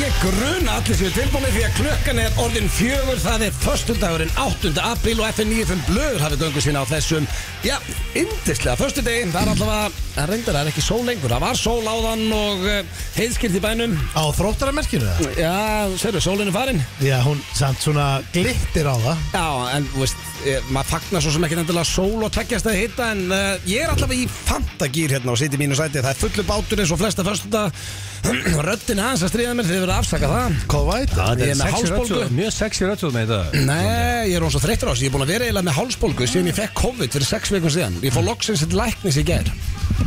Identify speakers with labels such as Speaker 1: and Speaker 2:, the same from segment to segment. Speaker 1: Mig gruna allir séu tilbúinir því að klukkan er orðin fjögur Það er föstudagurinn 8. apríl og FN95 blöður hafið göngu sína á þessum Já, yndislega, föstudegi Það er allavega, það reyndar það er ekki sól lengur Það var sól áðan og uh, heiðskilt í bænum
Speaker 2: Á þróttaramerkinu það?
Speaker 1: Já, sérðu, sólinn er farin
Speaker 2: Já, hún samt svona glittir á það
Speaker 1: Já, en þú veist, eh, maður fagnar svo sem ekkert endilega sól og tveggjast að hitta En uh, ég er allavega í fantagýr hérna og siti mínu sæti Það er fullu bátur eins og flesta föstudag Röddin aðeins að stríða mér, þið verða að afsaka það
Speaker 2: Hvað væt?
Speaker 1: Ég er
Speaker 2: Hérna,
Speaker 1: með
Speaker 3: Sexy
Speaker 1: hálsbólgu
Speaker 3: rödd- Mjög sexy röttsóð með þetta
Speaker 1: Nei, ég er hún svo þreyttur á þessu Ég er búin að vera eiginlega með hálsbólgu síðan ég fekk COVID fyrir sex vikum síðan Ég fór loksins til læknis í ger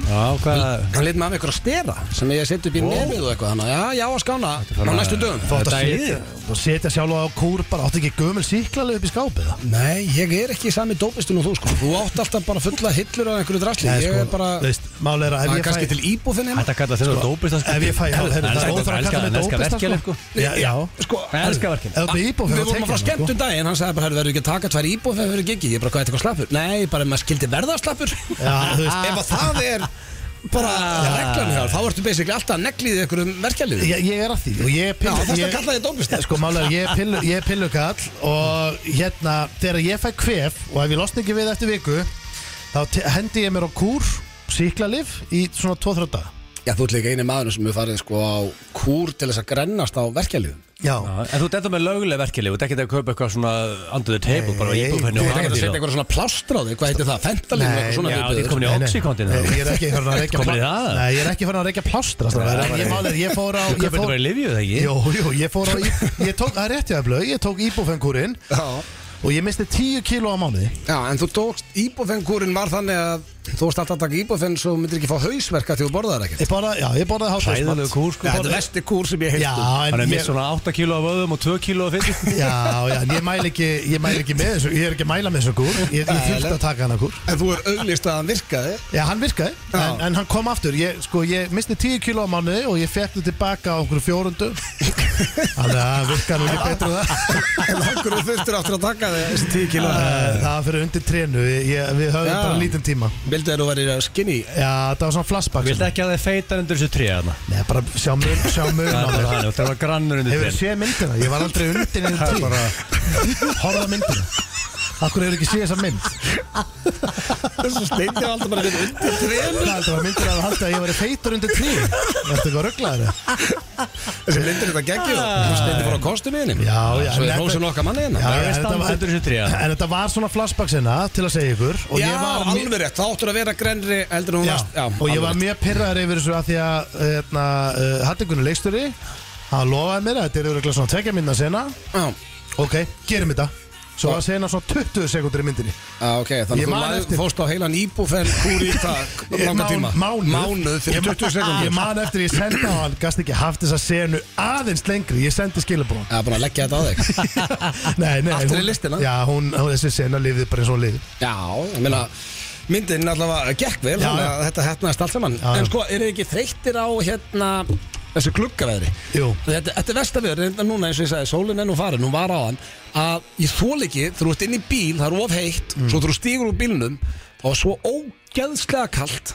Speaker 3: Já, hvað
Speaker 1: Hann lit mig af ykkur að stera sem ég seti upp í nefið og eitthvað þannig að Já, já, að skána á næstu dögum
Speaker 2: Þú átt
Speaker 3: Þetta
Speaker 2: að
Speaker 3: er
Speaker 2: setja, þú setja sjálfa á kúr bara áttu ekki gömul síklarlega upp í skápið það
Speaker 1: Nei, ég er ekki í sami dópistun og þú sko Þú átt alltaf bara fulla hillur af einhverju drasli
Speaker 2: Nei,
Speaker 1: Ég
Speaker 2: sko,
Speaker 1: er bara,
Speaker 2: þú veist, mál er að
Speaker 1: það
Speaker 2: ef
Speaker 1: er
Speaker 2: ég
Speaker 1: kannski til
Speaker 2: fæ
Speaker 1: íbúfinn heima
Speaker 3: Þetta kalla þeirra dópist sko.
Speaker 2: Ef ég fæ, já, heyrðu, það er óþar að kalla mig dópist
Speaker 3: verkefni sko
Speaker 2: Já, já
Speaker 1: Sko,
Speaker 3: Ég elska
Speaker 1: herru,
Speaker 3: verkefni
Speaker 2: Ef þú íbúið
Speaker 1: Við vorum að fara
Speaker 2: sko.
Speaker 1: skemmt um daginn, hann sagði bara, herru, verður ekki að taka tvær íbúð fyrir gigi, ég bara, hvað, er eitthvað slappur? Nei, bara, maður skildi verða slappur
Speaker 2: Já, þú veist
Speaker 1: Ef að það er bara reglan hér, þá ertu basically alltaf að negli í einhverjum verkjaliðum
Speaker 2: Ég, ég er að því og ég er
Speaker 1: Já,
Speaker 2: pillu
Speaker 1: þarftu að
Speaker 2: ég-
Speaker 1: kalla þig dópista.
Speaker 2: Sko málega, ég er pillu, ég er pillukall og hérna, þegar ég fæ kvef og ef ég losna ekki við eftir viku þá te- hendi ég mér á kúr síklarlif í svona 2-3 daga
Speaker 1: Já, þú ert líka eini maður sem hefur farið sko á kúr til þess að grennast á verkjaliðum
Speaker 2: Já,
Speaker 3: En þú dættu með löguleg verkefni Þú dættu að kaupa eitthvað svona Under the table bara
Speaker 2: Nei,
Speaker 3: íbúfenni
Speaker 1: Þú
Speaker 3: og
Speaker 1: ert ekki að setja
Speaker 3: hana
Speaker 1: einhverja svona plástráði, hvað heitir það, fentalín og
Speaker 2: Nei,
Speaker 1: eitthvað svona
Speaker 3: Já, þið
Speaker 1: viðbjöður
Speaker 3: komin í
Speaker 2: Nei, nei.
Speaker 3: oxykontin
Speaker 2: Nei, Ég er ekki farin að reykja
Speaker 3: Komin í
Speaker 2: plá-
Speaker 3: það?
Speaker 2: Nei, ég er ekki farin að reykja plástra strákar, en Ég málega, ég fór á ég
Speaker 3: Þú kaupir þetta
Speaker 2: fór-
Speaker 3: bara í lifju það ekki
Speaker 2: Jú, jú, ég fór á í- Ég tók, það er réttið að blöð, ég tók íbúfengkúrin
Speaker 1: Já,
Speaker 2: og ég misti 10 kíló á mánuði
Speaker 1: já, en þú tókst íbúfengkúrin var þannig að þú varst alltaf að taka íbúfeng svo þú myndir ekki fá hausverka því þú borðaðar ekkert
Speaker 2: Ég borða, já, ég borðaði hátíðismat.
Speaker 3: Hræðilegu kúr sko
Speaker 1: Já, Þetta er
Speaker 3: bara.
Speaker 1: vesti kúr sem ég
Speaker 2: Já,
Speaker 1: heilt um
Speaker 2: en
Speaker 3: Hann er
Speaker 2: ég-
Speaker 3: með svona 8 kg af vöðum og 2 kg af fyrir
Speaker 2: Já, já, en ég mæl ekki, ég mæl ekki með þessu, ég er ekki að mæla með þessu kúr Ég, ég þurfti að taka hana kúr
Speaker 1: En þú er auglist að hann virkaði
Speaker 2: Já, hann virkaði,
Speaker 1: Já.
Speaker 2: en, en hann kom aftur Ég, sko, ég misti 10 kíló á mánuði og ég fekk þetta tilbaka á einhverju fjórundu Þannig að það virkaði nú ekki betur en það
Speaker 1: En okkur þurftur aftur að taka þig þessi tíu kíló
Speaker 2: Eh, Það var fyrir undir trénu, ég, við höfum
Speaker 1: Já.
Speaker 2: bara lítinn tíma
Speaker 1: Vildu þeir þú verið skinny?
Speaker 2: Já, það var svona flashback
Speaker 3: Vilt ekki að þið feitar undir þessu tré hana
Speaker 2: Nei, bara sjá mun, sjá mun á
Speaker 3: Það er
Speaker 2: mér
Speaker 3: hann, þú þarf að grannur undir
Speaker 2: Hefur
Speaker 3: trén
Speaker 2: þið séð myndina? Ég var aldrei undir neyðin tí bara... Horða myndina Akkur hefur ekki séð þessa mynd
Speaker 1: Þessu steindi var alltaf bara við undir trefnum
Speaker 2: Það var myndir að halda að ég væri feitur undir tí Ertu ekki að ruggla þeirra?
Speaker 1: Þessi myndir þetta geggjum Þú stendur bara á kostum í henni
Speaker 2: Ah. Já, já,
Speaker 1: Svo
Speaker 2: en
Speaker 1: er rósin
Speaker 2: þetta-
Speaker 1: okkar manni
Speaker 2: Já,
Speaker 1: hérna
Speaker 3: Það
Speaker 2: en
Speaker 3: er
Speaker 2: þetta
Speaker 3: stand
Speaker 2: var-
Speaker 3: undir þessu tré hana
Speaker 2: En þetta var svona flashbacksina til að segja ykkur og
Speaker 1: Já,
Speaker 2: ég var mjög-
Speaker 1: alveg rétt, þá áttur að vera grennri eldur en hún
Speaker 2: já,
Speaker 1: varst Já,
Speaker 2: Og ég
Speaker 1: alveg
Speaker 2: var
Speaker 1: rétt.
Speaker 2: mjög pirraður yfir þessu að því að hérna, uh, Hattingunni leiksturi hann lofaði mér að þetta er örugglega svona tekja minna sena
Speaker 1: Já,
Speaker 2: Ok, gerum þetta Svo var sena svona 20 sekundur í myndinni
Speaker 1: Já, ok, þannig að
Speaker 2: Ég
Speaker 1: þú
Speaker 2: man
Speaker 1: lagði-
Speaker 2: eftir-
Speaker 1: fórst á heilan íbúfenn kúri í það langa tíma
Speaker 2: mánuð,
Speaker 1: Mánuð
Speaker 2: Ég
Speaker 1: fyrir
Speaker 2: man-
Speaker 1: 20 sekundum
Speaker 2: Ég man eftir ég sendi á hann Gast ekki haft þessa senu aðeins lengri Ég sendi skilabóðan
Speaker 1: Já, búin að leggja þetta á þig
Speaker 2: Nei, nei
Speaker 1: Aftur í
Speaker 2: hún-
Speaker 1: listina.
Speaker 2: Já, hún, hún, þessi sena lifið bara eins og hún lifið
Speaker 1: Já, ég meina myndin allavega gekk vel
Speaker 2: Já,
Speaker 1: þannig
Speaker 2: já.
Speaker 1: að þetta hefnaðist allt saman
Speaker 2: Já, já.
Speaker 1: En sko, eru þið ekki þreyttir á hérna þessu gluggaveðri?
Speaker 2: Jú.
Speaker 1: Þetta, þetta er vestaveður, en núna eins og ég sagði sólinn er nú farin, hún var á hann að ég þól ekki, þegar þú ert inn í bíl það er of heitt,
Speaker 2: Mm.
Speaker 1: svo þegar þú stígur úr bílnum og svo ógeðslega kalt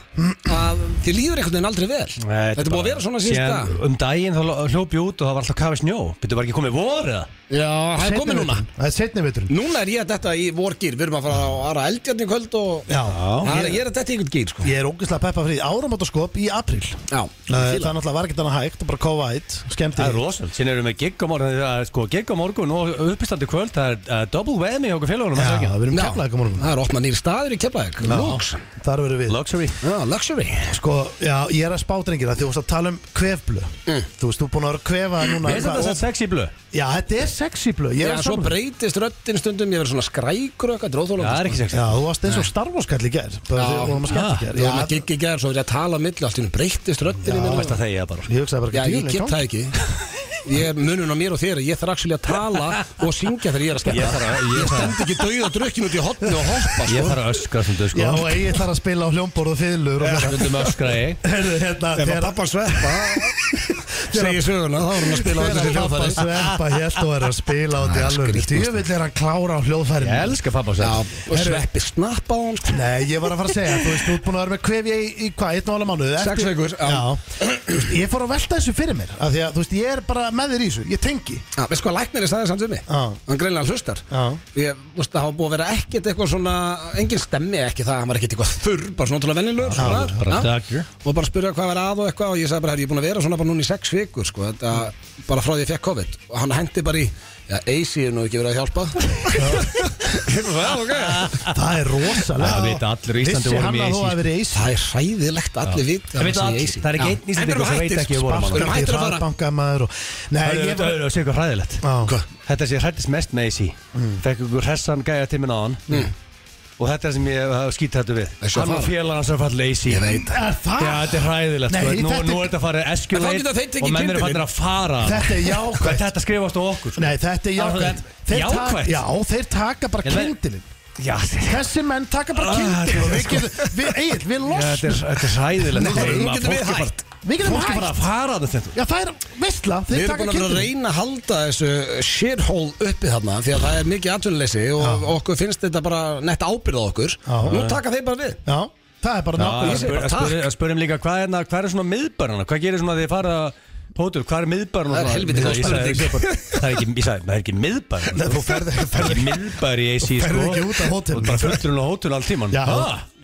Speaker 1: að þið líður einhvern veginn aldrei vel
Speaker 3: Nei,
Speaker 1: Þetta er búið að
Speaker 3: bara-
Speaker 1: vera svona síðan dag
Speaker 3: Síðan Um daginn þá hljóp ég út og það var alltaf kafi snjó Býttu var ekki komið voru það?
Speaker 1: Já, það er komið núna
Speaker 2: Það er setni viturinn
Speaker 1: Núna er ég að þetta í vorgýr, við erum að fara á aðra eldjarni í kvöld og
Speaker 2: Já.
Speaker 1: Það er, ég er að þetta í einhvern gýr sko
Speaker 2: Ég er ógeðslega peppa fyrir áramótaskop í april
Speaker 1: Já,
Speaker 2: Það
Speaker 1: fíla.
Speaker 2: er náttúrulega var ekkert annað hægt og bara kófa eitt Skemmt
Speaker 3: Það er rosalega Síðan erum við gig á morgun það er, Sko, gig á morgun og uppistandi kvöld Það er uh, double whammy hjá okkur félagunum
Speaker 2: Já,
Speaker 3: ja.
Speaker 2: við erum
Speaker 1: Já,
Speaker 2: keflaðið ekki morgun
Speaker 1: Það er opnað nýr staður í Keflavík Lux
Speaker 2: Þar verðum við
Speaker 3: Luxury
Speaker 1: Já, Luxury
Speaker 2: Sko, já, ég er að spá drengir að þú varst að tala um kvefblö
Speaker 1: Mm.
Speaker 2: Þú veist, þú er búin að vera að kvefa núna
Speaker 3: Ég er þetta að sexy blö
Speaker 2: Já, þetta er sexy blö Ég
Speaker 1: Já,
Speaker 2: er að
Speaker 1: svo
Speaker 2: samla-
Speaker 1: breytist röddinn stundum Ég verður svona skrækur og eitthvað dróðþólag
Speaker 3: Já, það er ekki sexy
Speaker 2: Já, þú varst eins og starfóskall í gerð Bara
Speaker 1: Já.
Speaker 2: því vorum að skalla í gerð
Speaker 1: Ég var með gigg í gerð Svo er ég að tala á milli Allt í hennu breytist röddinn í
Speaker 3: Þú
Speaker 1: mér
Speaker 3: veist að þegar ég bara
Speaker 2: Ég hugsaði bara
Speaker 1: Já,
Speaker 2: ekki
Speaker 1: ég
Speaker 2: djúlega
Speaker 1: get
Speaker 2: í gangi.
Speaker 1: það ekki Ég er munun á mér og þér Ég þarf actually að tala og syngja þegar ég er að skella
Speaker 3: Ég þarf að- ég
Speaker 1: Ég
Speaker 3: þarf-
Speaker 1: stend ekki dauð og drukkin út í hotni og hoppa
Speaker 3: Ég
Speaker 1: sko.
Speaker 3: þarf að öskra sem þau
Speaker 2: Já,
Speaker 3: sko
Speaker 2: og ég þarf að spila á hljómborð og fiðlur og fleira.
Speaker 3: Stundum öskra ég
Speaker 2: Heyrðu,
Speaker 1: Ef
Speaker 2: hérna,
Speaker 1: að
Speaker 2: þegar-
Speaker 1: pappa sveppa segi söguna, þá vorum við að spila á
Speaker 2: Hver
Speaker 1: þessu
Speaker 2: að
Speaker 1: sem
Speaker 2: pappa
Speaker 1: hljóðfæri
Speaker 2: sveppa hélt og er að spila á því
Speaker 1: er
Speaker 2: alveg
Speaker 1: skrýtnast.
Speaker 2: Djövill er hann klára á hljóðfærinu
Speaker 3: Ég elska pappa
Speaker 1: Já,
Speaker 3: sér
Speaker 1: og sveppi snapp á hann sko.
Speaker 2: Nei, ég var að fara að segja, þú veist, þú ert búin að vera með kvef ég í, í hvað, einn og alveg mánuð
Speaker 1: Sex vikur, já.
Speaker 2: já. Þú veist, Ég fór að velta þessu fyrir mér af Því að, þú veist, ég er bara með þér í þessu, ég tengi
Speaker 1: Já, við sko að læknirinn sagði samt um mig
Speaker 2: Já.
Speaker 1: Hann greinlega hlustar
Speaker 2: Já.
Speaker 1: Ég, þú veist, það hafa búið að vera ekkert eitthvað svona Engin stemmi ekki það, hann var ekkert eitthvað þurr Bara svona ótrúlega vennilegur svona,
Speaker 3: bara
Speaker 1: já.
Speaker 3: daggjur.
Speaker 1: Og bara spurði hvað var að og eitthvað Og ég sagði bara, herri, ég er búin að vera svona bara núna í sex vikur sko, þetta, Bara frá því ég fekk COVID Og hann hendi bara í, já, AC er nú ekki verið að hjálpa Ég bara, já, ok
Speaker 2: Það er rosalega
Speaker 3: Það vita allir í Íslandi
Speaker 2: Vissi
Speaker 3: vorum
Speaker 2: hann
Speaker 3: í
Speaker 2: að
Speaker 3: AC.
Speaker 2: þú hafi verið í AC
Speaker 1: Það er hræðilegt að allir vita
Speaker 3: Það vita
Speaker 1: að sé í
Speaker 3: allir,
Speaker 1: AC.
Speaker 3: það er ekki
Speaker 1: Já.
Speaker 3: einn
Speaker 1: En
Speaker 3: Íslendingur
Speaker 1: erum
Speaker 3: sem
Speaker 1: hættir,
Speaker 3: veit ekki að vorum
Speaker 1: sko,
Speaker 3: alveg.
Speaker 1: erum hættir að fara
Speaker 2: Bankamæður og Nei,
Speaker 3: Það
Speaker 2: ég
Speaker 3: er
Speaker 2: var
Speaker 3: að segja eitthvað hræðilegt
Speaker 2: Já.
Speaker 3: Þetta er sem ég hrættist mest með AC Fekk ykkur hressan gæja til minn á hann Og þetta er sem ég skýt þetta við
Speaker 1: Þessu að
Speaker 3: Hann og
Speaker 1: fara.
Speaker 3: félagann sem fallið AC
Speaker 1: Ég veit
Speaker 2: Er
Speaker 3: Já,
Speaker 2: það?
Speaker 3: þetta er hræðilegt
Speaker 2: Nei,
Speaker 3: sko. nú,
Speaker 2: þetta er-
Speaker 3: nú er þetta farið
Speaker 1: En þá geta þeir
Speaker 3: eskuleit
Speaker 1: tekið
Speaker 3: Og menn eru
Speaker 1: kindin
Speaker 3: fannir að fara
Speaker 2: Þetta er
Speaker 3: Hvað
Speaker 2: jákvæmt
Speaker 3: þetta skrifast á okkur sko.
Speaker 2: Nei, þetta er jákvæmt Þeir ta-
Speaker 3: Jákvæmt?
Speaker 2: Já, þeir taka bara
Speaker 3: Ég veit-
Speaker 2: kindilinn
Speaker 3: Já, þetta
Speaker 2: Þessi menn taka bara
Speaker 3: Ah,
Speaker 2: kindilinn og Við
Speaker 3: þetta er
Speaker 2: getum, við, Egil, við
Speaker 3: Já, þetta
Speaker 2: losnum
Speaker 3: er þetta er hræðilegt
Speaker 1: Nei,
Speaker 3: sko.
Speaker 1: nú
Speaker 3: Maður-
Speaker 1: getum við
Speaker 3: fólk er
Speaker 1: hætt.
Speaker 3: bara-
Speaker 2: Við getum
Speaker 3: Fólk er bara
Speaker 2: hægt
Speaker 3: að fara þetta
Speaker 2: Já, það er veistla
Speaker 1: Við
Speaker 2: Þeir
Speaker 1: erum
Speaker 2: taka
Speaker 1: búin að vera að
Speaker 2: kindilinn
Speaker 1: reyna að halda þessu shithole uppi þarna því að það er mikið atvinnuleysi og okkur finnst þetta bara nett ábyrð á okkur
Speaker 2: Já.
Speaker 1: Nú taka þeir bara við
Speaker 2: Já, það er bara
Speaker 3: Já,
Speaker 2: nákvæmlega
Speaker 1: segi bara
Speaker 3: spyr-
Speaker 1: takk.
Speaker 3: spyr- Spurðum líka hvað er, hvað er svona miðbarna Hvað gerir svona þegar þið fara Pótur, hvað er miðbarna
Speaker 1: Það er helviti góð spurning.
Speaker 3: Það er ekki, ég sagði, það er ekki miðbarna
Speaker 2: Nei, þú ferð- þú
Speaker 3: Það er ekki miðbar í AC
Speaker 2: Þú ferð
Speaker 3: sko.
Speaker 2: ekki út af hótelinu.
Speaker 3: Og bara fullur inn á hótel all tíman
Speaker 2: Já.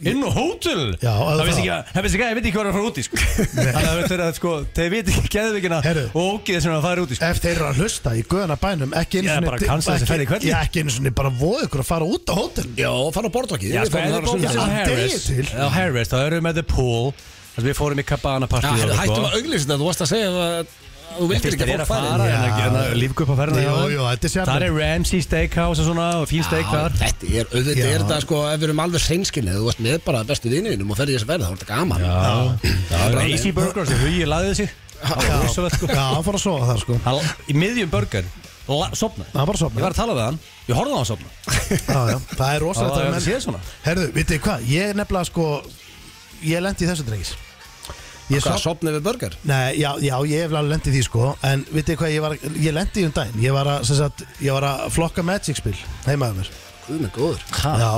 Speaker 3: Inn á hótel?
Speaker 2: Já,
Speaker 3: Það
Speaker 2: það-
Speaker 3: veist ekki, að- það veist ekki, að- ég veit ekki hvað er að fara út í sko. Þannig að þetta er að, sko, þeir veit ekki geðvikina
Speaker 2: Heyrðu.
Speaker 3: Og ógið sem er að fara út í sko.
Speaker 2: Ef þeir eru að hlusta í guðana bænum Ekki einu
Speaker 3: Já,
Speaker 2: sinni
Speaker 3: bara cancela þessi ferð í
Speaker 2: ekki,
Speaker 3: hvernig.
Speaker 2: já, ekki einu sinni bara voðu ykkur að fara út á hótel
Speaker 1: Já, fara á borðvakið
Speaker 3: Já,
Speaker 1: Við
Speaker 3: sko,
Speaker 1: fórum
Speaker 3: eða
Speaker 1: þar á
Speaker 3: bóðum
Speaker 2: Já,
Speaker 3: sem á
Speaker 1: sunnudaginn.
Speaker 2: degi
Speaker 3: Harris
Speaker 2: til.
Speaker 3: Á Harris, þá erum við með The Pool þar sem Við fórum í Cabana
Speaker 1: Já,
Speaker 3: partí
Speaker 1: herru,
Speaker 3: og
Speaker 1: Hættum að
Speaker 3: eitthvað.
Speaker 1: auglýsa þetta, þú varst að segja að þú vildir
Speaker 3: Ég sko. finnst
Speaker 1: ekki
Speaker 3: þér
Speaker 1: að
Speaker 3: er hérna að
Speaker 1: fólk
Speaker 3: fara
Speaker 1: fari
Speaker 2: Já.
Speaker 3: en að lífgu upp að ferða
Speaker 2: Jú, jú, þetta er sjarminn.
Speaker 3: Það er Ramsey Steakhouse og svona og fín steak
Speaker 1: Já,
Speaker 3: þar
Speaker 1: Þetta er, auðvitað
Speaker 2: Já.
Speaker 1: er þetta sko, ef við erum alveg hreinskinnið, þú varst með bara bestu vinninum og ferði þess að verða, þá er þetta gaman
Speaker 3: Það er Easy Burger sem Hugi laðið sig Það var rosalegt, sko.
Speaker 2: Já, hann fór að sofa þar sko
Speaker 3: Hann í miðjum burger la- sofnaði
Speaker 2: Hann bara
Speaker 3: Ég
Speaker 2: sofnaði.
Speaker 3: var að tala við hann Ég horfði á hann sofna
Speaker 2: Já, já, það er rosalega
Speaker 3: Já, já, það sé svona.
Speaker 2: Herðu, vitið þið hvað, ég er nefnilega sko Ég lendi í þessu drengis Ég
Speaker 1: Hvað,
Speaker 2: sá
Speaker 1: sopnið við börgar?
Speaker 2: Nei, já, já, ég hef alveg lendið því sko En vitið þið hvað, ég, var, ég lendi í um daginn Ég var að, sem sagt, ég var að flokka Magic spil Heimaður mér
Speaker 1: Guð með góður
Speaker 2: Já,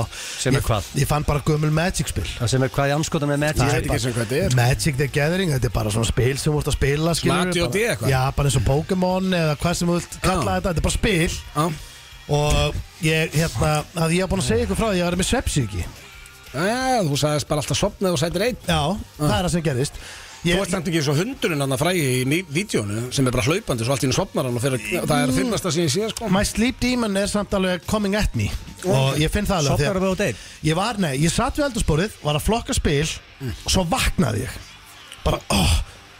Speaker 3: Sem er
Speaker 2: ég,
Speaker 3: hvað?
Speaker 2: Ég fann bara gömul Magic spil
Speaker 3: Það sem er hvað ég anskotum með Matt
Speaker 1: Ég
Speaker 3: Ég
Speaker 1: veit ekki sem hvað þetta er
Speaker 2: Magic the Gathering, þetta er bara svona spil sem þú ert að spila skilurðu,
Speaker 1: AD&D
Speaker 2: bara-
Speaker 1: eitthvað?
Speaker 2: Já, bara eins og Pokémon eða hvað sem þú vilt kalla
Speaker 1: Já.
Speaker 2: þetta Þetta er bara spil
Speaker 1: Já,
Speaker 2: Og ég, hérna, að ég hef búin að segja ykkur frá því að ég var með svepsíki
Speaker 1: Já, þú sagðist bara alltaf sopnið og sætir einn
Speaker 2: Já, það er það sem gerist
Speaker 1: Ah. Þú ert
Speaker 2: ég,
Speaker 1: samt ekki eins og hundurinn hann að fræði í mí- vídjónu sem er bara hlaupandi svo allt í henni sopnar hann og fyrir, það er þinnasta sem ég sé sko
Speaker 2: My sleep demon er samt alveg coming at me Og ég finn það alveg
Speaker 3: Sofnar
Speaker 2: þegar-
Speaker 3: við á date
Speaker 2: Ég var, nei, ég satt við eldursporið Var að flokka spil Og svo vaknaði ég Bara, óh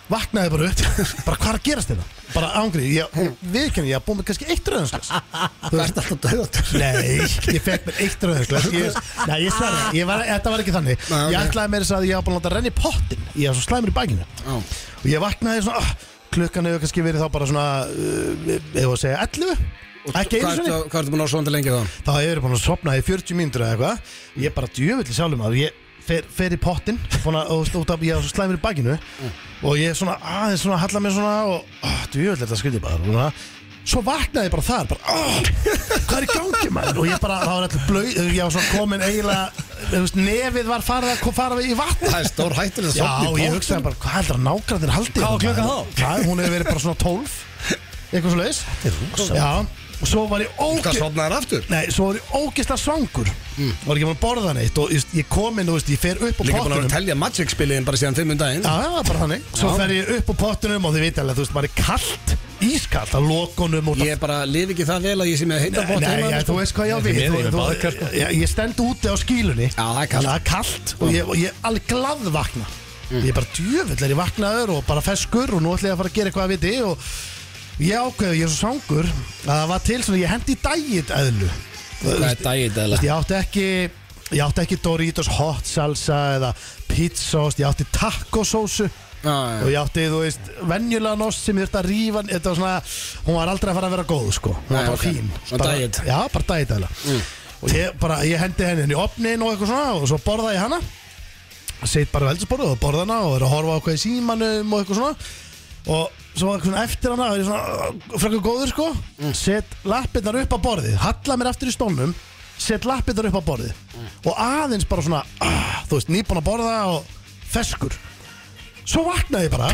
Speaker 2: Vaknaði bara upp Bara hvað er að gerast þetta? Bara ángrið Ég viðkynni, ég haf búið með kannski eitt rauðinsklas
Speaker 1: Það er alltaf döðatur
Speaker 2: Nei, ég fekk mér eitt rauðinsklas Nei, ég sverða, ég var, þetta var ekki þannig
Speaker 1: Nei, ok.
Speaker 2: Ég ætlaði mér þess að ég haf búin að láta renna í pottin Ég var svo slæmur í bækinu Og ég vaknaði svona ah, Klukkan hefur kannski verið þá bara svona uh, Eða að segja 11 Ekki einu sinni
Speaker 1: Hvað ertu búin að sofna lengi þá?
Speaker 2: Þá hefur ég búin að sopna í 40 mínútur eða eitthvað Ég er bara djöfulli sjálfum að ég fer, fer í pottin búin að, og út af ég á svo slæmur í bakinu og ég er svona aðeins svona halla mér svona og oh, djöfulli þetta skriði bara svona. Svo vaknaði ég bara þar bara, oh, Hvað er í gangi maður? Og ég bara, þá var allir blöð Ég var svona komin eiginlega þú veist, Nefið var farið að fara í vatn
Speaker 1: Það er stór hættur að
Speaker 2: Já,
Speaker 1: sopna
Speaker 2: ég hugsaði bara, hvað heldur að nágrandir haldi?
Speaker 3: Hvað var klukkan
Speaker 2: maður?
Speaker 3: þá?
Speaker 2: Hvað, hún hefur verið bara svona 12 Eitthvað svo leiðis Þetta er rosa Já, og svo var ég ógeð
Speaker 1: Hvað sopnaði hann aftur?
Speaker 2: Nei, svo var ég ógislega svangur Var ekki búin að borða neitt Og just, ég kom inn, þú veist, ég fer upp
Speaker 1: Líka
Speaker 2: á
Speaker 1: búin að vera
Speaker 2: pottunum
Speaker 1: að telja Magic spiliðin bara síðan 5 daginn
Speaker 2: Já, það var bara þannig Svo
Speaker 1: Já.
Speaker 2: fer ég upp á pottunum og þið veit alveg, þú veist, maður er kallt Ískallt að lokunum og
Speaker 1: Ég bara lifi ekki það vel að ég sé með heita bótt
Speaker 2: Nei,
Speaker 1: heima sko.
Speaker 2: ég, þú veist hvað ég á
Speaker 3: Þetta er
Speaker 2: við
Speaker 3: með
Speaker 2: þú,
Speaker 3: yfir
Speaker 2: þú,
Speaker 3: baðkar, sko.
Speaker 2: ég, ég stend úti á skílunni
Speaker 1: það er kalt.
Speaker 2: Það er kallt og ég, og ég er alveg glað vakna Ég er bara djöfull er ég vaknaður og bara feskur og nú ætla ég að fara að gera eitthvað að viti og ég ákveðu, ég er svo sangur að það var til svona, ég hendi í dægit eðlu
Speaker 1: Hvað er dagið eða?
Speaker 2: Ég átti ekki Ég átti ekki Doritos hot salsa eða pizzaost, ég átti tacosósu og
Speaker 1: Já, já.
Speaker 2: ég átti, þú veist, venjulegan ost sem ég þurfti að rífa þetta var svona, hún var aldrei að fara að vera góð sko, hún
Speaker 1: Nei,
Speaker 2: var bara
Speaker 1: ok.
Speaker 2: fín
Speaker 1: Svona
Speaker 2: bara,
Speaker 1: diet. Mm.
Speaker 2: Já, bara dæt eða og ég, bara, ég hendi henni inn í opnin og eitthvað svona og svo borða ég hana set bara veldisborðu og borða hana og er að horfa á hvað í símanum og eitthvað svona og svo var svona eftir hana er ég svona frekar góður sko
Speaker 1: Mm.
Speaker 2: set lappirnar upp á borðið halla mér aftur í stólnum set lappirnar upp á borðið
Speaker 1: Mm.
Speaker 2: og aðeins bara svona ah, þú veist, nýbúin að borða og feskur svo vaknaði ég bara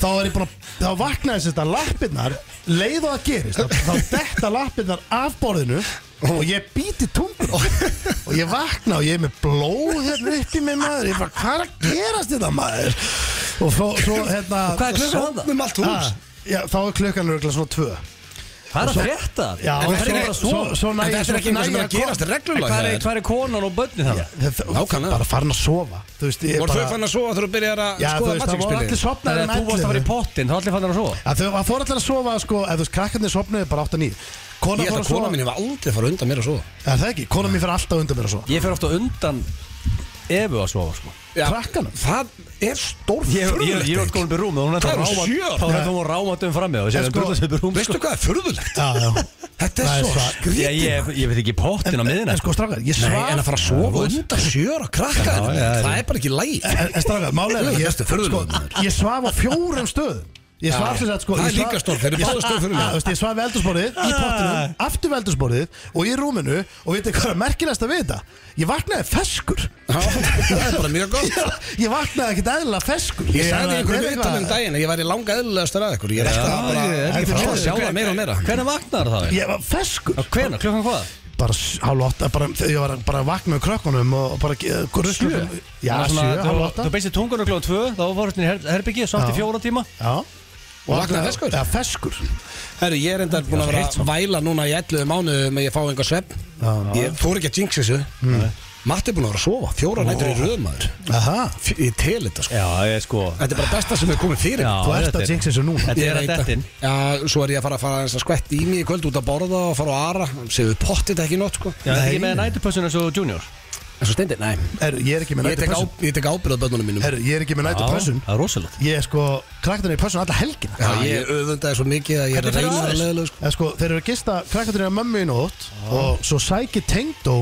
Speaker 2: þá er ég búin að þá vaknaði sérst að lappirnar leið og það gerist þá, þá detta lappirnar af borðinu og ég býti tungur og ég vakna og ég er með blóð hérna upp í mig maður ég bara hvað er að gerast þetta maður og svo, svo hérna
Speaker 4: Og hvað er klukkan þarna?
Speaker 1: Sofnum allt hús
Speaker 2: Ah, já, þá er klukkan örgulega svona tvö
Speaker 4: Hvað er að frétta?
Speaker 2: Já,
Speaker 4: Það er bara
Speaker 2: svo-
Speaker 4: að sofa.
Speaker 2: svo- svo næ
Speaker 1: En
Speaker 2: ég-
Speaker 1: þetta er
Speaker 2: svo
Speaker 1: ekki einhver sem
Speaker 2: næ
Speaker 1: er
Speaker 2: ég
Speaker 1: að gerast reglulega
Speaker 3: Hvað er,
Speaker 1: eða?
Speaker 3: hvar er konan og börnin það?
Speaker 2: kom-
Speaker 1: Nákvæmlega.
Speaker 2: Bara farin að sofa Þú veist, ég
Speaker 1: Voru
Speaker 2: bara
Speaker 1: þau fann að sofa þegar þú byrjar að
Speaker 2: Já, þú
Speaker 1: skoða
Speaker 2: veist, það voru allir
Speaker 1: mattingspilið?
Speaker 2: sofnaðir
Speaker 3: Þannig
Speaker 2: um
Speaker 3: að þú varst að fara í
Speaker 2: 11.
Speaker 3: pottin, þá allir fann hann að svo
Speaker 2: Já, þau að fór allir að sofa sko, ef þú veist, krakkarnir sopnuðu bara 8-9 Kona
Speaker 1: Ég held
Speaker 2: fór að
Speaker 1: að
Speaker 2: sofa
Speaker 1: kona mín hefur aldrei farið undan mér að sofa
Speaker 2: Er það ekki? Kona mín fyrir alltaf undan mér að sofa
Speaker 3: Ég fer ofta undan Efu að sofa sko
Speaker 1: Já,
Speaker 2: Krakkanum?
Speaker 1: Það er stór
Speaker 3: Ég ég er
Speaker 1: furðulegt
Speaker 3: oft komin upp í rúm og hún er
Speaker 1: Það
Speaker 3: að
Speaker 1: eru
Speaker 3: ráma
Speaker 1: sjö ára.
Speaker 3: Þá er hún að ráma döfum fram með og
Speaker 2: En
Speaker 3: sér að
Speaker 2: sko,
Speaker 3: brúða sér upp í rúm sko.
Speaker 1: Veistu hvað er furðulegt?
Speaker 2: Já, já
Speaker 1: Þetta
Speaker 2: Það er
Speaker 1: er svo
Speaker 2: svar-
Speaker 3: Já, Ég
Speaker 1: skrítið
Speaker 3: ég veit ekki pottin á miðina
Speaker 2: En sko, strákar, ég
Speaker 1: Nei,
Speaker 2: svaf
Speaker 1: en að fara að sofa undan sjöra krakka
Speaker 3: Já, já,
Speaker 1: Það
Speaker 3: já.
Speaker 1: er bara ekki lægi
Speaker 2: En, en strákar, málega
Speaker 1: Þú
Speaker 2: ég,
Speaker 1: veist, furðulegur
Speaker 2: sko,
Speaker 1: maður.
Speaker 2: ég svaf á fjórum stöðum Ég svaf þess að sko
Speaker 1: það
Speaker 2: ég
Speaker 1: er
Speaker 2: svaf-
Speaker 1: líka stór, þeir eru
Speaker 2: ég-
Speaker 1: báðir stór furðulegir.
Speaker 2: Já, þú veist, Ég svaf við eldhúsborðið, í
Speaker 1: Ah.
Speaker 2: pottinum, aftur við eldhúsborðið Og í rúminu, og veitir hvað er merkilegast að vita Ég vaknaði feskur
Speaker 1: Já, Það er bara mjög gott
Speaker 2: Ég vaknaði ekkert eðlilega feskur
Speaker 1: Ég sagði
Speaker 2: Ég-
Speaker 1: ykkur
Speaker 2: þetta er
Speaker 1: viðtal um
Speaker 2: eitthvað-
Speaker 1: daginn að ég væri langa eðlulegastur að ykkur Ég er
Speaker 3: Já,
Speaker 1: alltaf bara
Speaker 3: ég er
Speaker 2: Þetta
Speaker 3: ekki
Speaker 1: að
Speaker 2: er
Speaker 3: frá að
Speaker 2: hver-
Speaker 1: sjá það meira og meira
Speaker 3: Hvernig vaknar það?
Speaker 2: Ég var feskur
Speaker 3: Á Hvenær? Klukkan hvað?
Speaker 2: bara hálf átta bara, ég var bara að vakna með krökkunum og bara gruslu já,
Speaker 3: Það var
Speaker 2: sjö,
Speaker 3: svona-
Speaker 2: hálf
Speaker 3: þú-
Speaker 2: átta
Speaker 3: Þú beistir tungunum klukkan tvö Þá fórst hún í her- herbyggi og samt í
Speaker 2: Já.
Speaker 3: fjóra tíma
Speaker 2: já og
Speaker 1: vaknaði feskur?
Speaker 2: já, feskur
Speaker 1: Herru, ég er enda búin að vera að væla núna í 11 mánuðum að ég fá einhver svepp
Speaker 2: Já,
Speaker 1: Ég fór ekki að jinx þessu Matti er búin að vera að sofa, fjóra nættur í röðmaður
Speaker 2: aha
Speaker 1: Ég tel þetta sko
Speaker 3: Já, ég sko
Speaker 1: Þetta er bara besta sem hefur komið fyrir
Speaker 2: þú ert að jinx þessu núna
Speaker 3: Þetta
Speaker 1: Ég
Speaker 3: er að
Speaker 1: veit
Speaker 3: dettin
Speaker 1: Já, svo er ég að fara að fara aðeins að skvetti í mig í kvöld út að borða og fara á ara Segðu pottið ekki í nótt sko
Speaker 3: Já, þetta er ekki með nætupössun eins og junior
Speaker 1: En svo stendir, nei
Speaker 2: Heru, ég er ekki með
Speaker 1: Ég
Speaker 2: nættu
Speaker 1: tek, á,
Speaker 2: pössun
Speaker 1: ég tek ábyrðað bönnunum mínum
Speaker 2: Heru, ég er ekki með nættu
Speaker 3: Já,
Speaker 2: pössun
Speaker 3: Það er rosalegt
Speaker 2: ég er sko krakkarnir í pössun alla helgin
Speaker 1: Já, ég öfundaði svo mikið að ég er að
Speaker 3: Hvernig fer
Speaker 1: reyna
Speaker 3: það
Speaker 1: að
Speaker 3: aðeins?
Speaker 1: leiðlega sko
Speaker 2: en sko þeir eru að gista krakkarnir í mömmu í nótt og svo sækir tengdó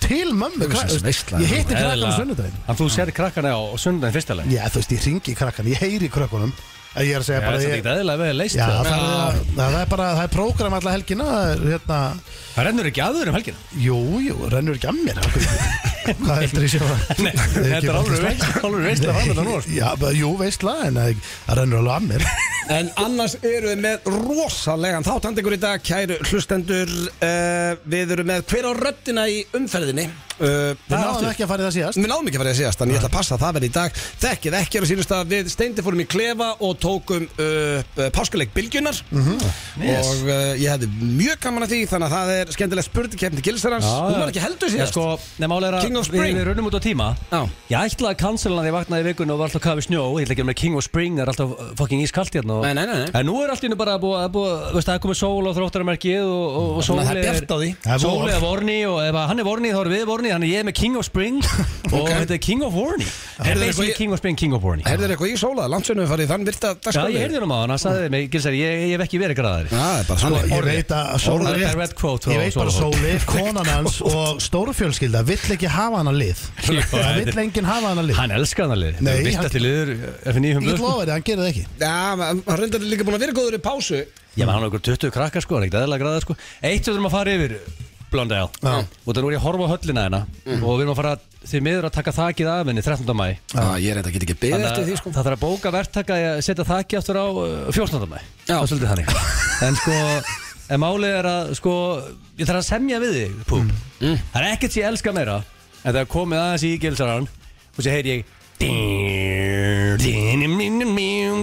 Speaker 2: til mömmu
Speaker 1: Þú veist,
Speaker 2: Krak-
Speaker 1: veistla.
Speaker 2: ég hitti krakkarnir
Speaker 3: Eðlilega.
Speaker 2: á sunnudaginn
Speaker 3: En þú sér krakkana á sunnudaginn fyrstilega
Speaker 2: já, þú veist, ég ringi krakkarnir, ég heyri krökkunum en ég er að segja
Speaker 3: Já,
Speaker 2: bara
Speaker 3: þetta er
Speaker 2: ég-
Speaker 3: ekki eðlilega vel leist
Speaker 2: Já,
Speaker 3: það.
Speaker 2: það, er, það er bara, það er prógram alla helgina það er, hérna,
Speaker 3: Það rennur ekki aður um helgina
Speaker 2: Jú, jú, rennur ekki að mér af hverju- Hvað heldur ég sé að
Speaker 3: Nei, þetta er alveg veist Alveg veist að fara þetta nú sko.
Speaker 2: Já, bara, jú, veistla, en það það rennur alveg að mér
Speaker 1: En annars eru við með rosalegan þáttandi ykkur í dag, kæru hlustendur uh, Við erum með hver á röddina í umferðinni uh,
Speaker 2: Við náðum ekki að fara í það síðast
Speaker 1: Við náðum ekki að fara í það síðast, en ég ætla að passa að það verði í dag Þekkið ekki er að sínust að við steindi fórum í klefa og tókum uh, uh, páskaleik bylgjunar
Speaker 3: Mhm. Yes.
Speaker 1: Og uh, ég hefði mjög gaman að því, þannig að það er skemmtileg spurningkeppni Gilsarans Hún var ekki heldur
Speaker 3: Já,
Speaker 1: síðast
Speaker 3: sko, Nei, mál er að
Speaker 1: King of
Speaker 3: við-
Speaker 1: Spring.
Speaker 3: Við runnum út á tíma
Speaker 1: Já.
Speaker 3: Ég ætlaði að cancela hann þegar ég vaknaði í vikun og var alltaf kafið snjó Ég ætla ekki að gera með King of Spring, það er alltaf uh, fucking ískalt hérna og...
Speaker 1: Nei, nei, nei, nei.
Speaker 3: En nú er allt í hennu bara að búa, að búa veist, það er komið sól á þróttaramerkið og, og, og sól
Speaker 1: Þannig að það er bjart á því.
Speaker 2: Það er vor.
Speaker 3: Sól er vorni og ef að hann er vorni þá er við vorni Þannig að ég er með King of Spring og
Speaker 1: Ok.
Speaker 3: þetta er King of Vorni Það
Speaker 1: Heyrðu,
Speaker 3: er basically
Speaker 1: eitthvað-
Speaker 3: King of Spring, King of Vorni
Speaker 1: Herðir eitthvað í sóla, landsunum við farið í þann virta
Speaker 3: Já,
Speaker 1: dagskráni
Speaker 3: ég heyrði Sko, hann á hann, hann sagði mig, Gilsar, ég, ég hef ekki verið graðari
Speaker 1: Já, það er bara þannig
Speaker 2: Ég veit að Sóli
Speaker 3: Orðrétt. Direct quote frá
Speaker 2: Ég veit bara
Speaker 3: Sóli.
Speaker 2: Sóli, konan hans og stórfjölskylda vill ekki hafa hana lið Það vill enginn hafa hana lið
Speaker 3: Hann elskar hann alveg
Speaker 2: Nei, hann-
Speaker 3: Vist að til yður F9
Speaker 2: Ég lofa þér, hann gerir það ekki
Speaker 1: Já, hann hann reyndar líka búin að vera góður í pásu
Speaker 3: Já, menn hann er okkur 20 krakkar sko, hann er ekkert eðla græða sko Eitt við þurfum að fara yfir Blondale
Speaker 2: Já.
Speaker 3: Og það nú er ég að horfa á höllina hérna
Speaker 1: Mhm.
Speaker 3: Og við erum að fara því miður að taka þakið af henni 13. mæ
Speaker 1: Já, ég reynda get ekki beðið eftir því sko
Speaker 3: það þarf að bóka verktaka í að setja þakið aftur á uh, 14. mæ
Speaker 1: Já.
Speaker 3: Það er svolítið þannig En sko, en málið er að sko Ég þarf að semja við þig, Púb Það er ekkert sem ég elska meira En það er komið aðeins í gilsarann Og svo heyri ég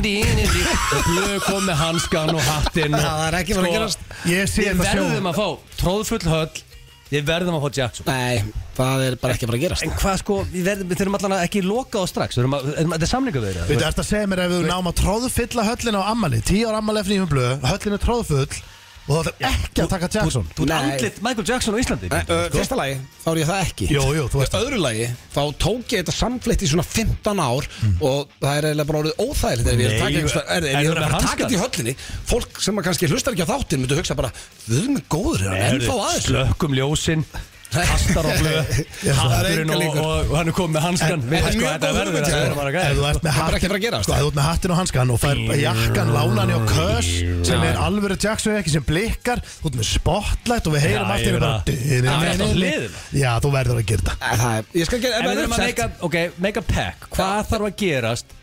Speaker 3: Blöð kom með hanskan og hattinn og-
Speaker 1: Já, það er ekki bara að gerast.
Speaker 2: Ég sé
Speaker 3: Við
Speaker 2: þetta
Speaker 3: verðum
Speaker 2: sjón.
Speaker 3: að fá tróðfull höll Við verðum að fá Jackson
Speaker 1: Nei, það er bara ekki bara að gerast
Speaker 3: En hvað sko, við, verðum, við þurfum allan að ekki loka á strax Við þurfum að, en Þetta er samlinga við
Speaker 2: Þú ert að segja mér ef við náum að tróðfylla höllin á ammali 10 ára ammali eftir nýjum blöð Höllin er tróðfull Og þú ætlar ekki að taka Jackson
Speaker 3: Þú ert
Speaker 1: Nei.
Speaker 3: andlit Michael Jackson á Íslandi
Speaker 1: Nei, ö, Fyrsta lagi, þá er ég það ekki
Speaker 2: Sko? Jú, jú, þú
Speaker 1: Í
Speaker 2: veist það.
Speaker 1: öðru lagi, þá tók ég þetta samfleytt í svona 15 ár
Speaker 2: Mm.
Speaker 1: og það er eiginlega bara orðið óþægilegt ef ég er að
Speaker 3: Nei,
Speaker 1: taka einhversta, er, ef
Speaker 3: en
Speaker 1: ég er
Speaker 3: þú
Speaker 1: að fara
Speaker 3: með
Speaker 1: að
Speaker 3: hanska?
Speaker 1: taka þetta í höllinni fólk sem að kannski hlustar ekki á þáttin myndu hugsa bara, þau erum góður, er hann ennþá aðeins
Speaker 3: Slökkum ljósin Kastar á blöð
Speaker 1: það er
Speaker 3: Hatturinn
Speaker 1: engar
Speaker 3: og,
Speaker 1: líkur.
Speaker 3: og, og hann er komið með hanskan
Speaker 1: En-
Speaker 3: Við-
Speaker 1: en
Speaker 3: sko,
Speaker 1: mjög
Speaker 3: þetta
Speaker 1: góð
Speaker 3: verður
Speaker 1: hugmynd,
Speaker 3: að
Speaker 1: já.
Speaker 3: vera bara
Speaker 2: Ef
Speaker 3: gæð
Speaker 2: þú ert
Speaker 1: Það er ekki
Speaker 2: með
Speaker 1: að
Speaker 2: hatt-
Speaker 1: fara að gerast.
Speaker 2: sko, ef þú ert með hattin og hanskan og fær jakkan lánan í á kös sem er alvöru Jackson ekki sem blikkar þú ert með spotlight og við heyrum
Speaker 3: Já,
Speaker 2: allt í
Speaker 3: ég
Speaker 2: einu
Speaker 3: veit
Speaker 2: bara
Speaker 3: það.
Speaker 2: dun-
Speaker 3: Það er
Speaker 2: dun-
Speaker 3: alltaf
Speaker 2: dun-
Speaker 3: hliðin.
Speaker 2: Já, þú verður að gera þetta
Speaker 1: Æ, Það er, ég skal gera,
Speaker 3: En
Speaker 1: ef það
Speaker 3: við
Speaker 1: er
Speaker 3: erum að
Speaker 1: uppsett
Speaker 3: make up, ok, make up pack Hvað þarf að gerast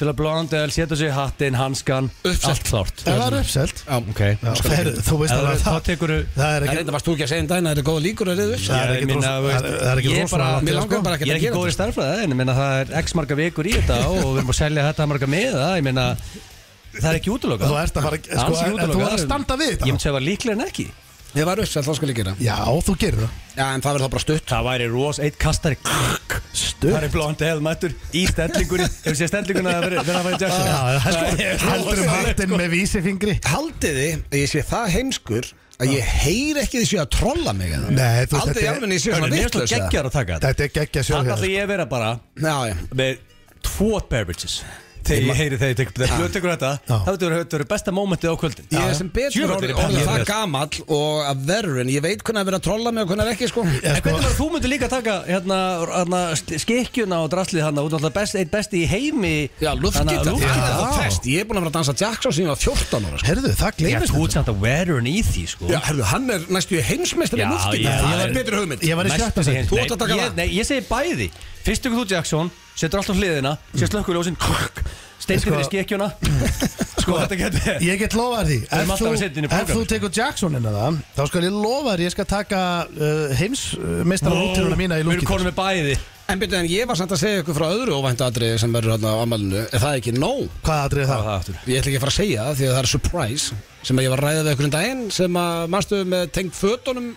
Speaker 3: til að Blondel setja sig í hattinn, hanskan
Speaker 1: Uppselt.
Speaker 3: Allt klárt
Speaker 2: Það var uppselt
Speaker 1: Já,
Speaker 3: Ok
Speaker 2: Já, fer- Þú veist
Speaker 3: Ef
Speaker 2: alveg að
Speaker 3: þú- Þá tekur
Speaker 2: Það er
Speaker 1: Það
Speaker 2: ekki
Speaker 1: reynda varst þú ekki að segja um daginn að það er góða líkur að reyðu upp
Speaker 2: Það er
Speaker 3: Ég
Speaker 2: ekki
Speaker 3: meina,
Speaker 2: dros-
Speaker 3: þú
Speaker 2: það
Speaker 3: veist,
Speaker 2: er- það er ekki
Speaker 3: ég
Speaker 2: rosalega
Speaker 3: bara-
Speaker 2: langt
Speaker 1: Mér
Speaker 2: í það,
Speaker 1: langar
Speaker 2: sko.
Speaker 1: bara ekki
Speaker 3: Ég er
Speaker 1: að
Speaker 3: ekki
Speaker 1: gera
Speaker 3: góður í
Speaker 1: þetta
Speaker 3: starffræði en ég meina það er x marga vikur í þetta og við erum að selja þetta marga miða ég meina það er ekki útlokað
Speaker 2: Þú ert að fara sko,
Speaker 3: Ansi
Speaker 2: en- en Þú
Speaker 3: útilokað.
Speaker 2: ert að standa við
Speaker 3: Ég myndi
Speaker 2: þetta
Speaker 3: segja var líklega en ekki
Speaker 1: Ég var uppsett, þá skal ég gera
Speaker 2: Já, þú gerir það
Speaker 1: Já, en það verður þá bara stutt
Speaker 3: Það væri ros, eitt kastari krrk,
Speaker 2: Stutt
Speaker 3: Það er blóndi heðmættur í stendlingunni Hefur séð stendlinguna að vera að fara í
Speaker 2: Já,
Speaker 3: Jackson
Speaker 2: það er
Speaker 3: Ah, Það er
Speaker 2: sko Heldur um
Speaker 3: rosalegt,
Speaker 2: hattin með vísifingri
Speaker 1: Haldiði að ég sé það heimskur að ég heyri ekki þessu að trolla mig eða?
Speaker 2: Nei, þú veist,
Speaker 1: Aldrei
Speaker 2: þetta er-
Speaker 1: jafnvel ég sé
Speaker 3: Það
Speaker 1: svona
Speaker 3: er mjög
Speaker 1: vitlaus, eða?
Speaker 3: geggjar að taka þetta
Speaker 2: Þetta er geggja
Speaker 3: Þannig
Speaker 2: sjálf
Speaker 3: ætla ég að vera bara
Speaker 1: Já, já
Speaker 3: með tvo beverages Þegar ég heyri þegar ég tekur Þegar blöð tekur þetta
Speaker 2: Já.
Speaker 3: Það hefur verið besta mómentið á kvöldin
Speaker 1: Ég er Ah. sem betur
Speaker 3: Djöfull er
Speaker 1: orðin
Speaker 3: ég peppaður.
Speaker 1: orðin það gamall og að verður en ég veit hvernig að vera að trolla mig og hvernig ekki sko
Speaker 2: Já,
Speaker 3: En
Speaker 2: sko.
Speaker 3: hvernig var þú myndir líka taka hérna, hérna, skekkjuna og draslið hann út náttúrulega best, eitt besti í heimi
Speaker 1: Já,
Speaker 3: Þannig að
Speaker 1: luftgita,
Speaker 3: lúftgítar.
Speaker 1: það er það
Speaker 2: Já.
Speaker 1: fest Ég er búin að vera að dansa Jackson sem ég var 14 ára sko.
Speaker 2: Herðu, það
Speaker 3: Já,
Speaker 2: gleymist
Speaker 3: þú ert samt að veteran í því sko
Speaker 1: Já, herðu, hann er næstu í heimsmeistri
Speaker 3: Já,
Speaker 1: luftgita
Speaker 3: já,
Speaker 1: Það
Speaker 3: ég
Speaker 1: er
Speaker 3: var-
Speaker 1: betri hugmynd
Speaker 2: Ég var í
Speaker 3: Næst-
Speaker 2: sjötta seti.
Speaker 1: Þú ert að taka
Speaker 3: Nei,
Speaker 1: það.
Speaker 3: ég- Nei, ég segi bæði Fyrst tekur þú Jackson, setur allt á hliðina Sér slökkuljósin, steindir
Speaker 2: Sko-
Speaker 3: fyrir skekkjuna Sko, þetta getur
Speaker 2: Ég get lofað þér því
Speaker 3: erum
Speaker 2: Ef
Speaker 3: alltaf
Speaker 2: þú,
Speaker 3: að setja inn í
Speaker 2: ef
Speaker 3: prógrammið.
Speaker 2: þú tekur Jackson innan það Þá skal ég lofa þér Ég skal taka uh, heimsmeistara uh, útrúna mína í
Speaker 3: Við erum
Speaker 2: lúkið
Speaker 3: konum með bæði
Speaker 1: En byrju, en ég var samt að segja ykkur frá öðru óvæntu atriði sem verður hérna á amalinu Er það ekki nóg?
Speaker 2: Hvað aðrið það?
Speaker 3: Það aftur
Speaker 1: Ég ætla ekki að fara að segja það því að það er surprise sem að ég var að ræða við ykkur um daginn sem að mannstu með tengt fötunum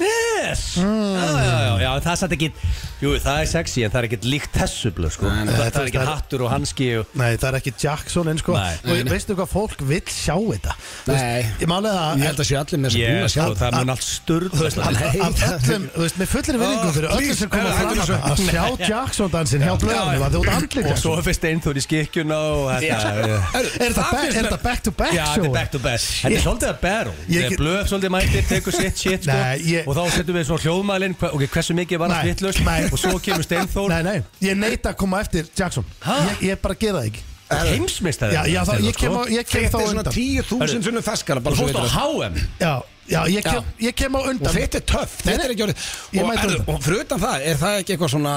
Speaker 3: Yes Já, já, já, já, en það er satt ekki Jú, það er sexy, en það er ekkit líkt þessu blöð sko
Speaker 1: Nei, nei.
Speaker 3: Það
Speaker 2: Þetta
Speaker 3: það er
Speaker 2: er-
Speaker 3: ekkit hattur og hanski og
Speaker 2: Nei, það er ekki Jackson eins sko
Speaker 3: Nei.
Speaker 2: Og
Speaker 1: Nei, nei.
Speaker 2: veistu hvað fólk vill sjá þetta? Þú
Speaker 1: Nei.
Speaker 2: veist, Ég málega
Speaker 1: Ég
Speaker 2: það
Speaker 1: held að sé allir með þess að
Speaker 3: Ég,
Speaker 1: búin að sjá
Speaker 3: sko, það mun allt sturglast
Speaker 1: það Nei,
Speaker 2: Af öllum, þú veist, með fullir vinningum fyrir öllum sem koma
Speaker 1: Nei,
Speaker 2: fram
Speaker 1: hættu
Speaker 2: þarna, Að sjá Jackson dansinn hjá blöðanum Að þú ert andlið
Speaker 3: Og svo
Speaker 2: Jackson
Speaker 3: er fyrst einn í skikkjuna og þetta
Speaker 1: Herru,
Speaker 2: Er þetta back-
Speaker 1: finnst mér-
Speaker 2: er þetta back to back
Speaker 3: Já, þetta
Speaker 2: show?
Speaker 3: er back to back Þetta er svolítið að battle
Speaker 2: Ég
Speaker 3: Þegar
Speaker 2: get-
Speaker 3: blöf svolítið mætir, tekur sitt shit sko,
Speaker 2: Nei, ég-
Speaker 3: Og þá setjum við svona hljóðmælin hva, Ok, hversu mikið var það
Speaker 2: Nei,
Speaker 3: vittlust
Speaker 2: nei.
Speaker 3: Og svo kemur Steinþór
Speaker 2: Nei, nei, ég neita að koma eftir Jackson
Speaker 3: Ha?
Speaker 2: Ég, ég bara gera það ekki
Speaker 3: Heimsmist það sko.
Speaker 2: Já, já, þá, ég kem, á- ég kem þá
Speaker 1: Þetta er svona
Speaker 2: undan
Speaker 1: 10.000 sunnum ferskara bara
Speaker 3: Og
Speaker 1: svo
Speaker 3: fórst á
Speaker 1: veitir það.
Speaker 3: HM
Speaker 2: Já, já, ég kem, ég kem á
Speaker 1: Og
Speaker 2: undan
Speaker 1: þetta er töff,
Speaker 2: Nei,
Speaker 1: þetta er
Speaker 2: nei.
Speaker 1: ekki orðið
Speaker 2: Ég
Speaker 1: og,
Speaker 2: mæti
Speaker 1: herru,
Speaker 2: undan.
Speaker 1: og fyrir utan það, er það ekki eitthvað svona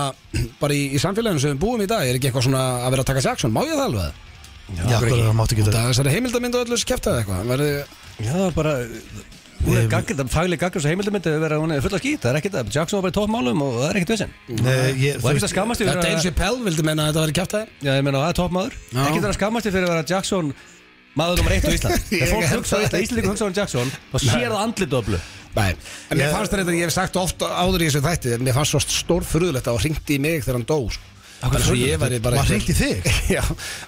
Speaker 1: bara í, í samfélaginu sem við búum í dag er ekki eitthvað svona að vera að taka Jackson, má ég það alveg?
Speaker 2: Já, hvað er það máttu ekki
Speaker 1: Það
Speaker 2: það?
Speaker 1: er þessari heimildamind og öllu sem kæftaði eitthvað Verði-
Speaker 3: Já, það var bara Hún er gaggrind, það fagli gaggrind Svo heimildamöndi verið að hún er full af skýt Það er ekkit að Jackson var bara í toppmálum Og það er ekkit vissin
Speaker 2: Nei, ég,
Speaker 3: Og það er ekkit að skammast
Speaker 1: Já,
Speaker 3: yfir
Speaker 1: Dave
Speaker 3: að
Speaker 1: Chappelle vildi menna að þetta væri kæftæði
Speaker 3: Já, ég meina, það er toppmaður
Speaker 1: Já.
Speaker 3: Ekkit að skammast yfir að vera Jackson Maður nummer eitt á Ísland
Speaker 1: Ég
Speaker 3: Þegar fólk
Speaker 1: held
Speaker 3: hugsa
Speaker 1: það
Speaker 3: þetta
Speaker 1: ekki.
Speaker 3: Íslandingur hugsa um Jackson Þá sér það andlit öflu
Speaker 1: Nei, en mér
Speaker 2: Ég-
Speaker 1: fannst þetta, ég hef sagt ofta áður í þessu þætti en Mér fannst svo stór furðulegt að það hringdi í mig þegar hann dó sko.
Speaker 3: hverju
Speaker 1: Bara svo
Speaker 3: furðulegt?
Speaker 1: ég væri bara
Speaker 2: Var hringt í þig?
Speaker 1: Já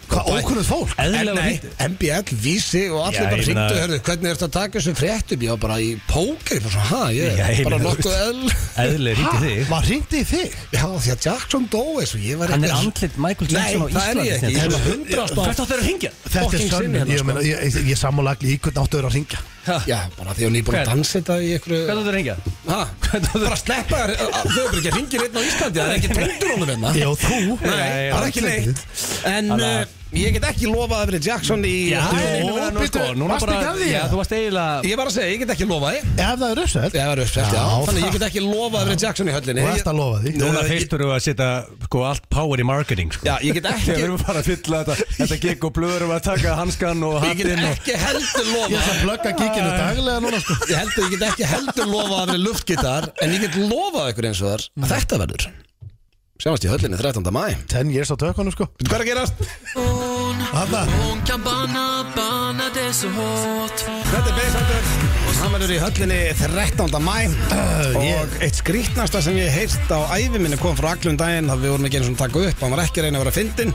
Speaker 2: Hvað ókunnuð fólk?
Speaker 3: Eðlilega
Speaker 1: Nei,
Speaker 3: hringdi.
Speaker 1: MBL, Vísi og allir
Speaker 3: Já,
Speaker 1: bara
Speaker 3: ég meina-
Speaker 1: hringdu hörðu, hvernig ertu að taka þessu fréttum ég var bara í póker, ég bara svona, ha, ég
Speaker 3: Já,
Speaker 1: er
Speaker 3: ég
Speaker 1: bara
Speaker 3: meina, þú
Speaker 1: nokkuð eðl
Speaker 3: Eðli ríkti þig
Speaker 2: Var hringdi í þig?
Speaker 1: Já, því að Jackson dó eins og ég var
Speaker 3: Hann er
Speaker 1: eitthvað-
Speaker 3: andlit Michael
Speaker 1: Nei,
Speaker 3: Jackson á
Speaker 1: það er
Speaker 3: Íslandi
Speaker 1: ég ekki, ég er svona hundrast
Speaker 3: Hvert áttu þeir að hringja?
Speaker 2: Þetta er
Speaker 1: Fucking
Speaker 2: sönn
Speaker 1: sinni hérna,
Speaker 2: Ég,
Speaker 1: sko.
Speaker 2: meina, ég, ég, ég samanlagli í hvern áttu að vera að ringja
Speaker 1: Já, bara því að hún er búin að
Speaker 3: Hvern?
Speaker 1: dansa þetta í einhverju
Speaker 3: Hvert áttu þeir að hringja?
Speaker 1: Ha? bara sleppa þér þau eru ekki ringir einn á Íslandi það er ekki tengdur honum hérna
Speaker 2: Já, þú
Speaker 1: Nei, það er ekki neitt En
Speaker 3: Þannig að-
Speaker 1: uh, ég get ekki lofað að vera Jackson í
Speaker 3: Já,
Speaker 1: Þú-
Speaker 2: nei, nei, nei,
Speaker 3: nú sko
Speaker 2: bíddu,
Speaker 3: Núna
Speaker 2: varstu
Speaker 3: bara
Speaker 2: ekki að því?
Speaker 3: Já, þú varst eiginlega
Speaker 1: Ég var að segja, ég get ekki lofað þið
Speaker 2: Ef það er uppsett
Speaker 1: Já, það er uppsett, já
Speaker 2: Já,
Speaker 1: Þannig að
Speaker 2: það-
Speaker 1: ég get ekki lofað að vera Jackson í höllinni
Speaker 2: Þú ert að lofa því
Speaker 3: Núna
Speaker 1: Ég-
Speaker 3: feistur þú að setja sko allt power í marketing sko
Speaker 1: Já, ég get ekki
Speaker 3: Þegar við erum bara að fylla þetta Þetta gekk og blöður að taka hanskan og
Speaker 1: Ég get
Speaker 3: hattinn og
Speaker 1: ekki heldur
Speaker 2: Ég
Speaker 1: lofað
Speaker 2: ætla að plugga kíkinu daglega núna sko
Speaker 1: Ég heldur, ég get ekki heldur lofað að vera luftgitar En ég get lofað ykkur eins og þar að Þetta verður Sjáumst í höllinni 13. mæ
Speaker 2: 10 years á tökunum sko
Speaker 1: Veitu hvað er að gerast?
Speaker 2: Hanna
Speaker 5: Hon kan banna, banna det så hårt
Speaker 1: Þetta er Beisandur Hann verður í höllinni 13. mæ Oh,
Speaker 2: ég-
Speaker 1: Og eitt skrítnasta sem ég heist á ævi minni kom frá allum daginn Það við vorum ekki eins og taka upp Hann var ekki að reyna að vera fyndin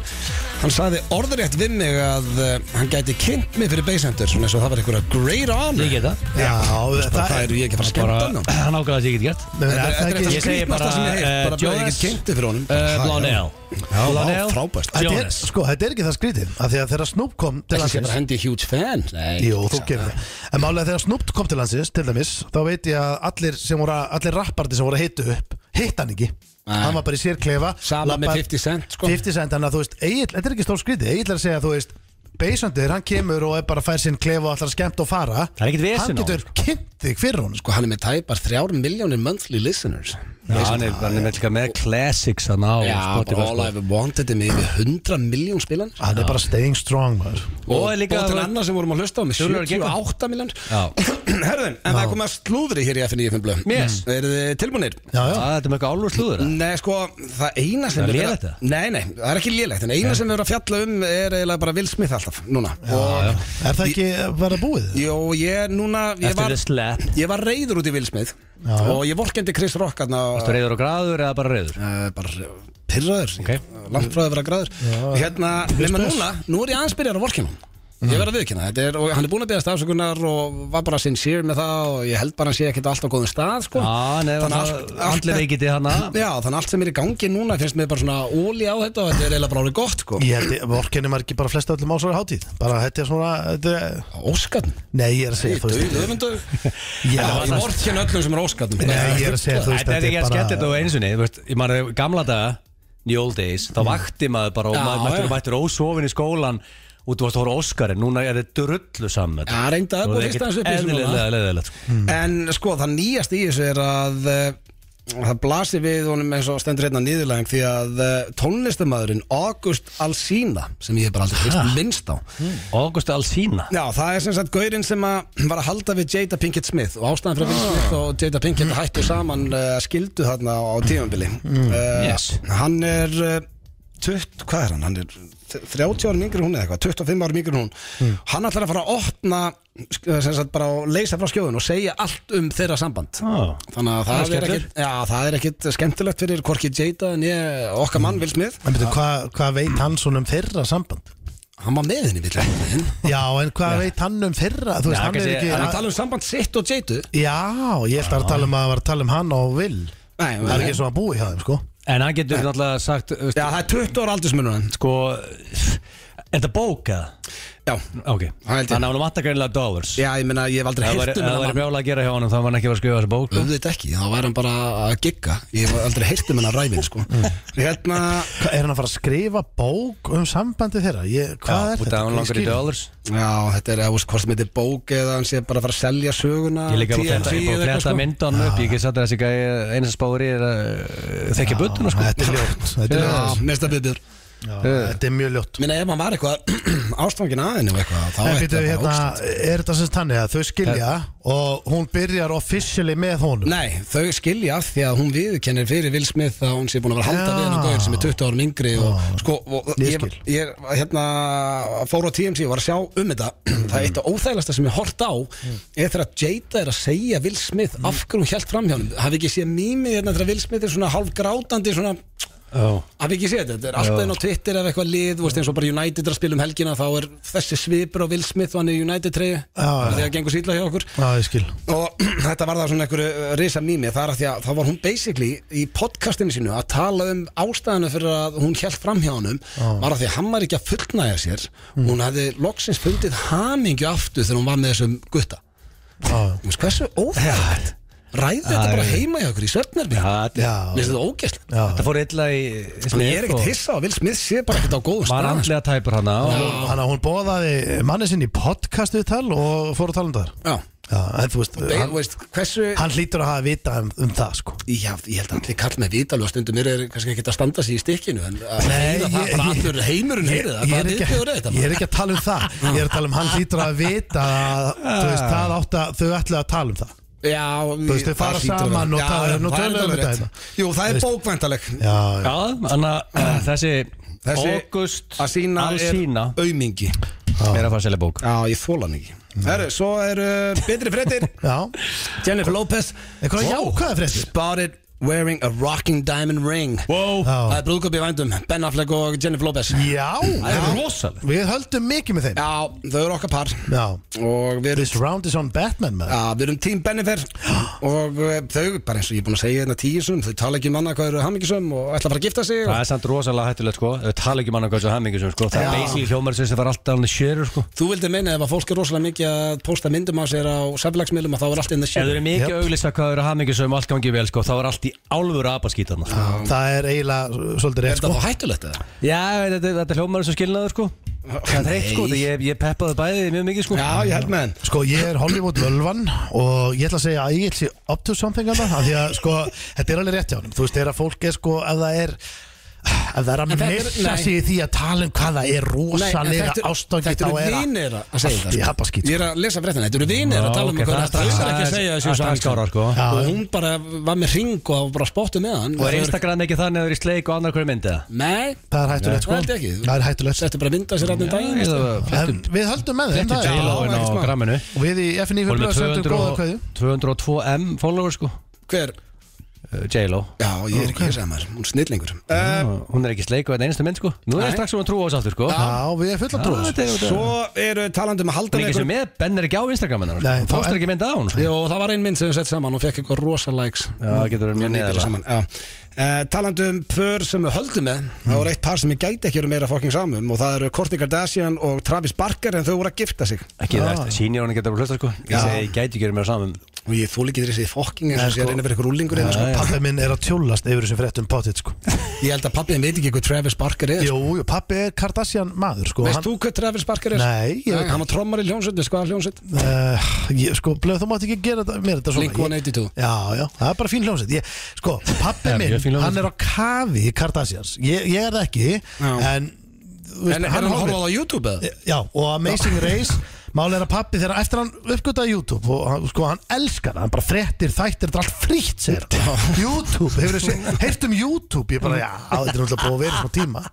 Speaker 1: Hann sagði orðrétt við mig að uh, hann gæti kynnt mig fyrir Baysendur Svona eins og það var einhverja great honor
Speaker 3: Ég get það
Speaker 2: Já,
Speaker 1: Það, það
Speaker 2: er
Speaker 1: er ég ekki að fara að skemmta hann á
Speaker 3: Bara- Hann ákvæða að ég get gert
Speaker 1: Þetta
Speaker 2: Nei, er
Speaker 1: er-
Speaker 2: það
Speaker 1: þetta er
Speaker 2: ekki-
Speaker 1: eitthvað
Speaker 3: Ég segi bara,
Speaker 1: skrýtnasta sem ég hef
Speaker 3: eh,
Speaker 1: Bara bara ég
Speaker 3: Jonas-
Speaker 1: get kynnti fyrir honum
Speaker 3: Eh, Blondell Blondell
Speaker 1: vá, frábært.
Speaker 2: Þetta er-
Speaker 3: Jonas
Speaker 2: Sko, þetta er ekki það skrítið að Því að þegar Snoop kom til
Speaker 1: Ekki sé bara
Speaker 2: landsins
Speaker 1: hendi huge fan Nei,
Speaker 2: Jú, þú gerir það En málega þegar Snoop kom til landsins, til dæmis Þá veit ég að allir, sem voru, allir rappardi sem voru að hitu upp Hitt hann ekki
Speaker 1: Nei.
Speaker 2: Hann var bara í sér klefa
Speaker 1: Sama með
Speaker 2: labbar-
Speaker 1: 50 Cent, sko.
Speaker 2: 50 cent, þannig að þú veist Egil, Þetta er ekki stór skrítið Egil er að segja að þú veist Beisandur, hann kemur og er bara að færa sinn klefa og allar skemmt og fara
Speaker 3: Það er ekkert
Speaker 2: Hann
Speaker 3: vesen á honum, sko.
Speaker 2: getur kynnt þig fyrir hún
Speaker 1: Sko hann er með tæpar þrjár miljónir monthly listeners
Speaker 3: Já, Hann er hann er með líka með classics hann á
Speaker 1: Já,
Speaker 3: Spotify,
Speaker 1: bara all
Speaker 3: sko.
Speaker 1: I've wanted er með yfir 100 miljón spilan
Speaker 2: Hann er bara staying strong maður.
Speaker 1: Og,
Speaker 3: Og er líka-
Speaker 1: og til annar sem vorum að hlusta á með
Speaker 3: Þjóðlegar gegn-
Speaker 1: 78 miljón
Speaker 3: Já.
Speaker 1: Herðin, en það er komið að slúðri hér í FNÍ blöð
Speaker 3: Yes.
Speaker 1: Eru þið tilbúinir?
Speaker 2: Já, já,
Speaker 3: Það þetta er með eitthvað álur slúður eða?
Speaker 1: Nei, sko, það eina sem
Speaker 3: Það er
Speaker 1: við-
Speaker 3: lélegt, eða?
Speaker 1: Nei, nei, það er ekki lélegt En eina sem við erum að fjalla um er eiginlega bara Will Smith alltaf Núna Og
Speaker 2: er það ekki að vera búið?
Speaker 1: Jó, ég núna ég
Speaker 3: Eftir
Speaker 1: var,
Speaker 3: the slap
Speaker 1: ég var reyður út í Will Smith
Speaker 2: Já.
Speaker 1: Og ég vorkendi Chris Rock Þú
Speaker 3: Þú reyður og græður eða bara reyður
Speaker 1: uh, bara pyrraður
Speaker 3: Ok.
Speaker 1: okay. langt frá því að vera græður hérna, nema núna, nú er ég aðeins byrjar að vorkina hann
Speaker 2: Mhm.
Speaker 1: Ég verð að viðkynna, þetta er, og hann er búin að beðast afsökunar og var bara sincere með það og ég held bara að hann sé ekkert alltaf góðum stað sko.
Speaker 3: Já, nei,
Speaker 1: Þannig
Speaker 3: það-
Speaker 1: allt- allt-
Speaker 3: andleg veikindi hana.
Speaker 1: Já, þannig allt sem er í gangi núna finnst mér bara svona óli á þetta og þetta er eiginlega bara alveg gott sko.
Speaker 2: Ég held að vorkenni maður ekki bara flest öllum ásvara hátíð Bara þetta er svona þetta,
Speaker 1: Óskarn
Speaker 2: Nei, ég er að segja þú veist
Speaker 1: Öfundu
Speaker 2: Já,
Speaker 1: Ég vorkina öllum sem er óskarn
Speaker 2: Nei, ég er að segja þú veist
Speaker 3: Þetta er ekki að skella þetta
Speaker 2: bara
Speaker 3: á einsunni Ég man að gamla daga, in the old days Þá vakti maður bara og
Speaker 1: Mm. Já,
Speaker 3: maður
Speaker 1: já.
Speaker 3: mættur- mættur ósofin í skólan Og þú varst að horfa á Óskarinn Núna er þetta drullu saman
Speaker 1: Já, reynda að
Speaker 3: Og
Speaker 1: búið
Speaker 3: það er
Speaker 1: fyrst aðeins
Speaker 3: ekkert
Speaker 1: upp í þessu núna.
Speaker 3: eðlilega Hmm. leðilegt
Speaker 1: En sko það nýjast í þessu er að eh, það blasir við honum eins og stendur hérna nýðurlæging því að eh, tónlistamæðurinn August Alsina sem ég hef bara aldrei fyrst minnst á
Speaker 3: Hmm. sko. August Alsina
Speaker 1: Já, það er sem sagt gaurinn sem að var að halda við Jada Pinkett Smith og ástæðan fyrir að Will Smith og Jada Pinkett hættu saman uh, skildu þarna á tímanbili mm.
Speaker 3: Yes.
Speaker 1: Hann er uh, 20, hvað er hann? Hann er þ- 30 árum yngri en hún eða eitthvað, 25 árum yngri en hún Hann ætlar að fara að opna sk- sem sagt bara að leysa frá skjóðun og segja allt um þeirra samband
Speaker 3: Ah.
Speaker 1: Þannig að það,
Speaker 3: Það er
Speaker 1: er ekkit, já, það er ekkit skemmtilegt fyrir Korki Jada en ég, okkar mann Will Smith
Speaker 2: En betur, hvað hvað veit hann svona um þeirra samband?
Speaker 1: Hann var með henni, vill ekki
Speaker 2: Já, en hvað veit hann um þeirra? Þú veist,
Speaker 3: Já,
Speaker 2: hann er
Speaker 3: kannski-
Speaker 2: ekki
Speaker 1: Hann tala um samband sitt og Jada
Speaker 2: Já, ég held að tala um að það var að tala um hann og Will
Speaker 1: Nei,
Speaker 2: Það er ekki svona að búi hjá þeim, sko
Speaker 3: En hann getur náttúrulega sagt þú veist,
Speaker 1: Já, það er 20 ára aldursmunur hann
Speaker 3: Sko Er þetta bók eða?
Speaker 1: Já, Það
Speaker 3: Ok
Speaker 1: held ég.
Speaker 3: Þannig að hann vantar greinilega dollars
Speaker 1: já ég meina, ég hef aldrei
Speaker 3: Það
Speaker 1: heyrt
Speaker 3: væri
Speaker 1: um
Speaker 3: það væri
Speaker 1: hennar
Speaker 3: brjálega að gera hjá honum þá var hann ekki að fara að skrifa þessa bók sko.
Speaker 1: Auðvitað ekki, þá væri hann bara að gigga Ég hef aldrei heyrt um hennar ræfin, sko
Speaker 3: Mm.
Speaker 1: Hérna,
Speaker 2: Hva- Er hann að fara að skrifa bók um sambandi þeirra? Ég, hvað
Speaker 3: Já,
Speaker 2: er
Speaker 3: út af
Speaker 2: þetta?
Speaker 3: að hann
Speaker 2: Ég
Speaker 3: langar í
Speaker 2: skil-
Speaker 3: dollars
Speaker 1: já, þetta er, ég veist, hvort sem þetta er bók eða hann sé bara að fara að selja söguna
Speaker 3: Ég líka bara fletta,
Speaker 1: TNT
Speaker 3: ég
Speaker 1: eða
Speaker 3: búið að
Speaker 1: eitthvað,
Speaker 3: fletta
Speaker 1: sko.
Speaker 3: myndan upp Ég get satt að þessi gæi eina sem spáir í er að uh, þekja buttuna sko
Speaker 2: Þetta er ljótt Þetta er,
Speaker 1: Já, mest að byrður
Speaker 2: já, þetta er mjög ljótt
Speaker 1: Minna, ef hann var eitthvað ástfangin að henni og eitthvað Þá
Speaker 2: En
Speaker 1: er
Speaker 2: býtu,
Speaker 1: þetta
Speaker 2: hérna,
Speaker 1: bara ógst
Speaker 2: er þetta sem sagt þannig að þau skilja og hún byrjar officially með honum
Speaker 1: Nei, þau skilja af því að hún viðkennir fyrir Will Smith að hún sé búin að vera að halda
Speaker 2: Já.
Speaker 1: við hennar gauðin sem er 20 árum yngri og sko, og
Speaker 2: Ég
Speaker 1: ég,
Speaker 2: skil.
Speaker 1: ég hérna, fór á TMC og var að sjá um þetta það er eitt af óþægilegsta sem ég hort á er þegar að Jada er að segja Will Smith
Speaker 2: Mm.
Speaker 1: af hverju hún held fram hjá hann hafi ekki séð mýmið hérna þegar Will Smith er svona hálf grátandi svona
Speaker 3: oh.
Speaker 1: hafi ekki séð þetta, þetta er alltaf inn á Twitter ef eitthvað lið, þú veist eins og bara United er að spila um helgina þá er þessi svipur á Will Smith og hann er United 3
Speaker 2: já.
Speaker 1: þegar gengur sýtla hjá okkur
Speaker 2: Já, ég skil
Speaker 1: og þetta var það svona einhverju risa mými það er að því að þá var hún basically í podcastinu sínu að tala um ástæðinu fyrir að hún held fram hjá honum var að því að hann var ekki að fullnæja sér hún hefði loksins fundið hamingju aftur þegar hún var með þessum gutta
Speaker 2: Já,
Speaker 1: Þú veist, hversu óþægt ræði þetta
Speaker 3: Æ.
Speaker 1: bara heima hjá okkur í svefnarbi
Speaker 3: ja,
Speaker 1: mér
Speaker 2: já,
Speaker 1: finnst þetta ógæslega
Speaker 3: Þetta fór illa í
Speaker 1: Þannig Sko, ég er ekkert hissa á Will Smith sé bara ekkert á sko. góðu
Speaker 3: Var
Speaker 1: stað
Speaker 3: andlega tæpur hana og
Speaker 2: Þannig að hún bóðaði manni sinni í podcast við tal og fór að tala um það
Speaker 1: Já,
Speaker 2: Já, en þú veist,
Speaker 1: Þeir,
Speaker 2: hann,
Speaker 1: veist, hversu
Speaker 2: hann hlýtur að hafa vita um, um það sko
Speaker 1: Já, ég held að allir kall með vital og stundum eru þeir kannski ekki að standa sér í stykkinu en að
Speaker 2: Nei,
Speaker 1: heyra
Speaker 2: ég-
Speaker 1: það bara
Speaker 2: ég-
Speaker 1: allur heimurinn heyri það
Speaker 2: ég,
Speaker 1: hvað
Speaker 2: er ekki,
Speaker 1: viðbjóður er þetta?
Speaker 2: ég er ekki að tala um það Ég er að tala um hann hlýtur að vita að, þú veist, það átt að þau ætlu að tala um það
Speaker 1: Já,
Speaker 2: Þú veist, þau fara saman og tala- nú tölum við þetta hérna.
Speaker 1: Jú, það er bókvæntaleg
Speaker 2: Já, já,
Speaker 3: Já, þannig að uh, þessi
Speaker 1: Þessi
Speaker 3: August
Speaker 1: að sína
Speaker 3: Alsina
Speaker 1: er aumingi
Speaker 3: Er að fara að selja bók
Speaker 1: Já, ég þóla hann ekki Herru, svo eru betri fréttir
Speaker 2: já.
Speaker 1: Jennifer Lopez
Speaker 2: Eitthvað
Speaker 1: Vó.
Speaker 2: jákvæðar fréttir?
Speaker 1: Spotted wearing a rocking diamond ring
Speaker 3: Wow
Speaker 2: Já.
Speaker 1: Það er brúðköp í vændum Ben Affleck og Jennifer Lopez
Speaker 2: Já,
Speaker 3: Það er
Speaker 2: já.
Speaker 3: rosalega
Speaker 2: Við höldum mikið með þeim
Speaker 1: Já, þau eru okkar par
Speaker 2: Já
Speaker 1: Og við erum
Speaker 2: This round is on Batman maður
Speaker 1: Já, við erum tím Bennifer og eh, þau, bara eins og ég er búin að segja þetta tíu sum, þau tala ekki um annað hvað eru hamingisum og ætla að fara að gifta sig og
Speaker 3: Það er samt rosalega hættulegt sko Við tala ekki um annað hvað svo hamingi sem sko Það er basically hljómar sem var alltaf hann sérur sko
Speaker 1: þú vildi meina ef að fólk er rosalega mikið að pósta myndum á sér á samfélagsmiðlum að þá er allt inn að
Speaker 3: Ef
Speaker 1: sjö
Speaker 3: þú eru mikið
Speaker 2: Jöp.
Speaker 3: auglýsa hvað eru hamingi sem allt gangi vel sko Þá er allt í álfur apaskítan sko.
Speaker 2: Það er eiginlega s- svolítið
Speaker 1: Er
Speaker 2: rétt
Speaker 1: þetta
Speaker 2: sko
Speaker 1: þá hættulegt eða?
Speaker 3: Já, þetta, þetta er hljómar sem skilnaður sko Það er heitt sko,
Speaker 1: Nei.
Speaker 3: ég, ég peppaði bæði mjög mikið sko
Speaker 1: Já, ég held með henn
Speaker 2: Sko ég er Hollywood völvan og ég ætla að segja að ég sé up to something að það Því að sko þetta er alveg rétt hjá honum Þú veist þegar að fólk er sko ef það er Ef það er að
Speaker 1: En þetta er-
Speaker 2: missa
Speaker 1: nei.
Speaker 2: sig í því að tala um hvað það er rosalega ástöngi
Speaker 1: Þetta eru vinir að segja
Speaker 2: Allt í
Speaker 1: það sko.
Speaker 2: hapaskít, sko.
Speaker 1: Ég er að lesa fréttina, þetta eru vinir að tala um
Speaker 3: ok,
Speaker 1: okkur
Speaker 3: það
Speaker 1: Þau
Speaker 3: er strax-
Speaker 1: eru ekki að segja
Speaker 3: það
Speaker 1: þessu
Speaker 3: er strax skárra, sko.
Speaker 1: samfélagsmiðlum.
Speaker 2: Já.
Speaker 1: Og hún bara var með ring og bara spottu með hann
Speaker 3: Og er Instagram ekki þannig að það er í sleik og annar hverju myndið
Speaker 1: Nei,
Speaker 2: Það er hættulegt sko
Speaker 1: Það held ég ekki.
Speaker 2: Það er hættulegt sko.
Speaker 1: þetta er bara að mynda sér allir daginn
Speaker 2: En Við höldum með þeim
Speaker 3: Fletti
Speaker 2: það er-
Speaker 1: J-Lo. Já,
Speaker 3: J-Lo-in á
Speaker 1: ekki smá.
Speaker 3: gramminu
Speaker 2: Og við í FNI
Speaker 3: Hún er
Speaker 2: Völvan
Speaker 3: með
Speaker 2: sendum
Speaker 3: 200
Speaker 2: góða
Speaker 3: og-
Speaker 2: kveðju
Speaker 3: 202M followers sko
Speaker 1: Hver?
Speaker 3: Uh, J-Lo
Speaker 1: Já, ég er ekki að segja maður, hún er snillingur
Speaker 3: Uh, hún er ekki sleik og þetta einasta mynd sko Nú er
Speaker 1: Eh. Nei.
Speaker 3: strax um að trúa á þessu aftur sko
Speaker 2: Já, við erum fulla sko. trúið
Speaker 3: Svo
Speaker 1: Svo eru talandi um að halda
Speaker 3: Hún er ekki sem með, Ben er ekki á Instagram hennar
Speaker 2: Nei, þá
Speaker 3: Fást
Speaker 2: er-
Speaker 3: er ekki mynd á hún sko.
Speaker 1: Jó, það var ein mynd sem við sett saman og fekk eitthvað rosa likes
Speaker 3: Já, það getur verið mjög
Speaker 1: Nýtir
Speaker 3: neðarlega.
Speaker 1: saman, já. Uh, talandi um pör sem við höldum með Það
Speaker 2: Hmm.
Speaker 1: voru eitt par sem ég gæti ekki verið meira fokking samum Og það eru Kourtney Kardashian og Travis Barker En þau voru að gifta sig
Speaker 3: Ekki
Speaker 2: Ah.
Speaker 3: það, sýnir hún getur að hlusta sko Ég
Speaker 1: Já.
Speaker 3: segi, ég gæti ekki verið um mér saman
Speaker 1: Og ég þúl ekki þessi fokking eins
Speaker 2: Nei,
Speaker 1: og sé
Speaker 2: sko.
Speaker 1: að reyna fyrir eitthvað rúlingur ja, sko.
Speaker 2: Pappi minn er að tjólast yfir þessum fréttum potið sko
Speaker 1: Ég held að pappiðin veit ekki hvað Travis Barker er
Speaker 2: Jú, jú, pappi er Kardashian maður sko
Speaker 1: Veist
Speaker 2: Hann-
Speaker 1: þú hvað Travis Barker er?
Speaker 2: Nei, ég veit
Speaker 1: Hann var trommar í sko, hljónsett, veist hvað hljónsett?
Speaker 2: Uh, ég, sko, blöð, þú mátt ekki gera þetta, mér þetta svona
Speaker 1: Blink 182.
Speaker 2: Ég- Já, já, það er bara fín hljómsveit ég, Sko, pappi
Speaker 3: Já,
Speaker 2: minn,
Speaker 3: mjög fín hljómsveit.
Speaker 2: hann er á kafi í Kardashians Ég, ég er það ekki
Speaker 1: Já.
Speaker 2: En, þú
Speaker 1: En er hann
Speaker 2: horfir-
Speaker 1: horfað á YouTube eða?
Speaker 2: Já, og Amazing Race Mál er að pappi þegar eftir hann uppgötaði YouTube og hann, sko, hann elskar það, hann bara fréttir þættir, þetta er allt frítt, segir hann YouTube, hefur þessi, heyrt um YouTube ég bara, já, þetta er náttúrulega búið að vera í smá tíma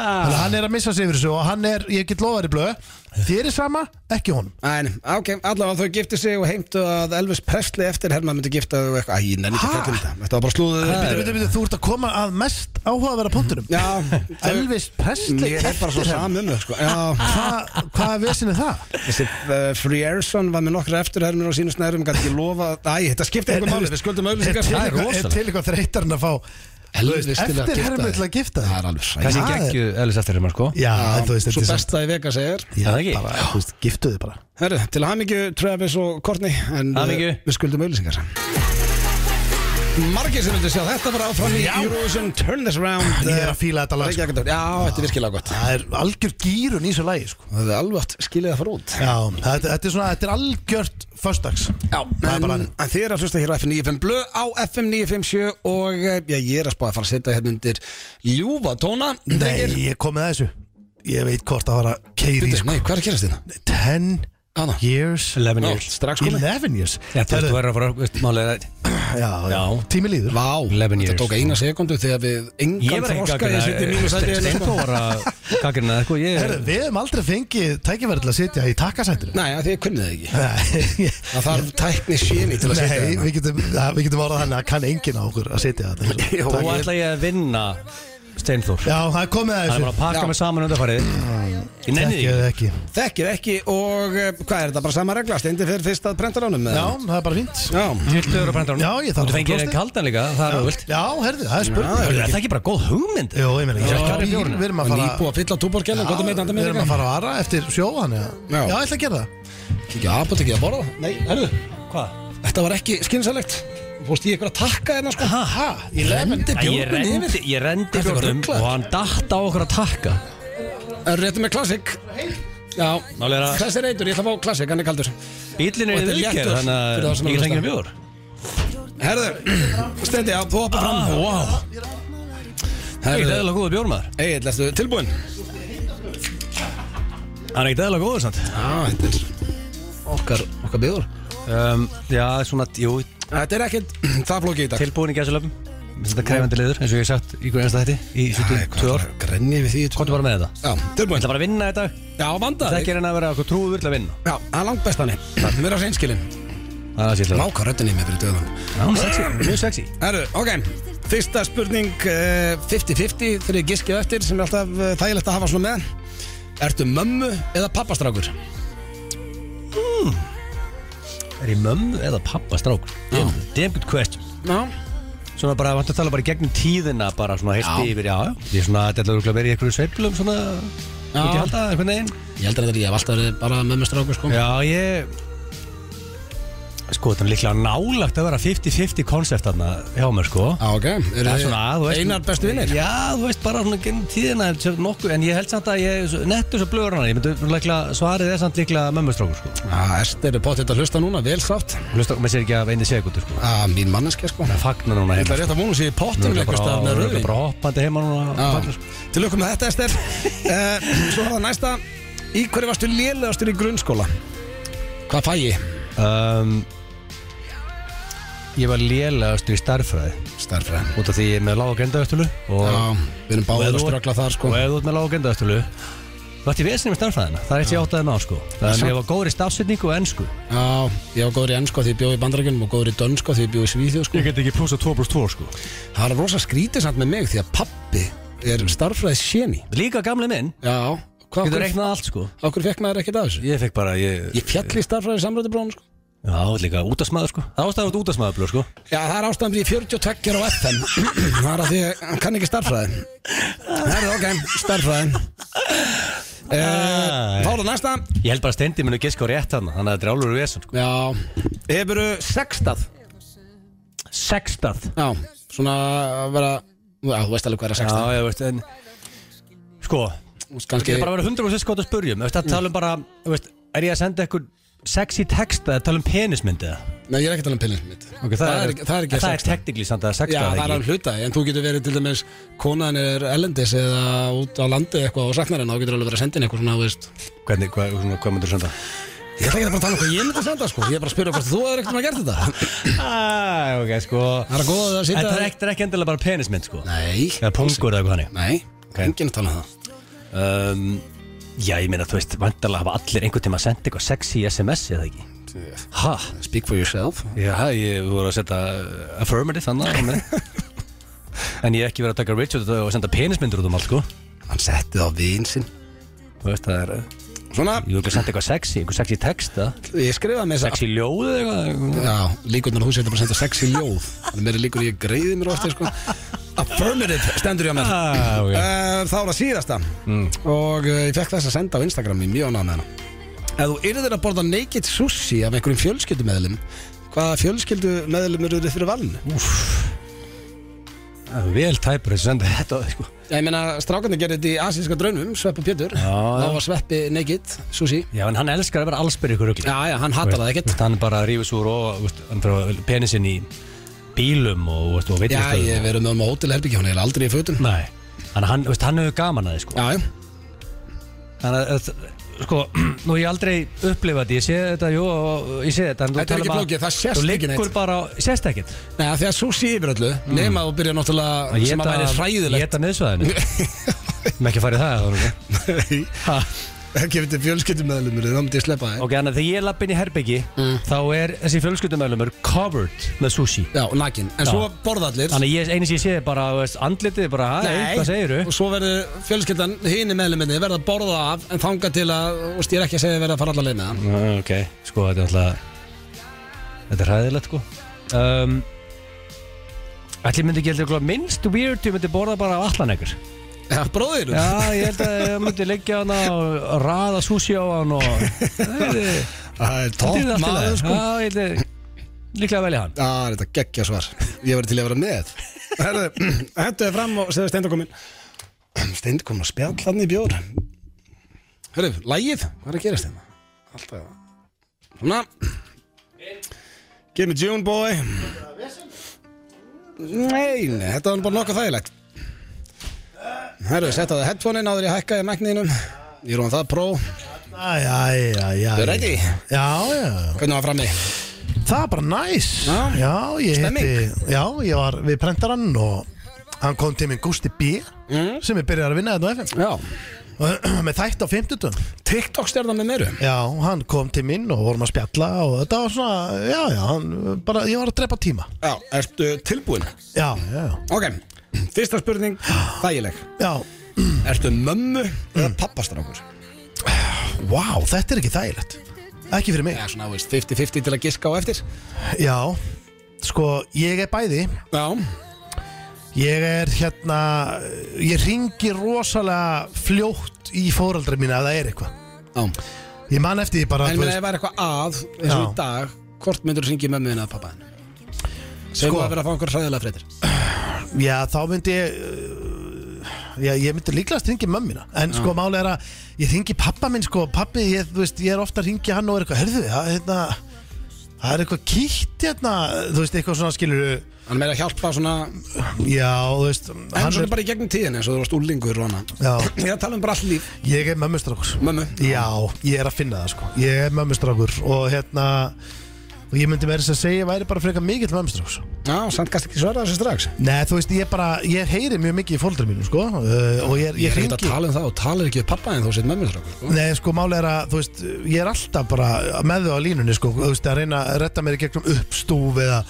Speaker 1: Ah.
Speaker 2: Þannig að hann er að missa sig yfir þessu og hann er, ég get lofað í blöð þér er sama, ekki honum
Speaker 1: En, ok, allavega þau gifti sig og heimtu að Elvis Presley eftir Herman myndi gifta þau og eitthvað Æ, ég nenni ekki að
Speaker 2: Ha?
Speaker 1: fjalla um þetta Þetta var bara slúðuð
Speaker 2: Bíddu, bíddu, bíddu, þú ert að koma að mest áhugaverða punktunum
Speaker 1: Já,
Speaker 2: Elvis Presley
Speaker 1: Mér er bara svo
Speaker 2: eftir hann.
Speaker 1: saman um þau, sko Já
Speaker 2: Hva, Hvaða vesin er það?
Speaker 1: Þessi uh, Frierson var með nokkra eftirhermur á sínu snærum Gæti ekki lofa Æ, þetta skipti eitthvað máli Við skuldum
Speaker 2: Er
Speaker 1: auðvitað
Speaker 2: til
Speaker 3: Það er
Speaker 2: eitthvað- er
Speaker 3: rosalegt.
Speaker 2: til eitthvað þreytar en að fá
Speaker 1: Elvis til að
Speaker 2: Eftir
Speaker 1: gifta
Speaker 2: hermur
Speaker 1: þig.
Speaker 2: til að gifta
Speaker 1: Það er
Speaker 2: þig
Speaker 1: alveg sæt
Speaker 3: Þessi
Speaker 2: það er-
Speaker 3: geggju Elvis eftir hennar sko
Speaker 2: Já, en þú veist,
Speaker 1: Svo
Speaker 2: þetta er
Speaker 1: besta í vega segir
Speaker 2: Já,
Speaker 3: Er það ekki?
Speaker 2: bara, þú veist, giftu þið bara
Speaker 1: Herru, til hamingju Travis og Courtney En eh,
Speaker 3: Hamingju.
Speaker 1: við skuldum auðlýsingar Margir sem vildi sjá þetta bara áfram í Eurovision Turn this round
Speaker 2: Ég
Speaker 1: eh,
Speaker 2: er að fíla þetta lag sko.
Speaker 1: Reykjavík- Já, þetta er virkilega gott
Speaker 2: Það er algjör gýrun í þessu lagi sko.
Speaker 1: Það er alveg átt skilið að fara út
Speaker 2: Já, þetta, þetta er svona, þetta er algjört Föstags
Speaker 1: Já,
Speaker 2: Það er
Speaker 1: en,
Speaker 2: bara
Speaker 1: en
Speaker 2: þannig.
Speaker 1: þið er að hlusta hér á FM 95 blöð á FM 957 og eh, já, ég er að spá að fara að setja hérna undir ljúfa tóna drengir.
Speaker 2: Nei, ég kom með þessu Ég veit hvort það var að keiri
Speaker 1: Bíddu,
Speaker 2: sko.
Speaker 1: nei, hvað er að gerast hérna? þérna?
Speaker 2: 10
Speaker 1: Hana.
Speaker 2: years
Speaker 3: 11
Speaker 1: Ná,
Speaker 3: years
Speaker 1: strax komið
Speaker 2: 11 years
Speaker 3: Já, Þú veist,
Speaker 2: Herðu,
Speaker 3: þú verður að fara veist, málið er-
Speaker 2: já, já.
Speaker 3: Já.
Speaker 2: Tími líður
Speaker 1: Vá,
Speaker 3: 11
Speaker 1: þetta
Speaker 3: years.
Speaker 2: sko-
Speaker 1: tók eina sekundu þegar við
Speaker 3: Ég
Speaker 1: engan
Speaker 3: var ekki
Speaker 1: þroska ég setja mínu sæti hérna,
Speaker 3: gaggrina Steintó
Speaker 1: sko.
Speaker 3: eh, var að gaggrina það sko Ég
Speaker 2: Herðu, Við hefum aldrei fengið tækifæri til að sitja í takkasættinu
Speaker 1: Nei, af því ég kunni það ekki
Speaker 2: Nei,
Speaker 1: Það þarf tækni síni til að setja
Speaker 2: Nei
Speaker 1: hérna
Speaker 2: við getum, að, við getum orðað þannig að kann enginn á okkur að sitja þetta
Speaker 1: Jó,
Speaker 3: Nú
Speaker 1: ég-
Speaker 3: ætla ég að vinna Steinþór
Speaker 2: Já, það er komið að
Speaker 3: Það er
Speaker 2: þessu
Speaker 3: bara að pakka
Speaker 1: Já.
Speaker 3: mig saman undarfarið Ég nenni því
Speaker 2: Ekki
Speaker 3: ekki.
Speaker 2: eða ekki
Speaker 1: Þekkið ekki og eh, hvað er þetta bara sama regla? Steindi fyrir fyrst að prenta ránum
Speaker 2: Já, það er bara fínt
Speaker 1: Já,
Speaker 3: Viltu vera að brenda hún?
Speaker 2: Já, ég þarf að
Speaker 3: Þú
Speaker 2: fá
Speaker 3: fengir
Speaker 2: klósettið.
Speaker 3: einn kaldan líka, það er óvilt
Speaker 2: Já, herðu, það er
Speaker 1: Já,
Speaker 2: spurning
Speaker 3: Er það ekki bara góð hugmynd?
Speaker 2: Jó, ég meina, ég
Speaker 3: Já.
Speaker 2: er bíl, við erum að fara
Speaker 1: nýbúið að fylla á túborgjallin, hvað er með þetta
Speaker 2: Já, Við
Speaker 1: með
Speaker 2: erum að fara á Ara eftir sjóðan Já,
Speaker 1: Já.
Speaker 2: ég ætla að gera það
Speaker 1: Kíkja á apotekið að borða Nei, herru,
Speaker 3: Hvað?
Speaker 1: þetta var ekki skynsalegt Fórst ég ykkur að takka hérna sko
Speaker 3: Ha, ha,
Speaker 1: Ég rendi
Speaker 3: Ég
Speaker 1: bjórnum yfir
Speaker 3: rendi, ég rendi
Speaker 1: Ertu eitthvað
Speaker 3: bjórnum
Speaker 1: ruglaður?
Speaker 3: og hann datt á okkur að takka
Speaker 1: Réttu með klassik Já,
Speaker 3: Málið er að-
Speaker 1: þessi er eitur, ég ætla að fá klassik, hann er kaldur
Speaker 3: Bílinn
Speaker 1: Og
Speaker 3: er í
Speaker 1: þetta er
Speaker 3: vilkjör,
Speaker 1: léttur
Speaker 3: þannig
Speaker 1: fyrir
Speaker 3: að
Speaker 1: þá sem
Speaker 3: ég
Speaker 1: eru
Speaker 3: get fengið
Speaker 1: að
Speaker 3: bjór
Speaker 1: Herðu, stendi, já, þú hoppa fram
Speaker 3: Ah, wow, það er ekkert
Speaker 1: Herðu,
Speaker 3: eðla góða bjórmaður
Speaker 1: Egil, ertu tilbúinn?
Speaker 3: Það er ekkert eðla góða samt
Speaker 1: Já, þetta er okkar, okkar bjóður
Speaker 3: um, Já, svona, jú,
Speaker 1: Þetta er ekkert, það flóki í dag
Speaker 3: tilbúin í gæsulöfum Þetta er krefandi liður, eins og ég hef sagt í hverju einsta þetta í 72 ár
Speaker 1: Grenni við því í tvö
Speaker 3: Komdu bara með þetta
Speaker 1: Já,
Speaker 3: Ég
Speaker 1: tilbúinn
Speaker 3: ætla bara að vinna í dag
Speaker 1: Já, vanda
Speaker 3: Það er
Speaker 1: þig
Speaker 3: ekki reyna að vera okkur trúður til að vinna
Speaker 1: Já, það er langt best hann Við erum að reynskilin
Speaker 3: Það er það sér
Speaker 1: Láka röddinni mér fyrir döðan
Speaker 3: það Mjög sexy
Speaker 1: Herru, ok, fyrsta spurning eh, 50-50 þegar ég giskið eftir sem er alltaf eh, þægilegt að hafa svona með Ertu mömmu eða pappastrákur?
Speaker 3: Er ég mömmu eða pappa strákur? Damn, damn good question
Speaker 1: Já
Speaker 3: Svona bara, vantu að tala bara í gegnum tíðina bara svona heilt
Speaker 1: Já.
Speaker 3: yfir, já, já Ég er svona, þetta er alveg að vera í einhverju sveiflum svona
Speaker 1: Já.
Speaker 3: Myndi ég halda, einhvern veginn
Speaker 1: Ég heldur að þetta er ég hef alltaf verið bara mömmustrákur sko
Speaker 3: Já, ég Sko, þetta er líklega nálagt að vera 50-50 konsept þarna hjá mér, sko
Speaker 1: Á, ok,
Speaker 3: Það
Speaker 1: eru
Speaker 3: er svona, þú
Speaker 1: þið
Speaker 3: veist
Speaker 1: einar bestu vinnir?
Speaker 3: Já, þú veist, bara svona genn tíðina sem nokkuð En ég held samt að ég, nettur svo blöður hana Ég myndi líklega, svarið er samt líklega mömmustrákur, sko
Speaker 1: Já, Ester er potið að hlusta núna, vel sátt
Speaker 3: Hlusta, maður sér ekki af einni segundu, sko
Speaker 1: Já, mín manneskja sko
Speaker 3: Það fagnar núna
Speaker 1: Ég ætla
Speaker 3: heima,
Speaker 1: rétt að vona sér í
Speaker 3: Nú
Speaker 1: pottinum
Speaker 3: er
Speaker 1: eitthvað stað með
Speaker 3: bara,
Speaker 1: röðin
Speaker 3: bara hoppandi heima núna og
Speaker 1: Já.
Speaker 3: fagnar, sko.
Speaker 1: Til okkur með þetta, Ester uh, Svo hafa næsta Í hverju varstu lélegastur í grunnskóla? Hvað fæ ég?
Speaker 3: um, Ég var lélegastur í starffræði
Speaker 1: Starfræn
Speaker 3: Út af því ég er með lága gendaðastölu og,
Speaker 1: Já, við erum
Speaker 3: og
Speaker 1: báðið
Speaker 3: ef
Speaker 1: að
Speaker 3: þú-
Speaker 1: ströggla þar sko
Speaker 3: og ef þú ert með lága gendaðastölu Þú ætti vesinu með starffræðina Það er eitt ég áttaði með á sko Þannig að ég var góður í stafsetningu og ennsku
Speaker 1: Já, ég var góður í ennsko því ég bjóð í bandarækjunum og góður í dönsko því ég bjóð í svíþjóð sko
Speaker 3: get ekki plussa 2 pluss 2 sko
Speaker 1: Það var rosa skrítið samt með mig því að pappi er starfræðis séni
Speaker 3: Líka gamli minn
Speaker 1: Mm. Já, hvað
Speaker 3: Getur
Speaker 1: okkur,
Speaker 3: reiknað allt sko
Speaker 1: okkur fekk maður ekkert af þessu?
Speaker 3: Ég fekk bara ég,
Speaker 1: Ég fjalli starfræði samröðu brónu sko
Speaker 3: Já, þú ert líka útasmaður sko Það ástæður út útasmaður blöð sko
Speaker 1: Já, það er ástæðan fyrir ég er 42 á FM Það er að því að hann kann ekki starfræði Það er ok, starfræðin e, Þá er það næsta
Speaker 3: Ég held bara að stendi minu gisk á rétt hann Þannig að þetta er álur við sko
Speaker 1: Já, hefur sextað
Speaker 3: Sextað
Speaker 1: Já, svona að vera Já, þú veist alveg hvað er að
Speaker 3: Já,
Speaker 1: sextað
Speaker 3: ég veist en Sko,
Speaker 1: Kanski,
Speaker 3: Ég er bara að vera 100% skot að spurja um Það tala um bara, þú veist, er ég að senda eitthvað sexy texta eða tala um penismyndi eða?
Speaker 1: Nei, ég er ekki að tala um pillin mitt
Speaker 3: Ok,
Speaker 1: það, er, það er ekki
Speaker 3: en
Speaker 1: að
Speaker 3: Það er
Speaker 1: sexta
Speaker 3: teknikli samt að
Speaker 1: Já,
Speaker 3: sexta
Speaker 1: það er alveg hluta En þú getur verið til dæmis Konan er ellendis eða út á landi eitthvað og saknar henn og þú getur alveg verið að senda henn eitthvað svona, þú veist
Speaker 3: Hvernig, hvað, svona, hvað myndir senda?
Speaker 1: Ég ætla ekki að fara að tala um hvað ég myndi að senda, sko Ég er bara að spyrja hvort þú hefur ekkert að gert þetta
Speaker 3: Æ, ok, sko
Speaker 1: Það er að góða að
Speaker 3: En
Speaker 1: sitja
Speaker 3: það er ekki, það er ekki endilega bara penismynd, sko
Speaker 1: Nei,
Speaker 3: Eða pungur eða eitthvað hannig
Speaker 1: nei, enginn að tala um það
Speaker 3: um, Já, ég meina, þú veist, vantarlega hafa allir einhvern tíma að senda eitthvað sexy í SMS eða ekki Ha?
Speaker 1: Speak for yourself
Speaker 3: Já, ég voru að setja uh, affirmative þannig á mig. En ég hef ekki verið að taka Richard og senda penismyndur út um allt, sko
Speaker 1: Hann setti það á vin sinn
Speaker 3: Þú veist, það er
Speaker 1: Svona,
Speaker 3: Ég vil ekki senda eitthvað sexy, eitthvað sexy texta
Speaker 1: ég skrifaði með þess
Speaker 3: Sexy ljóð eða eitthvað
Speaker 1: Já, líkurnar að þú setur bara að senda sexy ljóð Þannig meiri líkur ég greiði mér á eftir sko. Affirmative stendur ég að mér
Speaker 3: Ah, ok.
Speaker 1: uh, Þá er það síðasta
Speaker 3: Mm.
Speaker 1: Og uh, ég fekk þess að senda á Instagram í mjög ánað með hana Ef þú yrðir að borða naked sushi af einhverjum fjölskyldumeðlum Hvaða fjölskyldumeðlum eru þið fyrir valinu?
Speaker 3: Það er vel tæpur þess að senda þetta á þig, sko
Speaker 1: Ég meina, strákarnir gerði þetta í asíska draunum Sveppi og Pétur
Speaker 3: Já, já.
Speaker 1: Þá var Sveppi naked sushi
Speaker 3: Já, en hann elskar að vera allsbyrð ykkur rugli
Speaker 1: Já, já, hann hattar það ekkert
Speaker 3: Hann bara rífur svo og veist, hann fyrir penisinn í bílum og, veist, og veit
Speaker 1: Já,
Speaker 3: hvað
Speaker 1: ég hef verið með um á hótelherbyggja Hún er eiginlega aldrei í fötum
Speaker 3: Nei, hann, hann, veist, hann hefur gaman að þið, sko
Speaker 1: Já, já
Speaker 3: Þannig að, að, sko, nú hef ég aldrei upplifað þetta Ég sé þetta, jú, og ég sé þetta en þú
Speaker 1: Þetta er
Speaker 3: talar
Speaker 1: ekki
Speaker 3: bara-
Speaker 1: flókið, það sést
Speaker 3: Þú
Speaker 1: ekki neitt.
Speaker 3: liggur bara, á- sést ekkert
Speaker 1: Nei, af því að sushi yfir öllu
Speaker 3: Mm.
Speaker 1: Nema að þú byrja náttúrulega sem að væri
Speaker 3: Ég
Speaker 1: hræðilegt
Speaker 3: geta neðsvæðinu Með ekki farið það, þá
Speaker 1: Nei,
Speaker 3: Ha.
Speaker 1: ekki eftir fjölskyldumöðlumur Þá myndi ég sleppa það
Speaker 3: Ok, þannig að þegar ég lapp inn í herbyggi
Speaker 1: Mm.
Speaker 3: þá er þessi fjölskyldumöðlumur covered með sushi
Speaker 1: Já, nakin En
Speaker 3: Já.
Speaker 1: svo borða allir
Speaker 3: Þannig að ég, einu sem ég sé er bara, þú veist, andlitið er bara, hæ, hvað segir
Speaker 1: Og
Speaker 3: þú?
Speaker 1: svo verður fjölskyldan hini meðluminni verða að borða af En þanga til að, og stýr ekki að segja verða að fara allar leið með það
Speaker 3: Ok Sko, þetta er alltaf þetta er hæðilegt, sko um, Ætli myndi ekki heldur eitthvað minnst weird, ég myndi borða bara af allan ekkur
Speaker 1: Já, bróðir
Speaker 3: Já, ég held að ég myndi leggja hana og raða sushi á hann og Það er
Speaker 1: Það er
Speaker 3: það er
Speaker 1: tótt
Speaker 3: allt í
Speaker 1: maður
Speaker 3: lagi.
Speaker 1: sko
Speaker 3: Já, ég held að líklega velja hann
Speaker 1: Já, þetta er geggja svar Ég verði til að vera með Herðu, hentu þið fram og segðu steindu komin Steindu komin að spjall hann í bjór Herðu, lægið, hvað er að gerast hérna? Alltaf Svona Give me June boy Nei, nei, þetta var nú bara nokkuð þægilegt Herðu, setta það headphone-in áður ég hækkaði megninum Ég rúan það pró
Speaker 2: Æjæjæjæ
Speaker 1: Þau ready?
Speaker 2: Já, já
Speaker 1: Hvernig var frammi?
Speaker 2: Það er bara næs
Speaker 1: Já.
Speaker 2: Já, ég
Speaker 1: Stemming.
Speaker 2: hitti Já, ég var við
Speaker 1: Mm.
Speaker 2: prentarann og hann kom til minn Gústi B sem er byrjar að vinna þetta á FM
Speaker 1: Já,
Speaker 2: með þætt á 50
Speaker 1: TikTok stjarnar með meiru
Speaker 2: Já, hann kom til mín og vorum að spjalla og þetta var svona, já, já, hann, bara, ég var að drepa tíma.
Speaker 1: Já, ertu tilbúin?
Speaker 2: Já, já, já.
Speaker 1: Ok, fyrsta spurning, þægileg
Speaker 2: Já,
Speaker 1: Ertu mömmu
Speaker 2: Mm.
Speaker 1: eða pappastrákur?
Speaker 2: vá, þetta er ekki þægilegt. Ekki fyrir mig.
Speaker 1: Já, svona, þú veist, 50-50 til að giska á eftir
Speaker 2: Já, sko, ég er bæði.
Speaker 1: Já,
Speaker 2: Ég er hérna, ég ringi rosalega fljótt í fóraldri mína ef það er eitthvað.
Speaker 1: já
Speaker 2: Ég man eftir því bara,
Speaker 1: En eh,
Speaker 2: þú
Speaker 1: minna, ef það er eitthvað að, eins og
Speaker 2: Já.
Speaker 1: í dag Hvort myndur þú syngja mömmu þína eða pappa henni? Segum
Speaker 2: Sko.
Speaker 1: við að vera að fá einhver hræðilega fréttir
Speaker 2: Já, þá myndi ég uh, Já, ég myndi líklegast ringi mömmina En sko, máli er að ég ringi pappa minn sko, Pappi, ég, þú veist, ég er ofta að ringi hann og er eitthvað Herðu, það, hérna, það er eitthvað kýtt hérna Þú veist, eitthvað svona skilur
Speaker 1: Hann er meira að hjálpa svona
Speaker 2: Já, þú veist
Speaker 1: En
Speaker 2: hann
Speaker 1: svona
Speaker 2: er,
Speaker 1: bara í gegnum tíðin eins og þú varst úlingur og annað
Speaker 2: Já.
Speaker 1: Ég er að tala um bara allt líf
Speaker 2: Ég er mömmustrákur
Speaker 1: Mömmu
Speaker 2: Já, ég er að finna það sko Ég er mömmustrákur og hérna Og ég myndi verið að segja, ég væri bara frekar mikill mömmustrákur
Speaker 1: Já, samt kannski ekki svara þessu strax
Speaker 2: Nei, þú veist, ég bara, ég heyri mjög mikið í fóldri mínu sko uh, Og ég,
Speaker 1: Ég
Speaker 2: ég
Speaker 1: er ekkert að
Speaker 2: hringi
Speaker 1: tala um það og tala ekki við pappa en þú sett mömmu strákur sko.
Speaker 2: Nei, sko, málið er að, þú veist, ég er alltaf bara með þau á línunni, sko, þú veist, að reyna að retta mér í gegnum uppstúf eða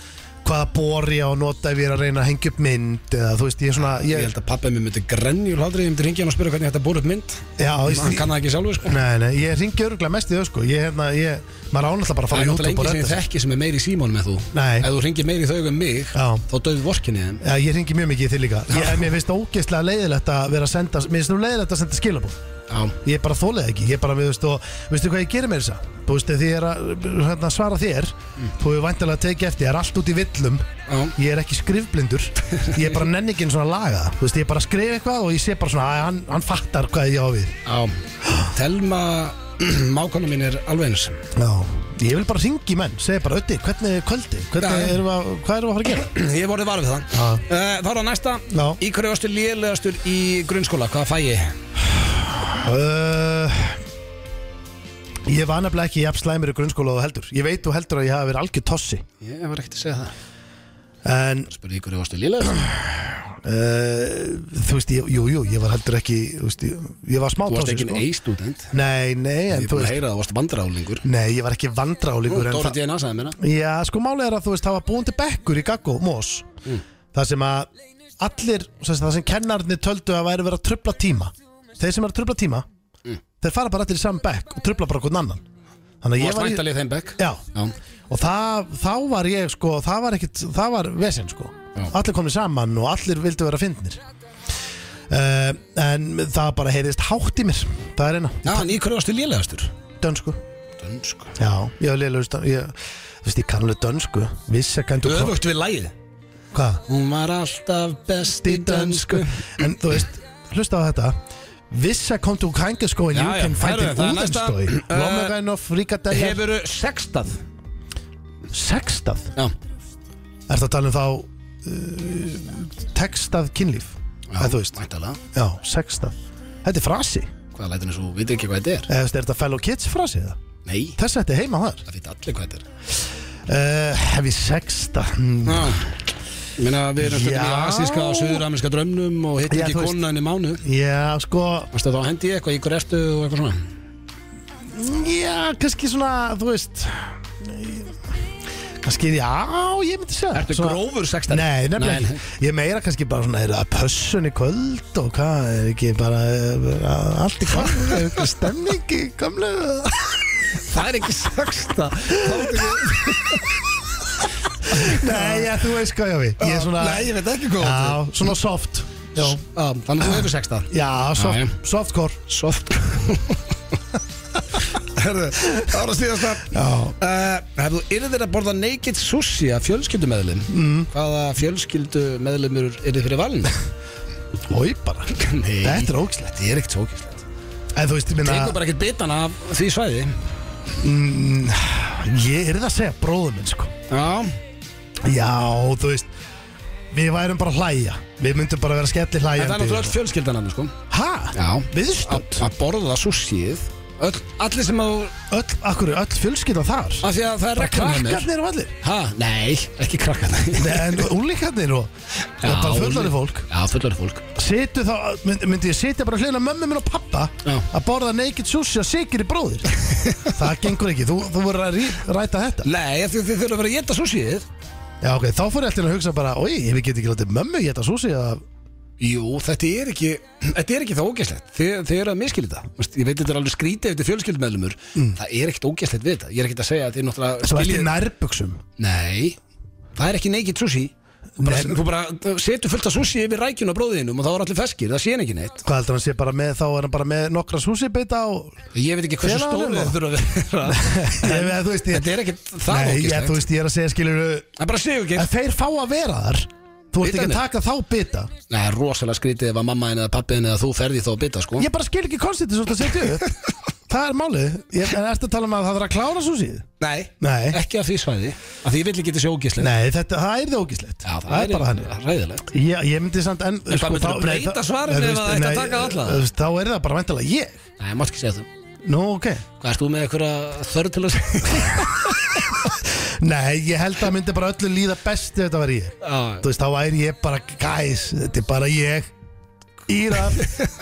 Speaker 2: hvaða bor ég á að nota ef ég er að reyna að hengja upp mynd eða, þú veist, ég er svona,
Speaker 1: Ah, Ég
Speaker 2: ég,
Speaker 1: held að pappa mér myndi grenjul haldri Ég myndi ringja hann og spyrja hvernig þetta búið upp mynd
Speaker 2: já, ég,
Speaker 1: Hann kann það ekki sjálfur sko
Speaker 2: nei, nei, ég ringi örgulega mest í þau, sko, ég, hérna, ég, maður ánáttúrulega bara
Speaker 1: Það
Speaker 2: að
Speaker 1: er
Speaker 2: fara á
Speaker 1: náttúrulega enginn
Speaker 2: YouTube og
Speaker 1: sem ég
Speaker 2: retta sér.
Speaker 1: þekki sem er meiri í símón með þú
Speaker 2: Nei.
Speaker 1: Ef þú ringir meiri í þau um mig
Speaker 2: Já.
Speaker 1: Þá döfðu vorkinni þeim
Speaker 2: Já, ég ringi mjög mikið í þið líka, ég, en mér finnst ógeðslega leiðilegt að vera að senda, mér finnst nú leiðilegt að senda skilabóð.
Speaker 1: Já,
Speaker 2: ég bara þólið ekki ég bara, við veist, og veistu hvað ég gerir mér þess að þú veist, ef ég er að hérna, svara þér
Speaker 1: Mm.
Speaker 2: þú hefur vantilega að tekið eftir, ég er allt út í villum
Speaker 1: Já.
Speaker 2: ég er ekki skrifblindur ég er bara nenningin svona laga það. þú veist, ég bara skrif eitthvað og ég sé bara svona að hann, hann fattar hvað ég á við
Speaker 1: já Telma Mákona mín er alveg eins
Speaker 2: Já. ég vil bara ringi menn, segja bara ötti, hvernig er kvöldi hvernig
Speaker 1: Já.
Speaker 2: erum við að, hvað erum við að fara að gera
Speaker 1: Ég hef orðið varfið það
Speaker 2: Já.
Speaker 1: Eh, Þá er það næsta
Speaker 2: Já.
Speaker 1: Í hverju varstu lélegastur í grunnskóla? Hvað fæ ég?
Speaker 2: uh, ég var nefnilega ekki jafn slæmur í grunnskóla og þú heldur ég veit þú heldur að ég hafi verið algjör tossi
Speaker 1: Ég var ekkert að segja það
Speaker 2: en
Speaker 1: Spurði í hverju varstu lélegastur?
Speaker 2: Uh, þú veist, ég, jú, jú, ég var heldur ekki þú veist, ég, ég var smá
Speaker 1: Þú varst
Speaker 2: tósi,
Speaker 1: ekki
Speaker 2: sko.
Speaker 1: A-student
Speaker 2: Nei,
Speaker 1: Ég
Speaker 2: nei, en
Speaker 1: er
Speaker 2: þú
Speaker 1: búin að
Speaker 2: veist
Speaker 1: heyra að þú varst vandrálingur
Speaker 2: Nei, ég var ekki vandrálingur en
Speaker 1: Dóra
Speaker 2: það-
Speaker 1: DNA sagði mér það
Speaker 2: Já, sko málið er að þú veist, það var búin til bekkur í Gaggó, Mós
Speaker 1: Mm.
Speaker 2: Það sem að allir, sem sagt, það sem kennarnir töldu að væri verið að tröfla tíma Þeir sem er að tröfla tíma
Speaker 1: Mm.
Speaker 2: Þeir fara bara allir í saman bekk og tröfla bara hvern annan Þannig að
Speaker 1: Þú
Speaker 2: ég
Speaker 1: varst
Speaker 2: var í,
Speaker 1: væntalið þeim bekk
Speaker 2: já,
Speaker 1: Já,
Speaker 2: og það, þá var ég sko, það var ekkit, það var vesinn sko
Speaker 1: Já.
Speaker 2: allir komið saman og allir vildu vera fyndnir uh, en það bara heyrðist hátt í mér það er eina,
Speaker 1: já en í hverju varstu lélegastur?
Speaker 2: dönsku
Speaker 1: Dönsku
Speaker 2: já, ég var lélegur dönsku ég, þú veist, ég kannlega dönsku vissi að kæntu
Speaker 1: Öfugt við lægið
Speaker 2: hvað,
Speaker 1: Hún var alltaf best
Speaker 2: í dönsku en þú veist, hlusta á þetta Vissa kom til Ukrainkaskóin,
Speaker 1: Já,
Speaker 2: you
Speaker 1: já,
Speaker 2: can find
Speaker 1: herru,
Speaker 2: it
Speaker 1: það er næsta.
Speaker 2: úðanskói
Speaker 1: Eh,
Speaker 2: Lomerenov, Ríkadellar,
Speaker 1: Hefur sextað
Speaker 2: sextað
Speaker 1: Já,
Speaker 2: Er það að tala um þá uh, textað kynlíf? Eða þú veist,
Speaker 1: Mæntalega
Speaker 2: já, sextað Þetta er frasi,
Speaker 1: Hvað lætur eins og við ekki hvað þetta er?
Speaker 2: eða þú veist, er þetta fellow kids frasi eða?
Speaker 1: Nei
Speaker 2: Þess að þetta er heima þar
Speaker 1: Það fyrir allir hvað þetta er
Speaker 2: uh, Hef ég sextað? Mm,
Speaker 1: Já Ég meina við erum stundum í
Speaker 2: Já.
Speaker 1: asíska og suðurameriska drömnum og hitt
Speaker 2: Já,
Speaker 1: ekki
Speaker 2: þú veist.
Speaker 1: konan í mánu
Speaker 2: Já, sko,
Speaker 1: Varstu þá hendi ég eitthvað, í hverju ertu og eitthvað svona
Speaker 2: já, kannski svona, þú veist eh, Kannski, já, ég myndi segja það.
Speaker 1: Ertu
Speaker 2: Svona-
Speaker 1: grófur sextari?
Speaker 2: Nei, nefnilega
Speaker 1: Nei,
Speaker 2: ekki. Ég meira kannski bara svona, er það pössun í kvöld og hvað, er ekki bara er, allt í kvöld, er eitthvað stemning í gamlu
Speaker 1: Það er ekki sexta
Speaker 2: Nei, já, þú veist hvað ég á við Ég er svona
Speaker 1: Nei, ég veit ekki hvað þú átt
Speaker 2: Já, svona soft Já,
Speaker 1: Já, Þannig að þú hefur sextað
Speaker 2: já soft,
Speaker 1: Já, já.
Speaker 2: softcore
Speaker 1: Soft Herðu, það var að síðast að
Speaker 2: Já,
Speaker 1: Uh, ef þú yrðir að borða naked sushi af fjölskyldumeðlum mm. hvaða fjölskyldumeðlumur yrði fyrir valin?
Speaker 2: hói bara
Speaker 1: Nei,
Speaker 2: Þetta er ógislegt
Speaker 1: þetta er ekkert tókislegt
Speaker 2: En þú veist, ég
Speaker 1: Tengur
Speaker 2: minna
Speaker 1: bara ekkert bitan af því svæði
Speaker 2: Ég er það að segja bróðum minn, sko
Speaker 1: Já,
Speaker 2: Já, þú veist Við værum bara að hlæja Við myndum bara vera skelli
Speaker 1: þetta er náttúrulega öll
Speaker 2: hlæjandi
Speaker 1: fjölskyldan hann sko
Speaker 2: Hæ?
Speaker 1: Já.
Speaker 2: Viðstönd?
Speaker 1: Að- Að borða sushið öll, Allir sem að,
Speaker 2: Öll, akkur, öll fjölskylda þar
Speaker 1: af því að það er reglum
Speaker 2: Krakkarnir og allir
Speaker 1: Ha, nei, ekki krakkarnir
Speaker 2: Nei, En úlíkarnir og og
Speaker 1: Já,
Speaker 2: Bara fullari fólk
Speaker 1: Já, fullari fólk
Speaker 2: Setu þá, mynd, myndi ég setja bara hlýna mömmu minn og pappa
Speaker 1: Já.
Speaker 2: að borða naked sushi og sikir í bróðir Það gengur ekki, þú, þú voru að rí, ræta þetta
Speaker 1: Nei, af því að þið þurfa að vera að geta súsíð
Speaker 2: Já ok, þá fór ég alltaf að hugsa bara Ói, við getum ekki látið mömmu geta sushi að...
Speaker 1: Jú, þetta er ekki Þetta er ekki það ógæslegt Þið, þið eru að miskilja þetta Þú veist, Ég veit þetta er alveg skrítið eftir fjölskyldmeðlumur Það er ekkert ógæslegt við þetta Ég er ekkert að segja að þið náttúrulega
Speaker 2: Mm. Svo ertu í
Speaker 1: skiljið-
Speaker 2: nærbuxum
Speaker 1: Nei, það er ekki neikið sushi Þú bara,
Speaker 2: Nei.
Speaker 1: þú bara setur fullt af sushi yfir rækjun á bróðinum og þá er allir feskir, það sé ekki neitt
Speaker 2: Hvað heldur hann sé bara með, þá er hann bara með nokkra sushi beita og
Speaker 1: Ég veit ekki hversu
Speaker 2: Hvenær var
Speaker 1: stóru þau þurfa
Speaker 2: það?
Speaker 1: að
Speaker 2: Ég
Speaker 1: vera
Speaker 2: veit, þú veist, ég-
Speaker 1: Þetta er ekkert það
Speaker 2: Nei, ég,
Speaker 1: ógæslegt
Speaker 2: þú veist, ég er að segja skilur
Speaker 1: Það er bara sigurgeir
Speaker 2: að þeir fá að vera þar Þú ert ekki að
Speaker 1: Bitarnir.
Speaker 2: taka þá bita
Speaker 1: Nei, það er rosalega skrítið ef að mamma henni eða pappi henni eða þú ferði þá að bita, sko
Speaker 2: Ég bara skil ekki konstitið svo að setja upp Það er málið, ég, en ertu að tala um að það þarf að klára sushið?
Speaker 1: Nei,
Speaker 2: Nei.
Speaker 1: ekki af því svæði Af því ég vil ekki þessi ógæslegt
Speaker 2: Nei, þetta, það er það ógíslegt
Speaker 1: Já, það,
Speaker 2: það er bara þannig
Speaker 1: er ræðilegt
Speaker 2: Ég, ég myndi samt sko, enn
Speaker 1: En hvað myndirðu breyta svarinu ef það ætti að taka alla?
Speaker 2: eh, Þá er það bara væntalega ég
Speaker 1: Nei, mátt ekki segja það
Speaker 2: Nú, ok
Speaker 1: Hvað erst þú með einhverja þörð til að segja?
Speaker 2: Nei, ég held að myndi bara öllu líða best ef þetta var ég
Speaker 1: Já.
Speaker 2: Þú veist, þá væri ég bara Guys, þetta er bara ég Íra,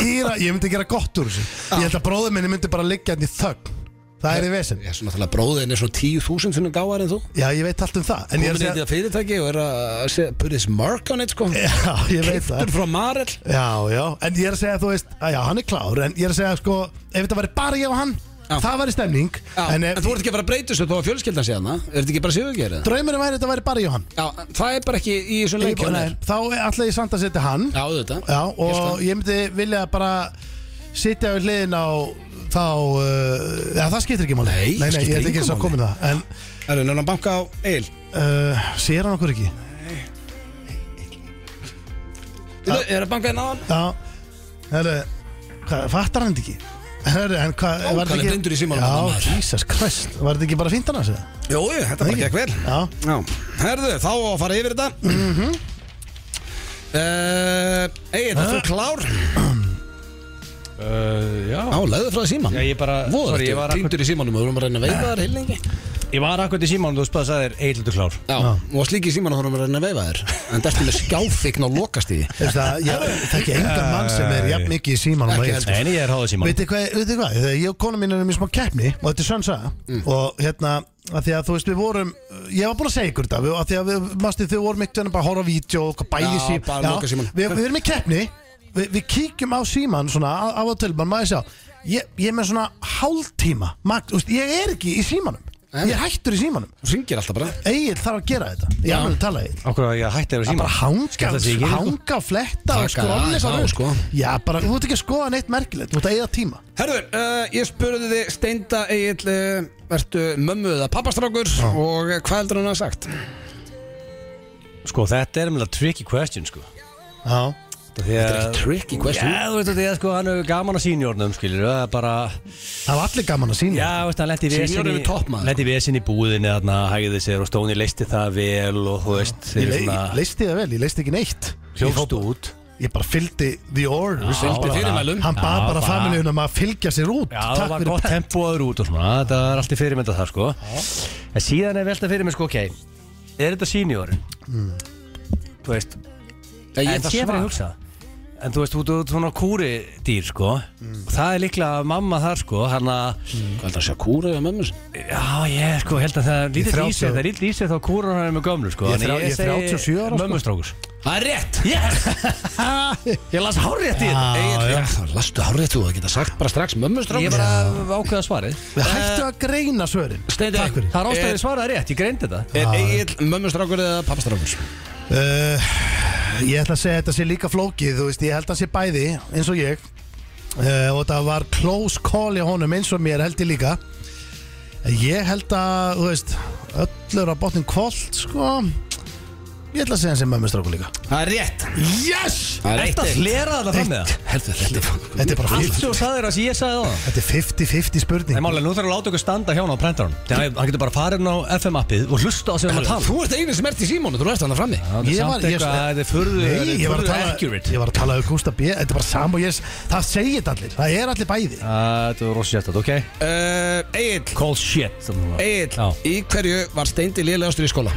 Speaker 2: Íra Ég myndi gera gott úr þessu Ég held að bróður minni myndi bara liggja hann í þögn Það er í vesen
Speaker 1: Ég er svona náttúrulega bróðin er svona 10.000 sinnum gáðar en þú
Speaker 2: Já, ég veit allt um það En
Speaker 1: Komin í
Speaker 2: ég er að segja
Speaker 1: þetta fyrirtæki og er að segja Put this mark on it, sko
Speaker 2: Já, ég veit það
Speaker 1: Kiptur frá Marel
Speaker 2: Já, já, en ég er að segja, þú veist, að já, hann er klár En ég er að segja, sko, ef þetta væri bara ég og hann
Speaker 1: Já.
Speaker 2: Það væri stemning
Speaker 1: Já, en,
Speaker 2: ef,
Speaker 1: þú ert ekki að fara að breyta þessu þó að fjölskyldan sé hana Er þetta ekki bara sigurgerið?
Speaker 2: draumurinn væri að þetta væri bara ég og hann
Speaker 1: Já, það er bara ekki í þessum
Speaker 2: Ég-
Speaker 1: leikjum
Speaker 2: nei, Þá ætla ég samt að setja hann
Speaker 1: Já, auðvitað
Speaker 2: Já, og ég myndi vilja bara sitja við hliðin á þá uh, Já, það skiptir ekki máli
Speaker 1: Nei,
Speaker 2: nei,
Speaker 1: skiptir
Speaker 2: nei ég ætla
Speaker 1: engu
Speaker 2: ekki að
Speaker 1: máli.
Speaker 2: koma með það En
Speaker 1: Það er náttúrulega banka á Egil
Speaker 2: uh, sér hann okkur ekki?
Speaker 1: Ég er að banka hérna á hann
Speaker 2: Já, herru, hvað, fattar hann þetta ekki? Herru, en hvað,
Speaker 1: Ó,
Speaker 2: var
Speaker 1: hvað er
Speaker 2: þetta
Speaker 1: blindur í símanum hann,
Speaker 2: Já,
Speaker 1: maður?
Speaker 2: Jesus Christ, var þetta ekki bara fínt hann að segja?
Speaker 1: Jú, jú, þetta bara gekk vel
Speaker 2: Já,
Speaker 1: Já, herðu, þá á að fara yfir þetta mm -hmm. Egil, það er klár
Speaker 3: Uh, já
Speaker 1: Já, leiðu frá síman
Speaker 3: Já, ég bara,
Speaker 1: Voður,
Speaker 3: sorry, ég
Speaker 1: ég
Speaker 3: var
Speaker 1: var
Speaker 3: akkur,
Speaker 1: Týndur í símanum, við vorum að reyna að veifa þér heilengi
Speaker 3: ég var akkur til síman og þú spæði að það er eitthvað klár
Speaker 1: Já, og slíki í símanum vorum að reyna að veifa þér En dertum við skjáfign á lokastíði
Speaker 2: Þú veist það, ég þekki engan mann sem er jafn mikið í símanum og
Speaker 1: Ekki
Speaker 2: ég
Speaker 1: heldur.
Speaker 3: Nei, en ég er háður síman
Speaker 2: Veitir hvað, veitir hvað, þegar ég og konu mín erum í smá keppni og þetta er sönn saga og hérna, að því að þú veist við vorum ég var búin að segja ykkur þetta, við- að því að við mástu þau vorum ekkert bara að horfa á vídeo og hvað bæði
Speaker 1: Já,
Speaker 2: sím
Speaker 1: bara loka símanum.
Speaker 2: við, við erum í keppni, við, við kíkjum á síman svona á, á að tölman, maður sjá ég, ég er með svona hálftíma magt, úst, ég er ekki í símanum
Speaker 1: Nei.
Speaker 2: ég er hættur í símanum,
Speaker 1: Þú syngir alltaf bara
Speaker 2: Egil þarf að gera þetta ég alveg tala Egil
Speaker 3: Okkur að ég hætti að vera
Speaker 2: Já, bara
Speaker 3: síman
Speaker 2: hanga,
Speaker 3: Skemmtilegt að ég geri, sko.
Speaker 2: hanga, fletta
Speaker 1: Taka
Speaker 2: og skróli
Speaker 1: aðeins á, sko.
Speaker 2: Já, bara, þú ert ekki að skoða neitt merkilegt Þú ert að eigða tíma
Speaker 1: Herður, uh, ég spurði þið Steinda Egil uh, Ertu mömmu eða pappastrákur Og eh, hvað heldur hann að hafa sagt?
Speaker 3: Sko, þetta er mjög tricky question, sko
Speaker 2: Já,
Speaker 3: Þetta
Speaker 1: Þetta er ekki tricky question.
Speaker 3: Já, þú veist þetta, sko, hann hefur gaman að sínjórnum, skilur Það er bara,
Speaker 2: það var allir gaman að sína
Speaker 3: já, þú veist, hann lendi í
Speaker 1: Senior
Speaker 3: vesinni
Speaker 1: yfir toppmaður.
Speaker 3: Lendi í vesinni í búðinni, þarna, hægði sér og Stóni leisti það vel og þú veist hérna-
Speaker 2: Ég
Speaker 3: þeir
Speaker 2: le
Speaker 3: svona-
Speaker 2: leisti það vel, ég leisti ekki neitt
Speaker 3: Hljófst
Speaker 2: Ég fór-
Speaker 3: út
Speaker 2: Ég bara fylgdi the orders
Speaker 1: Fylgdi
Speaker 2: Ég bara-
Speaker 1: fyrirmælum.
Speaker 2: Hann bað
Speaker 3: Já,
Speaker 2: bara
Speaker 3: bara-
Speaker 2: familjun um að fylgja sér út
Speaker 3: Já, það var gott
Speaker 2: pent.
Speaker 3: tempoður út og svona Það er allt í fyrirmynda það, sko En síðan er velta fyrir mig, sko, ok Er þetta sínjórin? Þú veist,
Speaker 1: Hmm. Ég,
Speaker 3: en sé fyrir að hugsa En þú veist, þú þú ert svona kúri dýr, sko
Speaker 1: Hmm.
Speaker 3: og Það er líklega að mamma þar, sko Hann að,
Speaker 1: Hvað heldur hann sé að kúra eða mömmu? sinni?
Speaker 3: já, ég, sko, held að það er lítið í
Speaker 2: 30
Speaker 3: sig Það er lítið í sig þá kúrar hann er með gömlu, sko
Speaker 2: Ég er
Speaker 3: Þannig
Speaker 2: þrjá- ég er 37 ára, sko.
Speaker 3: Mömmustrákus
Speaker 1: Það er rétt
Speaker 3: Yes! ég las hárétt í þetta
Speaker 1: Egil, Ah, já, þá lastu hárið þú að geta sagt bara strax mömmustrákur
Speaker 3: Ég bara ákveða svarið
Speaker 2: Við hættu að greina svörin
Speaker 1: Steindi,
Speaker 2: Takk fyrir
Speaker 3: Það er ástæðið svaraði rétt, ég greind þetta
Speaker 1: Er Egil mömmustrákur eða pappastrákur?
Speaker 2: Uh, Ég ætla að segja að þetta sé líka flókið Þú veist, ég held að sé bæði eins og ég uh, Og það var close call hjá honum eins og mér held ég líka En Ég held að, þú veist Öllur á botnin kvöld, sko Ég ætla að segja hann sem mömmustráku líka
Speaker 1: Það er rétt
Speaker 2: Yes!
Speaker 1: Það er
Speaker 3: Ertu að
Speaker 1: eitt
Speaker 3: flera þetta fram með það?
Speaker 1: Heldur, þetta er fang
Speaker 2: Þetta er bara
Speaker 3: Allt
Speaker 2: 50,
Speaker 3: sem þú sagðir að ég sagði það
Speaker 2: þetta er 50-50
Speaker 3: Nei,
Speaker 2: spurning
Speaker 3: málega, nú þarf að láta okkur standa hjá hann á prentarun Þannig að hann getur bara farið inn á FM-appið og hlusta á sem hann að tala
Speaker 1: Þú ert einu sem ert í símónu, þú ert hann að frammi
Speaker 3: Það er
Speaker 2: Ég
Speaker 3: samt
Speaker 2: var- ég-
Speaker 3: eitthvað, þetta er furðu
Speaker 2: Nei, ég var að
Speaker 3: furðu
Speaker 2: tala
Speaker 3: accurate
Speaker 2: Ég var að tala um Gústa B Þetta er bara sam og ég Það segir þetta allir Það er allir bæði
Speaker 3: Æ, Ah, Þetta var rosa sérstætt, ok?
Speaker 1: Uh, Egil,
Speaker 3: Cold shit sem þú var.
Speaker 1: Egil,
Speaker 3: Já.
Speaker 1: í hverju var Steindi lélegastur í skóla?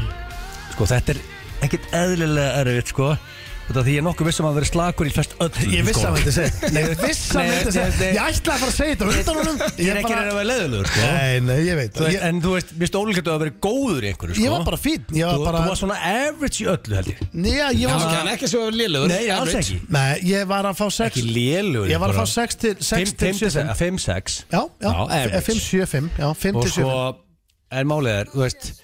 Speaker 3: Sko, þetta er ekkert eðlilega erfitt, sko Þetta því ég er nokkuð vissum að það verið slakur í flest öll
Speaker 2: Ég vissi að hann myndi segja Ég vissi að hann myndi
Speaker 3: Nei,
Speaker 2: segja
Speaker 3: nei,
Speaker 2: Ég ætlaði að fara að segja þetta á undan honum
Speaker 3: Ég er ekki
Speaker 2: bara-
Speaker 3: reyna að vera leiðilegur sko.
Speaker 2: Nei, nei, ég veit
Speaker 3: Þú veist,
Speaker 2: Ég-
Speaker 3: En þú veist, mér stóðum að vera góður í einhverju sko.
Speaker 2: Ég var bara fínn, ég var
Speaker 3: Þú-
Speaker 2: bara-
Speaker 3: Þú var svona average í öllu held ég
Speaker 2: Já, ég
Speaker 1: Það
Speaker 2: var
Speaker 1: kann ekki svo liðlegur
Speaker 3: Ah. Nei, alls
Speaker 1: average.
Speaker 3: ekki
Speaker 2: Nei, ég var að fá sex
Speaker 3: Ekki lélugur
Speaker 2: Ég var að fá sex til sex til sjö, fimm.
Speaker 3: 5-6
Speaker 2: Já, já, eh,
Speaker 3: Já, average.
Speaker 2: 5, 7, 5 Já, 5
Speaker 3: og
Speaker 2: til 7
Speaker 3: sko, en málið er, þú veist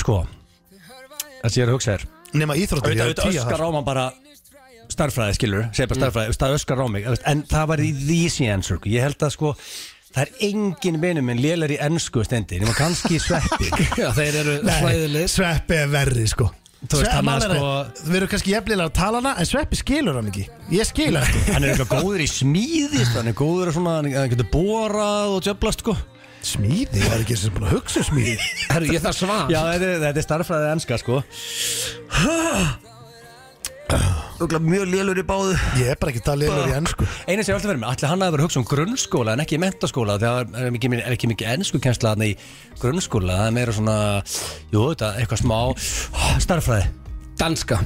Speaker 3: sko það sem ég er að hugsa er
Speaker 2: Nefna íþróttir, ég er
Speaker 3: auðvitað auðvitað
Speaker 2: tíu
Speaker 3: öskar
Speaker 2: þar
Speaker 3: á mann bara starfræði skilur, segir bara starfræði, það öskar á mig þú veist, en það var í the easy answer sko. ég held að sko, það er engin vinur minn lélar í ennsku stendi, nema kannski sveppi
Speaker 1: Já, þeir eru slæðilegir
Speaker 2: Sveppi er verri, sko
Speaker 3: Þú veist,
Speaker 2: Svepp-
Speaker 3: hann er
Speaker 2: málið
Speaker 3: sko-
Speaker 2: er- Við erum kannski jefnilega að tala hana En Sveppi skilur hann ekki Ég skilur hann
Speaker 3: hann er eitthvað góður í smíðist hann er góður að svona, hann getur borað og djöblast sko
Speaker 2: Smíði, ég var ekki eins og búin að hugsa um smíði
Speaker 1: Herru, ég þarf svar
Speaker 3: já, þetta er, þetta er starfræði ennska sko Örugglega mjög lélur í báðu
Speaker 2: Ég er bara ekki að tala yfir í ennsku
Speaker 3: Einu sem ég alltaf verið með, allir hann hafi verið að hugsa um grunnskóla en ekki mentaskóla þegar það er mikið, er ekki mikið ennsku kjensla í grunnskóla, það er meira svona jú, þetta er eitthvað smá starfræði.
Speaker 1: Danska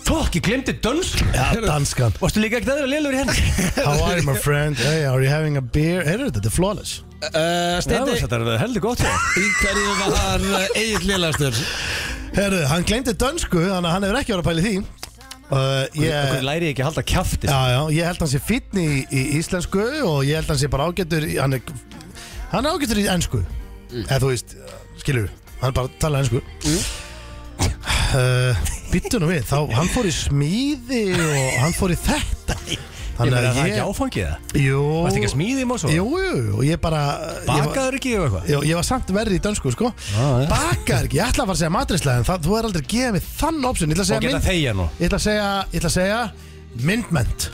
Speaker 3: Fokk, ég glemdi dönsk
Speaker 2: Já, danskan
Speaker 3: Varstu líka ekkert aðra lélur í henni?
Speaker 2: How are you my friend? Hey, are you having a beer? Heyrðu, þetta er flawless
Speaker 1: uh,
Speaker 3: Já,
Speaker 1: Steindi,
Speaker 3: þetta er heldur gott já.
Speaker 1: í hverju var eh, Egil Lilastur?
Speaker 2: Heyrðu, hann glemdi dönsku Þannig að hann hefur ekki verið að pæli því uh,
Speaker 3: Hvernig
Speaker 2: ég,
Speaker 3: læri ég ekki að halda kjafti?
Speaker 2: já, já, ég held hann sé fínn í, í íslensku Og ég held hann sé bara ágætur í- Hann er, hann er ágætur í ennsku
Speaker 3: Mm.
Speaker 2: Eða þú veist, skilur Hann bara tala ennsku uh, Býttu nú við þá, Hann fór í smíði og hann fór í þetta
Speaker 3: Ég
Speaker 2: Þannig
Speaker 3: meina,
Speaker 2: að
Speaker 3: það er ekki
Speaker 2: ég
Speaker 3: áfangið það
Speaker 2: Jú,
Speaker 3: Varstu ekki að smíði í mósó?
Speaker 2: jú, jú, og ég bara ég var-
Speaker 3: Bakaður ekki og eitthvað?
Speaker 2: Já, ég var samt verri í dönsku, sko
Speaker 1: Ah,
Speaker 3: Já, já.
Speaker 2: Bakar ekki, ég ætla að fara að segja matrisla En það, þú er aldrei að gefa mig þann opsun Ég ætla að
Speaker 3: Og
Speaker 2: segja
Speaker 3: geta
Speaker 2: mynd
Speaker 3: þegja nú
Speaker 2: Ég ætla að segja, ég ætla að segja Myndment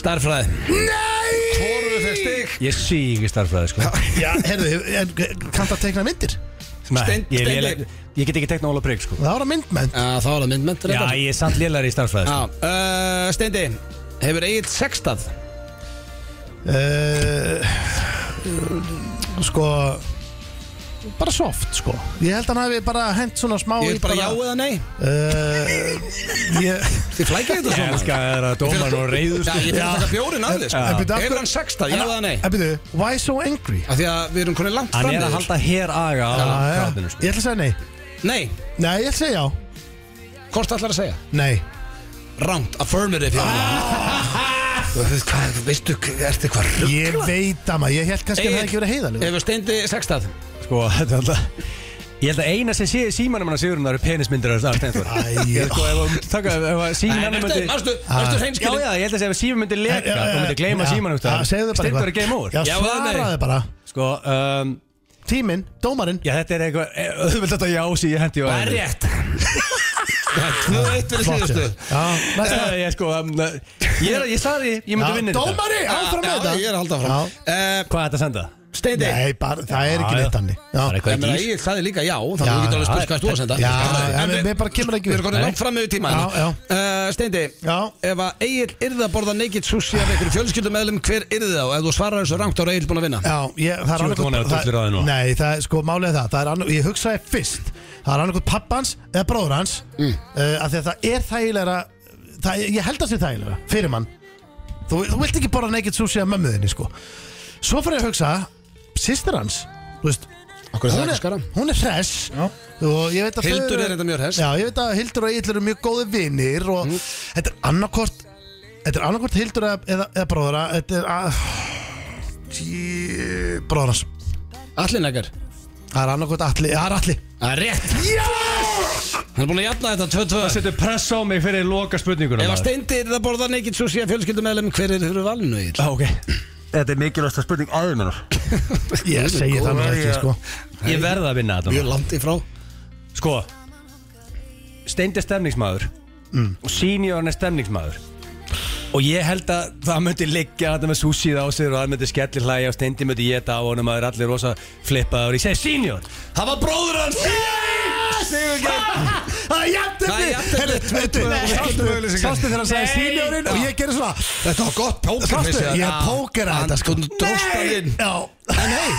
Speaker 1: Starfræði Nei Hvoru fekk stig?
Speaker 3: Ég síg í starfræði sko
Speaker 2: Já, heyrðu, en kanntu að teikna myndir?
Speaker 3: Nei,
Speaker 1: Stein-
Speaker 3: ég,
Speaker 1: Steindi.
Speaker 3: léleg- ég get ekki tekna óla prigg sko
Speaker 2: Það var að myndment
Speaker 1: Já, þá er það myndmönd
Speaker 3: Já, ég er samt lélæri í starfræði sko.
Speaker 1: Já, uh, Steindi Hefur Egil sextað?
Speaker 2: uh, Sko Bara soft, sko Ég held að hann hafi bara hent svona smá
Speaker 1: Ég
Speaker 2: í
Speaker 1: vil bara já eða nei
Speaker 2: uh, Ég
Speaker 1: Þið flækir þetta
Speaker 3: Ég
Speaker 1: svona
Speaker 3: elska það að dómar og
Speaker 1: Já,
Speaker 3: reyður sko.
Speaker 1: ég vil taka bjórin að þið sko.
Speaker 2: En byrju, af
Speaker 1: Hefur
Speaker 2: hverju-
Speaker 1: hann sextað, já eða nei?
Speaker 2: En byrju, Eh, why so angry?
Speaker 1: Af því að við erum konið langt
Speaker 3: Hann
Speaker 1: fram
Speaker 3: er að halda hér aga
Speaker 1: Ah,
Speaker 3: á
Speaker 2: Já, já.
Speaker 3: krátinu sko.
Speaker 2: Ég ætla að segja nei
Speaker 1: Nei,
Speaker 2: Nei, ég ætla að segja já
Speaker 1: hvort ætlar að segja?
Speaker 2: Nei
Speaker 1: Rangt, affirmative já. Þú veist hvað, veistu, ertu hvað
Speaker 2: Ég veit að maður, ég held kannski að það ekki verið heiðalega
Speaker 1: Hefur Steindi sextað?
Speaker 3: sko, þetta er alltaf Ég held að eina sem sé símanum hann að sigurum það eru penismyndir af Stenþór
Speaker 2: Æ,
Speaker 3: Sko, ef að taka, ef að
Speaker 1: Nei,
Speaker 3: símanum
Speaker 1: næstu,
Speaker 3: myndi
Speaker 1: næstu,
Speaker 2: Ah.
Speaker 1: næstu
Speaker 3: Já,
Speaker 1: hreinskilin
Speaker 3: já, ég held að ef að símanum myndi leka þú myndi gleyma símanum Stenþór er game over
Speaker 2: Já,
Speaker 1: Já, eða nei?
Speaker 2: svaraði bara
Speaker 3: Sko, um,
Speaker 2: Tíminn, dómarinn
Speaker 3: já, þetta er eitthvað eh, auðvelt þetta já, sí, ég hendi og
Speaker 1: Það er rétt Það er 2-1 fyrir
Speaker 2: Flott,
Speaker 1: síðustu Eh,
Speaker 2: já. Já, næsta
Speaker 3: Ég, sko, um, ég, er- ég sagði, ég myndi
Speaker 2: Já,
Speaker 3: vinna þetta.
Speaker 2: Dómari, áfram
Speaker 1: Já,
Speaker 2: með þetta
Speaker 1: Ég er að halda
Speaker 2: Já.
Speaker 1: fram uh,
Speaker 3: Hvað er þetta að senda?
Speaker 1: Steindi
Speaker 2: Nei, bara, það er
Speaker 3: Já,
Speaker 2: ekki
Speaker 3: já.
Speaker 2: neitt hann
Speaker 3: Það er
Speaker 1: Ég
Speaker 3: eitthvað
Speaker 1: meina,
Speaker 3: í
Speaker 1: ég sagði líka já, þannig
Speaker 2: Já,
Speaker 1: að þú getur alveg
Speaker 3: já,
Speaker 1: spurt hvað þú að senda
Speaker 2: Já,
Speaker 1: Skammaður.
Speaker 2: en
Speaker 1: við-
Speaker 2: mér bara kemur ekki
Speaker 1: Við erum
Speaker 2: við
Speaker 1: konið langt fram með tíma
Speaker 2: Já, já.
Speaker 1: Uh, Steindi,
Speaker 2: Já.
Speaker 1: ef að Egil yrði að borða naked sushi af einhverju fjölskyldumeðlum, hver yrði það? Og ef þú svarar þessu rangt, þá er Egil búin að vinna
Speaker 2: Já, ég, það er
Speaker 3: Tjú,
Speaker 2: annað
Speaker 3: þú vonaði að
Speaker 2: það-
Speaker 3: dullir á þig núna.
Speaker 2: Nei, það er sko málega það, það er annað, Ég hugsaði fyrst Það er annað hvort pappans eða bróður hans mm. uh, Því að það er þægilega það, Ég held að sé þægilega fyrir mann Þú, þú vilt ekki borða naked sushi af mömmuðinni sko. Svo fyrir ég að hugsa Sýstir hans þú veist,
Speaker 1: Akkur er það
Speaker 2: hún,
Speaker 1: ekki skara?
Speaker 2: er, hún er hress og ég veit að þau
Speaker 1: Hildur
Speaker 2: eru-
Speaker 1: er þetta mjög hress. Mm.
Speaker 2: Já, ég veit að Hildur og Egil eru mjög góði vinir og þetta er annarkort þetta er annarkort Hildur eða, eða, eða bróðara þetta er að Tí- bróðarans
Speaker 1: Allir nekkar
Speaker 2: það er annarkort allir það er allir
Speaker 1: Það er rétt Hann er búin að jafna þetta
Speaker 3: Það
Speaker 1: 2-2
Speaker 3: setur press á mig fyrir loka spurninguna
Speaker 1: Ef að Steindi yrði að borða naked sushi af fjölskyldumeðlum, hver er þurru valinu Egil?
Speaker 3: ok Þetta er mikilvægsta spurning aðeinunar
Speaker 2: ég segi það nú ekki sko
Speaker 3: Ég verða að vinna þetta
Speaker 1: Mjög langt í frá
Speaker 3: Sko Steind er stemningsmaður Og seniorn er stemningsmaður Og ég held að það myndi liggja Þetta með sushið á sig og það myndi skellir hlæja Og Steindi myndi geta á honum að það er allir rosa flippaður Ég segi senior
Speaker 1: Það var bróður hans
Speaker 2: það er
Speaker 1: Það er jafntefli.
Speaker 2: jafntefni
Speaker 1: Tvö- tvö-
Speaker 2: sástu sástu þegar hann segi seniorinn og ég gerir svona
Speaker 1: Þetta var gott pókerfis
Speaker 2: sástu ég póker að þetta sko
Speaker 1: Þú dróst hann inn
Speaker 2: já
Speaker 1: En hei,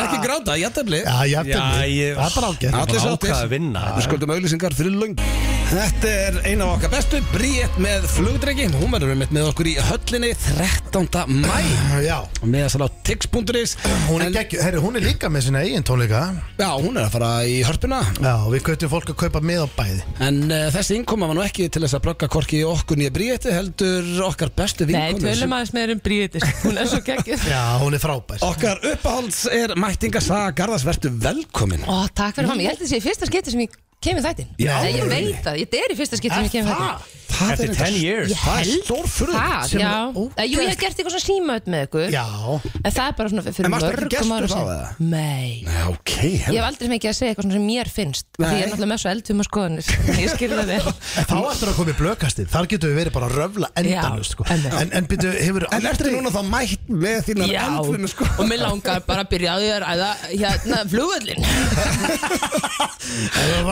Speaker 1: ekki gráta, jættefli
Speaker 2: já
Speaker 3: Já,
Speaker 2: jafntefni
Speaker 3: ég-
Speaker 2: það er bara ágætt
Speaker 3: Allir
Speaker 1: Allir
Speaker 3: bara
Speaker 1: sáttir
Speaker 3: ákvað að vinna.
Speaker 1: Við skuldum auðlýsingar fyrir löng Þetta er eina af okkar bestu, Bríett með flugdregi Hún verður einmitt með okkur í höllinni 13. mæ
Speaker 2: Já,
Speaker 1: Með þess að á tix.is
Speaker 2: hún er,
Speaker 1: En-
Speaker 2: gegg, herri, hún er líka með sína eigin tónleika
Speaker 1: Já, hún er að fara í hörpuna
Speaker 2: Já, við kvötum fólk að kaupa með á bæði
Speaker 1: En uh, þessi innkoma var nú ekki til þess að blögga korki í okkur nýja Bríetti heldur okkar bestu
Speaker 6: Nei,
Speaker 1: vinkonu
Speaker 6: tölum aðeins með um Bríðis Hún er svo geggjöð
Speaker 2: Já, hún er frábær
Speaker 1: Okkar uppáhalds er mættingasaga Garðars, vertu velkomin
Speaker 6: Ó, takk fyrir hann, ég held að það sé í fyrsta skipti sem ég kemur þættin
Speaker 1: Já.
Speaker 6: Nei, ég veit það, þetta er í fyrsta skipti sem ég kemur þættin
Speaker 1: Það
Speaker 3: Eftir 10 years
Speaker 6: Ég
Speaker 1: Það er
Speaker 6: held
Speaker 1: stórfurðulegt
Speaker 6: það,
Speaker 2: sem er
Speaker 6: já
Speaker 2: ógeð-
Speaker 6: Jú, ég hef gert eitthvað svona símaut með ykkur
Speaker 2: Já,
Speaker 6: En það er bara svona fyrir
Speaker 1: En
Speaker 6: mörgum
Speaker 1: varstu ekki
Speaker 6: ára
Speaker 1: gestur þá, eða?
Speaker 6: síðan Nei
Speaker 1: Já, ok,
Speaker 6: Ég
Speaker 1: hérna
Speaker 6: hef aldrei mikið að segja eitthvað svona sem mér finnst Því
Speaker 1: Nei.
Speaker 6: ég er náttúrulega með svo eldfum að skoðanir Ég skilði það vel
Speaker 2: en þá eftir að koma í blökastinn Þar getum við verið bara að röfla endanust sko.
Speaker 6: einmitt.
Speaker 2: En, en byrju, hefur
Speaker 1: En ertu núna þá mætt með þínar
Speaker 6: Já,
Speaker 1: endflumu sko
Speaker 6: og mér langar bara að byrja á því að ræða hérna flugvöllin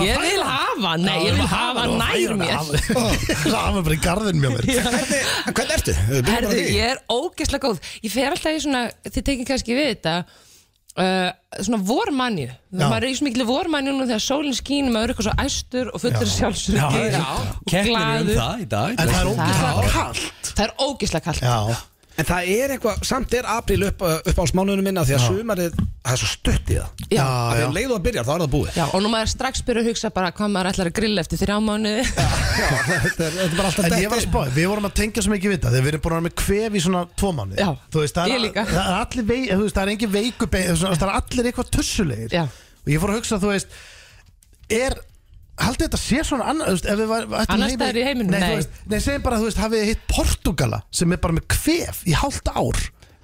Speaker 6: Ég vil hafa, hann, nei, ég vil hafa hann nær mér
Speaker 2: Það var bara í garðin mjög mér
Speaker 1: Hvernig, hvernig ertu? Byrjum bara á
Speaker 6: Herðu,
Speaker 1: því.
Speaker 6: ég er ógeðslega góð Ég fer alltaf í svona, þið tekið kannski við þetta uh, Svona vormanju Maður er í svo miklu vormanju nú þegar sólinn skín Maður er eitthvað svo æstur og fullur sjálfsögur Og
Speaker 3: Keppnir um
Speaker 6: glaður
Speaker 3: það í dag
Speaker 2: En það er ógæslega
Speaker 6: Það er
Speaker 2: kallt
Speaker 6: Það er ógeðslega kallt
Speaker 2: Já,
Speaker 1: En það er eitthvað, samt er apríl upp, upp á smánunum minna því að sumarið, það er svo stutt í það
Speaker 6: Já.
Speaker 1: Það
Speaker 2: já,
Speaker 1: er
Speaker 2: já
Speaker 1: leið og að byrja, þá er það búið
Speaker 6: Já, og nú maður er strax byrja að hugsa bara hvað maður ætlar að grilla eftir þrjá mánuði
Speaker 1: Já, þetta er, þetta er bara alltaf
Speaker 2: En ég var að spá, við vorum að tengja svo mikið við það Þegar við erum búin að vera með kvef í svona tvo mánu
Speaker 6: Já,
Speaker 2: veist, það er-
Speaker 6: ég líka.
Speaker 2: Það er allir vei, þú veist, það er engin veikubein Það er allir eitthvað tussulegir
Speaker 6: Já.
Speaker 2: Og ég fór að hugsa, þú veist Er, haldið þetta sé svona annar þú veist, ef við var- ættum
Speaker 6: Annars
Speaker 2: heima-
Speaker 6: staðar í heiminum,
Speaker 2: Nei, þú
Speaker 6: nei.
Speaker 2: veist, nei segjum bara, þú veist, hafið þið hitt Portugala Sem er bara með kvef í hálft ár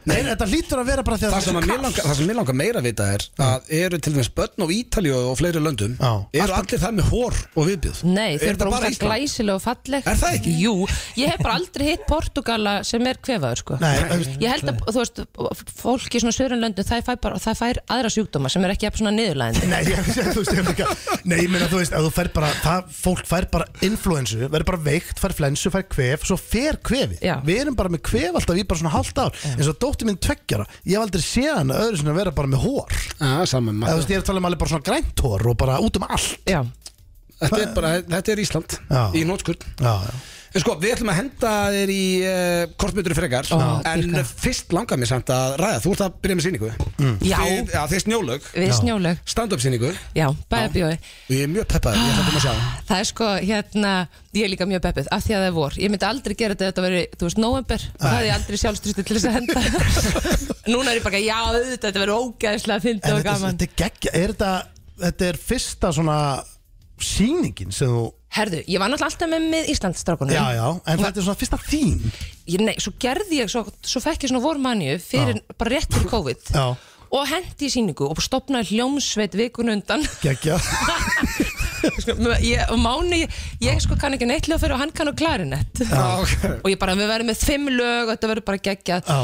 Speaker 2: Nei, þetta hlýtur að vera bara því að
Speaker 1: Það sem, að mér langar, það sem mér langar meira að vita er að eru til dæmis börn og Ítalíu og fleiri löndum
Speaker 2: Já.
Speaker 1: eru allir það með hór og viðbjöð
Speaker 6: Nei, þau
Speaker 1: Er
Speaker 6: eru bara
Speaker 1: þetta bara
Speaker 6: ógeðslega
Speaker 1: Ísland?
Speaker 6: glæsilega og falleg
Speaker 1: Er það ekki?
Speaker 6: Jú, ég hef bara aldrei hitt Portugala sem er kvefaður sko
Speaker 2: Nei, þú veist,
Speaker 6: Ég held að, þú veist, fólk í svona sörunlöndu, það fær bara, það fær aðra sjúkdóma sem er ekki jafn svona niðurlæðandi.
Speaker 2: Nei, ég, ég, þú veist, ég líka, nei, ég meina, þú veist, að þú fær bara, það, fólk fær bara influensu, verður bara veikt, fær flensu, fær kvef, svo fer kvefið.
Speaker 6: Já.
Speaker 2: Við erum bara með kvef alltaf í bara svona halvt ár, eins og dóttir minn tveggjara, ég hef aldrei séð hana öðru sinna vera bara með hór.
Speaker 1: Já, saman
Speaker 2: Eða, þú
Speaker 1: maður
Speaker 2: veist, ég er að tala um alveg bara svona grænt hór og bara út um allt.
Speaker 6: Já,
Speaker 1: Þetta er bara, þetta er Ísland
Speaker 2: Já.
Speaker 1: í nótskurn
Speaker 2: Já, já.
Speaker 1: En sko, við ætlum að henda þér í uh, kortmyndur frekar
Speaker 6: Ó,
Speaker 1: En
Speaker 6: dýrka.
Speaker 1: fyrst langar mér samt að ræða Þú ert að byrja með sýningu
Speaker 6: Mm. Já.
Speaker 1: Þið, ja, þið snjólög,
Speaker 6: við snjólög.
Speaker 1: stand-up sýningu
Speaker 6: Já, bæjabjói.
Speaker 1: Og ég er mjög peppaður, ég ætla að koma að sjá
Speaker 6: Það er sko, hérna, ég er líka mjög beppið, af því að það er vor. Ég myndi aldrei gera þetta ef þetta verið, þú veist, november. Það hefði ég aldrei sjálfstrustið til þess að henda. Núna er ég bara, já, auðvitað, þetta verið ógæðislega fyndið
Speaker 2: En
Speaker 6: og
Speaker 2: þetta,
Speaker 6: gaman.
Speaker 2: þetta er geggja, er þetta, þetta er fyrsta svona sýningin sem þú,
Speaker 6: Herðu, ég var náttúrulega alltaf með með Íslandsdrakunum.
Speaker 2: já, já, en þetta er svona fyrsta þín.
Speaker 6: ég, nei, svo gerði ég, svo, svo fekk ég svona vormanju fyrir, bara rétt fyrir COVID
Speaker 2: Já.
Speaker 6: og hendi í síningu og bara stopnaði hljómsveit vikun undan
Speaker 2: Geggja.
Speaker 6: Sko, ég, og Máni, ég, ég sko kann ekki neitt hljóðfæri og hann kann á klarinett
Speaker 1: Já, ok.
Speaker 6: og ég bara, við verðum með fimm lög og þetta verður bara geggjað
Speaker 2: Já.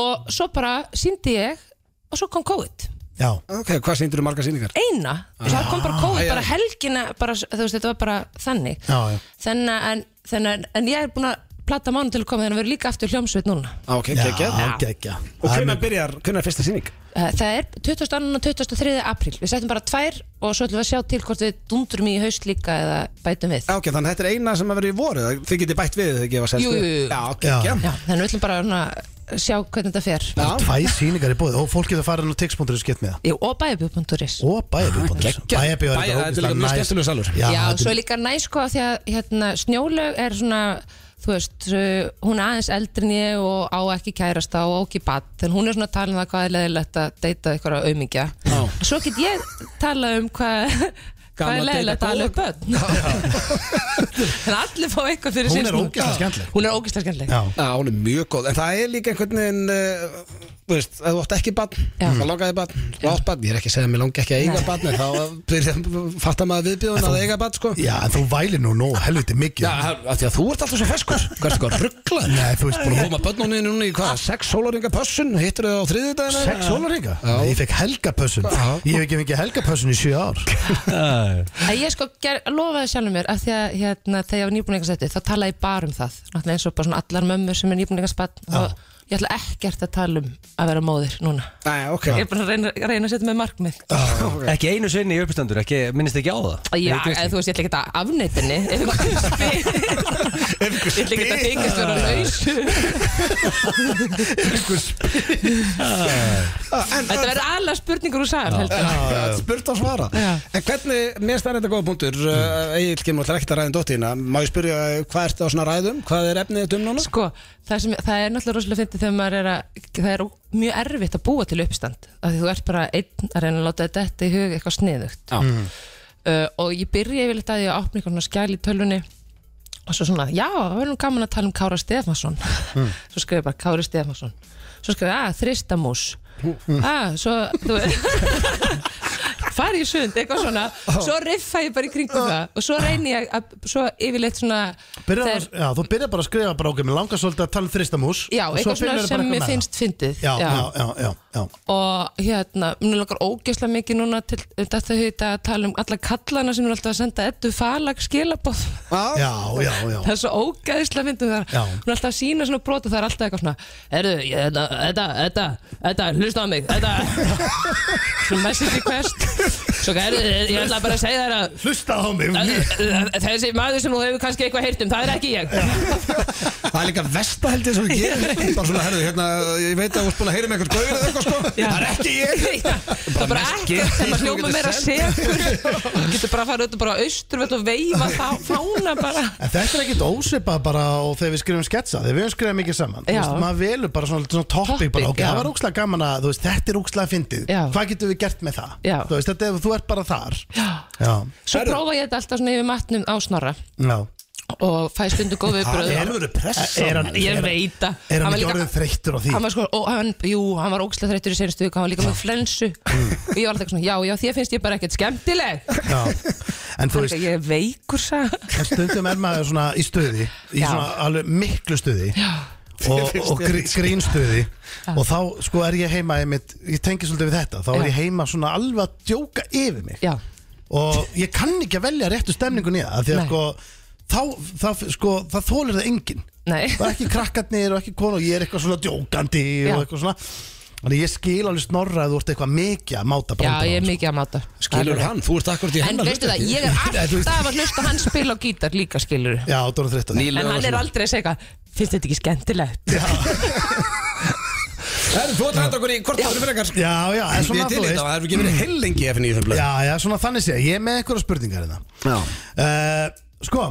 Speaker 6: og svo bara síndi ég og svo kom COVID
Speaker 2: Já.
Speaker 1: Ok, hvað sýndir þú margar sýningar?
Speaker 6: eina, svo kom bara
Speaker 1: Já,
Speaker 6: COVID
Speaker 1: já.
Speaker 6: bara helgina, bara, þú veist, þetta var bara þannig
Speaker 2: Já, já.
Speaker 6: þannig að, en, þannig að, en ég er búin að platta Máni til að koma þannig að verður líka aftur hljómsveit núna
Speaker 1: Ok, geggjað
Speaker 2: Já, geggja.
Speaker 1: Og hvernig byrjar, hvernig er fyrsta sýning?
Speaker 6: Uh, Það er 22. og 23. apríl Við setjum bara tvær og svo ætlum við að sjá til hvort við dundurum í haust líka eða bætum við
Speaker 1: Ok, þannig þetta er eina sem að vera í voru Þið getið bætt við, þið gefa
Speaker 6: Jú, jú, jú.
Speaker 1: Já, geggjað
Speaker 6: Já, þannig við ætlum bara svona að sjá hvernig þetta fer
Speaker 1: Já.
Speaker 2: Tvæ síningar í bóði og fólk getur farin á tix.ru skett með það
Speaker 6: Jú, og bæjabjörn.is
Speaker 2: og bæjarbjörn
Speaker 1: Geggjað.
Speaker 2: bæjarbjörn
Speaker 1: Bæja- þetta er líka mjög skemmtilegur salur.
Speaker 2: já,
Speaker 6: Já,
Speaker 2: þetta
Speaker 6: svo
Speaker 2: er-
Speaker 6: er líka næst sko því að hérna, snjólög er svona þú veist, uh, hún er aðeins eldri en ég og á ekki kærasta og á ekki bat þannig hún er svona að tala um það hvað er leðilegt að deyta ykkur á aumingja svo get ég tala um hvað hvað
Speaker 1: Gaman
Speaker 6: er
Speaker 1: að
Speaker 6: leðilegt
Speaker 1: deyta
Speaker 6: að tala um börn þannig að allir fá eitthvað fyrir
Speaker 2: Hún
Speaker 6: sín
Speaker 2: er
Speaker 6: snúð.
Speaker 2: ógeðslega skemmtileg.
Speaker 6: hún er ógæslega skemmtileg
Speaker 2: Já.
Speaker 1: Já, hún er mjög góð, en það er líka einhvern veginn uh, Þú veist, ef þú átt ekki barn
Speaker 6: Já.
Speaker 1: þá langaði barn, þú átt barn Ég er ekki að segja að mér langi ekki að eiga
Speaker 6: Nei.
Speaker 1: barn En þá byrja- fattar maður viðbjóðun að eiga barn, sko
Speaker 2: já, en þú vælir nú nú helviti
Speaker 1: Já,
Speaker 2: mikið
Speaker 1: af því að þú ert alltaf svo feskur Hvað ertu hvað, rugglar?
Speaker 2: Nei, þú veist,
Speaker 1: Búin að
Speaker 2: bara
Speaker 1: hóma börnunni núna í hvað, sex sólaringa pössun Hittir þau á þriðjudagina?
Speaker 2: sex sólaringa ég fekk helgapössun
Speaker 1: Já.
Speaker 2: ég hef ekki fengið helgapössun í sjö ár
Speaker 6: Að ég sko ger, lofaði sjálfum mér að því að hérna, þegar ég var nýbúningarsætti þá talaði ég bara um það náttúrulega eins og bara svona allar mömmur sem er nýbúningarspann og ég ætla ekkert að tala um að vera móðir núna
Speaker 1: Nei, ok
Speaker 6: Ég er bara að reyna, reyna að setja mig markmið
Speaker 3: Ekki einu sinni í uppistandur, ekki, minnist ekki á það
Speaker 6: Já, eða þú veist, ég ætla ekki að afneitinni Ég ætla ekki að þykist vera laus
Speaker 1: Ah,
Speaker 6: Þetta verður alveg spurningur úr sal heldur ég.
Speaker 1: Það er spurt að svara
Speaker 6: Já.
Speaker 1: En hvernig, mér stæðan þetta góða punktur Uh, Egil kemur alltaf ekkert að ræðin dóttina Má ég spyrja eh, hvað ertu á svona ræðum? Hvað er efnið þetta um núna?
Speaker 6: Sko, það, sem, það er náttúrulega rosalega fyndið þegar maður er að það er mjög erfitt að búa til uppstand af því þú ert bara einn að reyna að láta þetta þetta í hug eitthvað sniðugt
Speaker 1: Já.
Speaker 6: mm. uh, og ég byrja yfirleitt að ég að opna eitthvað svona skæl í tölvunni og svo svona, já, það verður nú gaman að tala um Kára Stefánsson svo skrifa ég bara Kári Stefánsson svo skrifa ég, að, þristamús að, "Ah, svo, þú veist fari í sund, eitthvað svona svo riffa ég bara í kringum það og svo reyni ég að, svo yfirleitt svona
Speaker 2: Byrjar,
Speaker 6: þegar-
Speaker 2: já, þú byrjar bara að skrifa bara okkur Mér langar svolítið að tala um þristamús
Speaker 6: Já,
Speaker 2: og svo
Speaker 6: eitthvað svona
Speaker 2: byrjarðu bara
Speaker 6: sem
Speaker 2: eitthvað
Speaker 6: mér
Speaker 2: með
Speaker 6: finnst fyndið
Speaker 2: það. Já, já, já, já, já.
Speaker 6: Og hérna, mér langar ógeðslega mikið núna til þetta þetta að tala um alla kallana sem er alltaf að senda ettu falag skilabóð
Speaker 1: Já,
Speaker 2: Já, já, já.
Speaker 6: Það er svo ógeðslega fyndið þar
Speaker 2: Já.
Speaker 6: Hún er alltaf að sína svona brot og það er alltaf eitthvað svona Herðu, ég- þetta, þetta, þetta, þetta, hlusta á mig, þetta Svona message request Svo herðu, ég ætla bara að segja þér að
Speaker 2: Hlusta á mig
Speaker 6: Þessi maður sem þú hefur kannski eitthvað heyrt um, það er ekki ég
Speaker 1: Það er líka vestaheldið sem við gerum Bara svona, herðu, hérna, ég veit að þú ert búin að heyra með einhvern gauður eða eitthvað sko
Speaker 6: Já.
Speaker 1: Það er ekki ég
Speaker 6: Það er bara ekkert sem að hljóma meira segur Þú getur bara að fara auðvitað bara á austurvöld og veifa þá fána bara
Speaker 2: En þetta er ekkit ósvipað bara og þegar við skrifum sketsa þegar við höfum skrifað mikið saman Þú
Speaker 6: Já.
Speaker 2: veist, maður velur bara svona, svona topic,
Speaker 6: Topic,
Speaker 2: bara, okay,
Speaker 6: já.
Speaker 2: það var ókslega gaman að þú veist, þetta er ókslega fyndið
Speaker 6: Já.
Speaker 2: hvað getum við gert með það
Speaker 6: Já.
Speaker 2: þú veist, þetta, er- þú ert bara þar já, já,
Speaker 6: Svo prófa ég þetta alltaf svona yfir matnum á snorra
Speaker 2: já.
Speaker 6: og fæ stundu góð viðbröð
Speaker 1: Það er alveg pressa
Speaker 2: Er hann,
Speaker 6: Ég
Speaker 2: er,
Speaker 6: veit að
Speaker 2: er hann
Speaker 6: var
Speaker 2: ekki
Speaker 6: líka-
Speaker 2: orðið þreyttur á því
Speaker 6: Hann var sko, ó, hann, jú, hann var ógæslega þreyttur í senstu viku, hann var líka með flensu
Speaker 2: Mm.
Speaker 6: og ég var alltaf eitthvað svona, já, já, þér finnst ég bara ekkert skemmtileg
Speaker 2: já. En þú veist,
Speaker 6: Ég er veikur sag
Speaker 2: en stundum er maður svona í stöði í
Speaker 6: Já.
Speaker 2: svona alveg miklu stöði já. og,
Speaker 1: Þér finnst
Speaker 2: og
Speaker 1: þér
Speaker 2: grí-
Speaker 1: ekki.
Speaker 2: grínstöði og þá sko er ég heima einmitt, ég tengi svolítið við þetta þá er
Speaker 6: Já.
Speaker 2: ég heima svona alveg að djóka yfir mig
Speaker 6: Já,
Speaker 2: og ég kann ekki að velja réttu stemningun í það af því að
Speaker 6: Nei.
Speaker 2: sko þá, þá, sko, það þólir það enginn
Speaker 6: nei
Speaker 2: það er ekki krakkarnir og ekki konu og ég er eitthvað svona djókandi
Speaker 6: Já.
Speaker 2: og eitthvað svona þannig ég skil alveg snorra að þú ert eitthvað mikið að máta
Speaker 6: Já,
Speaker 2: brandarann,
Speaker 6: ég er
Speaker 2: sko.
Speaker 6: mikið að máta
Speaker 1: Skilur hann, þú ert akkurat í
Speaker 6: En
Speaker 1: hennar
Speaker 6: veistu það, ég er alltaf að hlusta hann spila á gítar líka skilur
Speaker 2: já, þú erum þreytt á því
Speaker 6: En hann er aldrei að segja eitthvað, finnst þetta ekki skemmtilegt
Speaker 1: Herru, þú ert að henda okkur í hvort það eru frekar
Speaker 2: já, já, en
Speaker 1: Ég
Speaker 2: svona
Speaker 1: er til
Speaker 2: þú
Speaker 1: í þetta,
Speaker 2: veist Mm.
Speaker 1: það hefur ekki verið heilengi efni í þeim blöð
Speaker 2: já, já, svona þannig sé, ég er með eitthvað spurningar hérna.
Speaker 1: Já.
Speaker 2: uh, sko,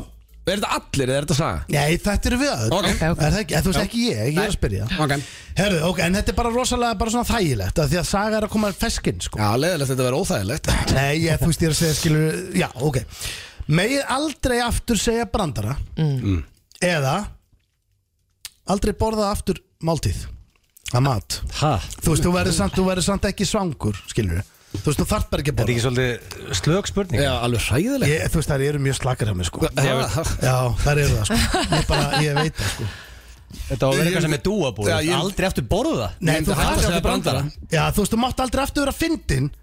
Speaker 1: Er þetta allir eða er þetta saga?
Speaker 2: nei, þetta eru við öll
Speaker 1: Ok.
Speaker 6: Ok, ok.
Speaker 2: Er það ekki, en þú veist ekki ég, ég er að spyrja
Speaker 1: Ok.
Speaker 2: Herðu, ok, en þetta er bara rosalega bara svona þægilegt af því að saga er að koma feskinn sko.
Speaker 1: Já, leiðilegt þetta verið óþægilegt
Speaker 2: Nei, ég, þú veist ég er að segja skilur Já, ok Megið aldrei aftur segja brandara
Speaker 6: Mm.
Speaker 2: Eða Aldrei borða aftur máltíð Að mat
Speaker 3: Ha?
Speaker 2: Þú veist, þú verður samt, þú verður samt ekki svangur Skilur Þú veist, þú þarft bara ekki að
Speaker 3: Þetta er
Speaker 2: borða
Speaker 3: ekki svolítið slög spurning
Speaker 1: Já, alveg hræðilegt Ah,
Speaker 2: ég, Þú veist, þær eru mjög slakar hjá mig sko
Speaker 1: Já,
Speaker 2: Já, þær eru það sko Ég, bara, ég veit það sko
Speaker 3: Þetta á að vera eitthvað sem er dúabúið
Speaker 1: Já, ég-
Speaker 3: Aldrei eftir borða
Speaker 2: Nei,
Speaker 1: myndi
Speaker 2: þú
Speaker 1: hætta að
Speaker 2: þarft
Speaker 1: segja
Speaker 2: ekki brandara Já, þú veist, þú mátt aldrei aftur vera fyndin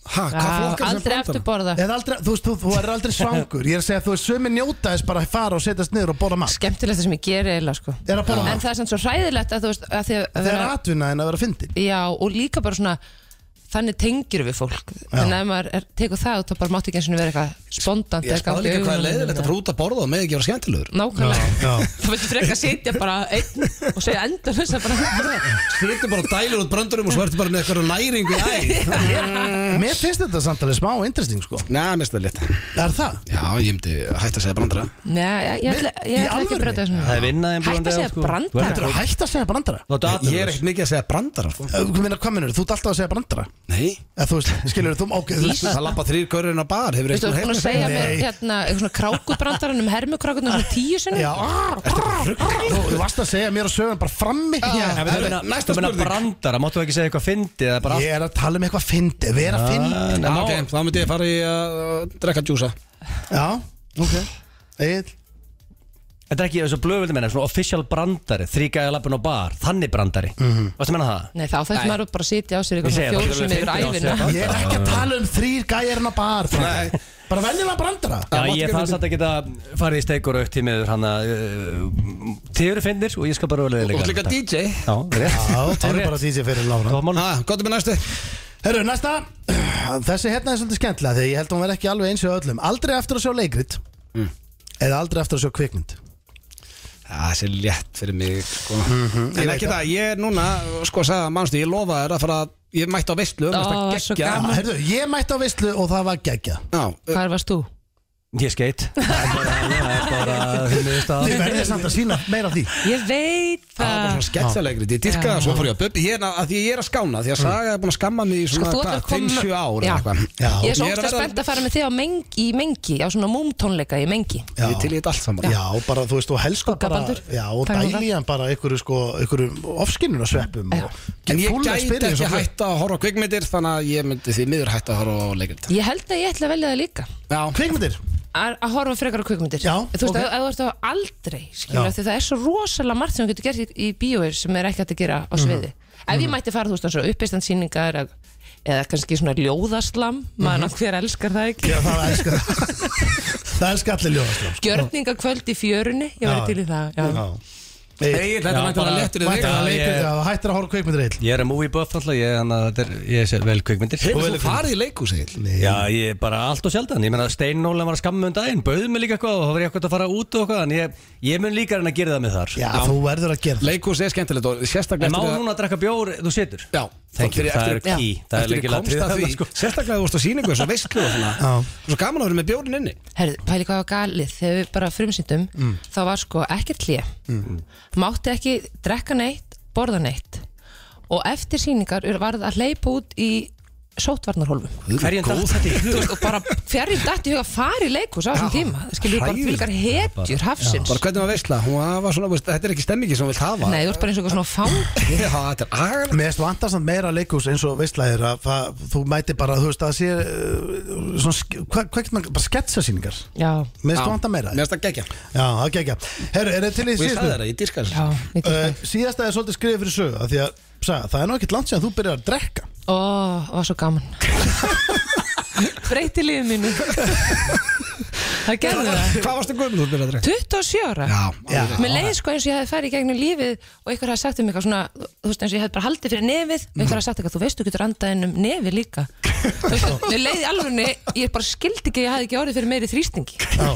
Speaker 1: Hæ, hvað flokkar sem
Speaker 6: Aldrei
Speaker 1: brandara?
Speaker 6: aftur borða
Speaker 2: Eða aldrei, þú veist, þú, þú er aldrei svangur Ég er að segja, þú veist, sömi njóta þess bara að fara og setjast niður og borða mat
Speaker 6: Skemmtilegt það sem ég geri eiginlega sko
Speaker 2: Er að borða
Speaker 6: En
Speaker 2: mat
Speaker 6: það er samt svo hræðilegt að þú veist að því að
Speaker 2: Það er atvinna en að vera fyndin
Speaker 6: Já, og líka bara svona Þannig tengir við fólk En ef maður er, tekur það út þá bara máttu ekki eins og vera eitthvað Spondant
Speaker 1: Ég spáði líka hvað er leiðilegt að
Speaker 6: frú
Speaker 1: frúta borða og með ekki vera skemmtilegur
Speaker 6: Nákvæmlega
Speaker 2: Já,
Speaker 6: Þú veitur frekar sitja bara einn og segja endur þess að bara
Speaker 1: Skritu bara og dælir út brandurum og svo ertu bara með eitthvað næringu í æð
Speaker 2: Mér finnst þetta samt alveg smá interesting sko
Speaker 1: Nei, mest það lit
Speaker 2: Er það?
Speaker 1: Já, ég myndi hætta að segja brandara
Speaker 6: Nei, ég- ég ætla ég
Speaker 2: Í
Speaker 6: ætla
Speaker 2: alvöru?
Speaker 6: ekki að breyta þessum
Speaker 3: Það er vinnaðin
Speaker 6: Hætt að segja
Speaker 3: sko.
Speaker 2: Þetta
Speaker 6: brandar
Speaker 2: er að hætta að segja brandara
Speaker 1: Ég er ekkert mikið að segja brandara sko.
Speaker 2: Þú meina, hvað minnur, þú ert alltaf að segja brandara
Speaker 1: Nei
Speaker 2: Eða þú veist, skilur þú, ok þú,
Speaker 6: Ís.
Speaker 1: Það lappa þrýr körurinn á bar Hefur
Speaker 6: Þú ert búin að
Speaker 1: eitthvað
Speaker 6: segja mér
Speaker 2: Nei.
Speaker 6: hérna eitthvað svona krákubrandaran um hermukrákunar svona tíu sinni
Speaker 2: Já, arr, arr, arr, þú varst að segja mér og sögum bara frammi
Speaker 3: Nei,
Speaker 2: Já.
Speaker 3: við meina,
Speaker 1: næsta
Speaker 3: þú meina
Speaker 1: spurning.
Speaker 3: brandara, máttu ekki segja eitthvað fyndi eða bara
Speaker 2: Ég er að tala um eitthvað fyndi, vera fyndi
Speaker 1: Já, ok, þá myndi ég fara í að uh, drekka djúsa
Speaker 2: Já, ok Egil,
Speaker 3: Þetta er ekki þessu blöðvöldi menna, svona official brandari Þrýgæða lappin á bar, þannig brandari mm
Speaker 1: Mhm.
Speaker 3: -hmm. Varstu að menna það?
Speaker 6: Nei, þá þarf maður bara að sitja á sér
Speaker 3: Ég
Speaker 6: eitthvað
Speaker 3: segi
Speaker 6: svona
Speaker 3: bara,
Speaker 6: fjórum
Speaker 3: þetta
Speaker 6: sem
Speaker 3: er
Speaker 6: yfir
Speaker 3: alveg fyndið á
Speaker 6: æfina
Speaker 3: sér.
Speaker 2: ég er ekki að tala um þrýr gæjarna bar
Speaker 1: Nei,
Speaker 2: bara venjulega brandara
Speaker 3: Já,
Speaker 1: mátti
Speaker 3: ég
Speaker 1: ekki
Speaker 3: fann satt að geta farið í steik og raukt í meður hann að uh, Þið eru finnir og ég skal bara vera
Speaker 1: Og
Speaker 3: leðilega
Speaker 1: líka DJ
Speaker 3: Já, rétt
Speaker 2: Já, það er
Speaker 3: rétt.
Speaker 2: bara því sem fyrir Lára
Speaker 3: Góð mál
Speaker 1: Ha, Hvað er með næstu?
Speaker 2: Herru, næsta Þessi hérna er svolítið skemmtilega Þegar ég held að hún verði ekki alveg eins og öllum Aldrei eftir að sjá leikrit
Speaker 1: Mm.
Speaker 2: Eða aldrei eftir að sjá kvikmynd
Speaker 1: Það sé létt fyrir mig sko. En ekki það, ég er núna Sko að sagða, mannstu, ég lofa þér að fara að- Ég mætti á um, veistlu,
Speaker 6: Ó,
Speaker 1: mannstu að
Speaker 6: svo
Speaker 1: gegja
Speaker 6: gaman.
Speaker 2: Herru, Ah, ég mætti á veistlu og það var geggja
Speaker 1: Já,
Speaker 6: Hvar varst þú?
Speaker 3: Ég skeit Það er bara hún er
Speaker 2: Þið
Speaker 3: stað
Speaker 2: verðið samt að sína meira af því
Speaker 6: Ég veit
Speaker 1: Það var bara
Speaker 6: það
Speaker 1: svona sketsalegrit, ég dyrka það,
Speaker 6: Ah. Já. Mm.
Speaker 1: svo fór ég að bubbi Ég er að því að ég er að skána, því að Saga er búin að skamma mig í svona,
Speaker 6: Sko, þú ætlar
Speaker 1: hvað,
Speaker 6: að koma-
Speaker 1: 5-7 ár
Speaker 6: Já.
Speaker 1: eða eitthvað.
Speaker 2: Já.
Speaker 6: Ég er svo
Speaker 1: Ég er
Speaker 6: ógst
Speaker 1: að
Speaker 6: að
Speaker 1: verða-
Speaker 6: spennt að fara með þig á mengi, í mengi á svona múmtónleika í mengi
Speaker 2: Já.
Speaker 1: Ég er til í þetta allt saman
Speaker 2: Já, bara þú veist, og helst
Speaker 6: Skugga
Speaker 2: bara
Speaker 6: Baldur.
Speaker 2: Já, og
Speaker 6: Takk fyrir
Speaker 2: dæli hann bara einhverju sko, einhverju ofskinnur að sveppum
Speaker 6: Já.
Speaker 1: En ég gæti ekki
Speaker 2: sko.
Speaker 1: hætt að horfa á kvikmyndir Þannig að ég myndi því miður hætt að horfa á leikrit
Speaker 6: Ég held að ég ætla að velja það líka
Speaker 1: Já,
Speaker 2: Kvikmyndir
Speaker 6: Að að horfa frekar á kvikmyndir
Speaker 2: Já,
Speaker 6: Þú veist,
Speaker 2: ok.
Speaker 6: okay. að, þú ert á aldrei skilur,
Speaker 2: Já.
Speaker 6: af því það er svo rosalega margt sem þú getur gert í, í bíóir sem er ekki hægt að gera á
Speaker 1: Mhm.
Speaker 6: sviði Ef ég mætti fara, þú veist, á svo uppistandsýningar eða, eða kannski svona ljóðaslam
Speaker 1: Mhm.
Speaker 6: maður mm hver elskar það ekki
Speaker 2: Já, það elskar Það elskar allir ljóðastra
Speaker 6: Gjörningakvöld í fjörunni, ég
Speaker 2: Já.
Speaker 6: væri til í það Já,
Speaker 1: Egil, þetta
Speaker 3: Já,
Speaker 1: mætti að
Speaker 3: bara-
Speaker 1: vera léttur í
Speaker 2: Mætti
Speaker 1: þig
Speaker 2: að
Speaker 3: Já,
Speaker 2: leikrit
Speaker 3: ég-
Speaker 2: að hættir að horfa á kvikmyndir eill
Speaker 3: Ég er að movie buff alltaf Ég, hana, er, ég er vel kvikmyndir
Speaker 1: Hefur þú farið í leikús, Egil?
Speaker 3: Já, ég er bara allt og sjaldan Ég meina Steinólan var að skamma um daginn Bauði mig líka eitthvað og þá var ég eitthvað að fara út og eitthvað En ég, ég mun líka en að gera það með þar
Speaker 2: Já, þú verður að gera það
Speaker 1: Leikús er skemmtilegt og sérstaklega
Speaker 3: En má
Speaker 1: eftir að-
Speaker 3: núna að drekka bjór, þú situr
Speaker 1: Já,
Speaker 3: Thank you,
Speaker 1: fyrir-
Speaker 3: það er
Speaker 1: eftir-
Speaker 3: key.
Speaker 1: Já.
Speaker 3: Það er
Speaker 1: Eftir ég
Speaker 3: lykilatriði
Speaker 1: komst að
Speaker 3: þarna,
Speaker 1: því,
Speaker 3: sko.
Speaker 1: Sérstaklega þú veist á síningu Svo veistlu og
Speaker 2: Já.
Speaker 1: svona Svo gaman að vera með bjórin inni
Speaker 6: Herðu, pæli hvað var galið, þegar við bara frumsýndum þá var sko ekkert hlje mátti ekki drekka neitt borða neitt og eftir sýningar var það að hleypa út í sótvarnarhólfum
Speaker 3: Hverjum datt þetta í
Speaker 6: Þú
Speaker 3: hug?
Speaker 6: veist, og bara fjarrjum dætt í huga að fara í leikhús á þessum tíma skilur við bara
Speaker 1: hræðilegt.
Speaker 6: fylgar hetjur hafsins
Speaker 1: Bara hvernig var veistla? Hún var svona, veist, þetta er ekki stemmingi sem hún vilt hafa
Speaker 6: Nei, þú ert bara eins og eitthvað svona fang
Speaker 1: Já, þetta er agar
Speaker 2: Mér erst vandast að meira leikús eins og veistlæðir að það, þú mæti bara, þú veist, að sé uh, svona, sk- hvað hva getur maður, bara sketsasýningar
Speaker 6: Já,
Speaker 2: Mér erst vandast að meira
Speaker 1: Mér erst að gegja
Speaker 2: Já, það er ekki Herru, er þetta til
Speaker 1: Og
Speaker 2: í
Speaker 1: ég sagði
Speaker 2: síðastu?
Speaker 1: þetta, ég dýrka
Speaker 6: já,
Speaker 1: þessu
Speaker 6: ég til það
Speaker 2: Uh, síðasta er svolítið skrifið fyrir sögu af Því að, sagði, það er nú ekkert langt síðan þú byrjar að drekka
Speaker 6: Ó, það var svo gaman Breyti lífið mínu Það gerði það
Speaker 1: Hvað varstu gömul þú byrjaði að drekka?
Speaker 6: 27 ára
Speaker 2: Já.
Speaker 6: Mér leiði sko eins og ég hefði farið í gegnum lífið og einhver hafði sagt um eitthvað svona þú veist eins og ég hefði bara haldið fyrir nefið og einhver hafði sagt eitthvað, þú veist, þú getur andað inn um nefið líka Þú veist, Mér leiði alveg ég bara skildi ekki að ég hafði ekki orðið fyrir meiri þrýstingi
Speaker 2: Já.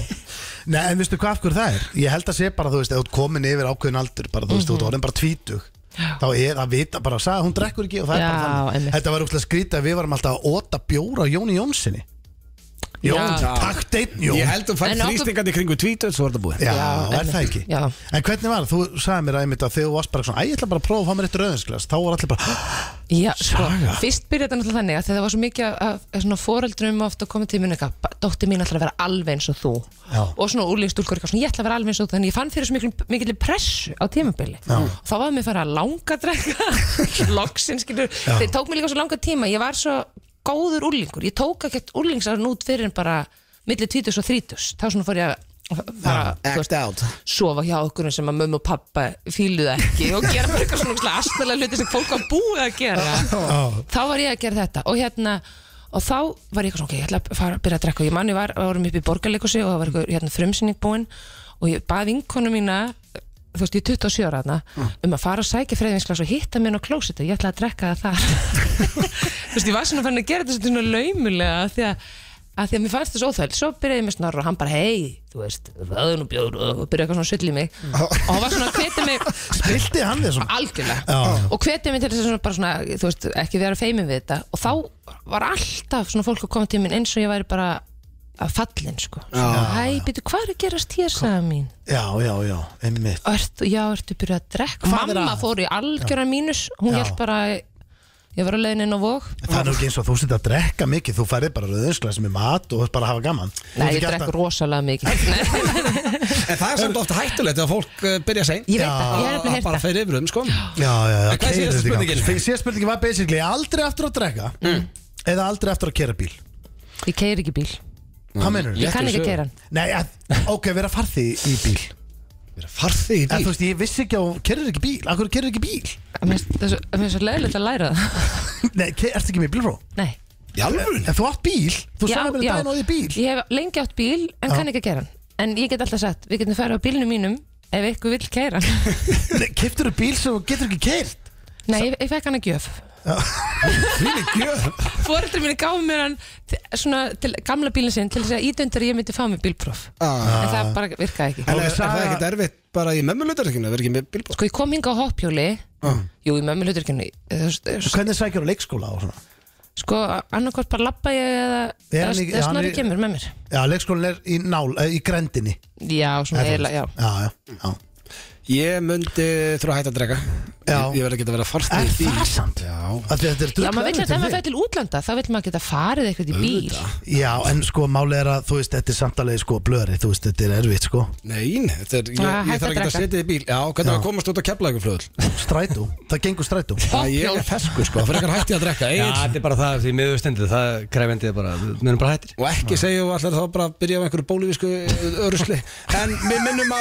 Speaker 2: Nei, en veistu hvað af hverju það er? Ég held að sé bara, þú veist, ef þú ert komin yfir ákveðin aldur bara, þú veist,
Speaker 6: Mhm.
Speaker 2: þú ert orðin bara tvítug þá er að vita bara, sagði, hún drekkur ekki og það
Speaker 6: Já,
Speaker 2: er bara
Speaker 6: einmitt.
Speaker 2: þannig Þetta var úrslega skrítið að við varum alltaf að óta bjóra Jóni Jónssoni Jón,
Speaker 6: Já.
Speaker 2: takt einn Jón
Speaker 1: Ég held að fætt
Speaker 6: En okkur-
Speaker 1: þrýstingandi kringu tvítöð Svo var þetta búið
Speaker 2: Já,
Speaker 6: Já,
Speaker 2: er það
Speaker 6: einmitt.
Speaker 2: ekki?
Speaker 6: Já.
Speaker 2: En hvernig var það? Þú sagði mér að einmitt að þegar þú varst bara svona Æ, ég ætla bara að prófa að fá mér eitt rauðinsglas Þá var allir bara
Speaker 6: Já, sko,
Speaker 2: Saga.
Speaker 6: fyrst byrjaði þetta náttúrulega þannig að þegar það var svo mikið af- af af svona foreldrum oft að koma til minn eitthvað, "Ba- dóttir mín ætlar að vera alveg eins og þú
Speaker 2: Já.
Speaker 6: og svona úrlýngstúlkur eitthvað svona, ég ætla að vera alveg eins og þú þannig ég fann fyrir svo mikil, mikil pressu á tímabili og þá var mér farið að langa drekka loksin, skilur, þeir tók mér líka svo langa tíma, ég var svo góður úrlingur ég tók ekkert úrlingsarinn út fyrir en bara milli 20 og 30 þá svona fór ég að fara, þú
Speaker 1: Act
Speaker 6: veist,
Speaker 1: out
Speaker 6: sofa hjá okkur sem að mömmu og pappa fíluðu ekki og gera bara eitthvað svona ógeðslega astalega hluti sem fólk var búið að gera þá var ég að gera þetta og hérna og þá var ég eitthvað svona, ok, ég ætla að fara að byrja að drekka og ég manni var, varum upp í borgarleikusi og það var eitthvað hérna, frumsinning búin og ég bað vinkonu mína þú veist, ég er 27 ára þarna um að fara og sækja freyðinsglas og hitta mér á klósitu, ég ætla að drekka það þar þú veist, ég var svona fann að gera þetta svolítið svona laumulega af því að að því að mér fannst þessu óþægild, svo byrjaði ég með snorra og hann bara, hei, þú veist, það er nú bjóður og byrjaði eitthvað svona sull í mig og hann var svona að hvetja mig
Speaker 2: Spilti hann þessum
Speaker 6: algjörlega og hvetja mig til þess að svona, bara svona, þú veist, ekki vera feimin við þetta og þá var alltaf svona fólk að koma til mín eins og ég væri bara að fallin, sko svona, hæ, býtu, hvað er að gerast hér, sagði mín
Speaker 2: Já, já, já, einmitt
Speaker 6: Ert, já, ertu byrjað að drekka
Speaker 2: Hvað er
Speaker 6: mamma
Speaker 2: að?
Speaker 6: fór í algjöran mínus, hún
Speaker 2: Já.
Speaker 6: held bara að ég var á leiðin inn á vog
Speaker 2: Það er nú ekki eins og þú sitt að drekka mikið Þú færði bara rauðinsglas með mat og þú ert bara að hafa gaman
Speaker 6: nei, ég drekk rosalega mikið Nei,
Speaker 1: En það er samt ofta hættulegt að fólk eh, byrja seint
Speaker 6: ég veit það, ég er
Speaker 1: að
Speaker 6: nefnilega heyrt
Speaker 1: bara
Speaker 6: það
Speaker 1: fer yfir um sko
Speaker 2: Já, já, já,
Speaker 1: En hvað er síðasta
Speaker 2: keyrið þetta í gang.
Speaker 1: spurningin? Mm.
Speaker 2: Fyrir síðasta spurningin var basically aldrei aftur að drekka Eða aldrei aftur að kera bíl
Speaker 6: ég keir ekki bíl,
Speaker 1: Mm.
Speaker 2: Hvað meinur
Speaker 6: ég kann ekki að keira hann
Speaker 2: Nei, að, ok, vera farði í bíl
Speaker 1: Farði í bíl
Speaker 2: En þú veist, ég vissi ekki að hún kerir ekki bíl Akkur kerir ekki bíl
Speaker 6: Mér finnst það svo- mér finnst svo leiðilegt að læra það
Speaker 2: Nei, ke- ertu ekki með bílfró?
Speaker 6: Nei,
Speaker 1: Í alvöru?
Speaker 2: En þú átt bíl, þú
Speaker 6: Já,
Speaker 2: sagði mér
Speaker 6: já.
Speaker 2: daginn á því bíl
Speaker 6: Ég hef lengi átt bíl en kann ekki að gera hann En ég get alltaf sagt, við getum farið á bílnum mínum Ef ykkur vill kæra hann
Speaker 2: Keftur þú bíl sem þú getur ekki keirt
Speaker 6: Nei, ég, ég fekk hann að gjöf
Speaker 1: Þvílík gjöf.
Speaker 6: Fóreldri minni gáði mér hann til, svona, til gamla bílinn sinn Til þess að ídöndur ég myndi fá mig bílpróf
Speaker 1: Ah.
Speaker 6: En það bara virkaði ekki
Speaker 1: En er, er það ekkert erfitt bara í mömmulutarsakinu að vera ekki með bílbóð?
Speaker 6: Sko, ég kom hinga á hoppjóli
Speaker 2: Ah.
Speaker 6: Jú, í mömmu hluturkjunni
Speaker 2: Hvernig sækjur á leikskóla og svona
Speaker 6: Sko, annarkvort bara labba ég eða
Speaker 2: Er
Speaker 6: eða-
Speaker 2: hann ekki-
Speaker 6: eða
Speaker 2: hann
Speaker 6: snorri
Speaker 2: er-
Speaker 6: kemur með mér
Speaker 2: Já, leikskólan er í nál, eh, í grendinni
Speaker 6: Já, svona eiginlega, já
Speaker 2: já, já, já.
Speaker 1: Ég myndi þurfa að hætta að drega
Speaker 2: Já.
Speaker 1: Ég, ég verð ekki að vera farst
Speaker 2: Er það samt?
Speaker 1: Já
Speaker 2: Af því að Þetta er
Speaker 6: Já,
Speaker 2: drullið erfitt
Speaker 6: maður vill að ef
Speaker 2: fyrir
Speaker 6: maður
Speaker 2: þig.
Speaker 6: fer til útlanda þá vill maður geta farið eitthvað í bíl
Speaker 2: Já, en sko málið er að þú veist, þetta er samtalegi sko blöðri, þú veist, þetta er erfitt sko
Speaker 1: Nein, þetta er, ég,
Speaker 6: Ah,
Speaker 1: ég
Speaker 6: hætta
Speaker 1: þarf ekki
Speaker 6: að
Speaker 1: að
Speaker 6: drekka.
Speaker 1: setja í bíl Já, hvernig var að komast út á kepla ykkur flöðul
Speaker 2: Strætó, það gengur strætó
Speaker 1: Ég er feskur sko, fyrir ekkert hætti að drekka
Speaker 3: Já,
Speaker 1: Egill.
Speaker 3: þetta er bara það því miður stendur Það krefendi er bara, við erum bara hættir
Speaker 1: Og ekki segjum við allir þá bara að byrja á einhverju bólivísku örusli En við minnum á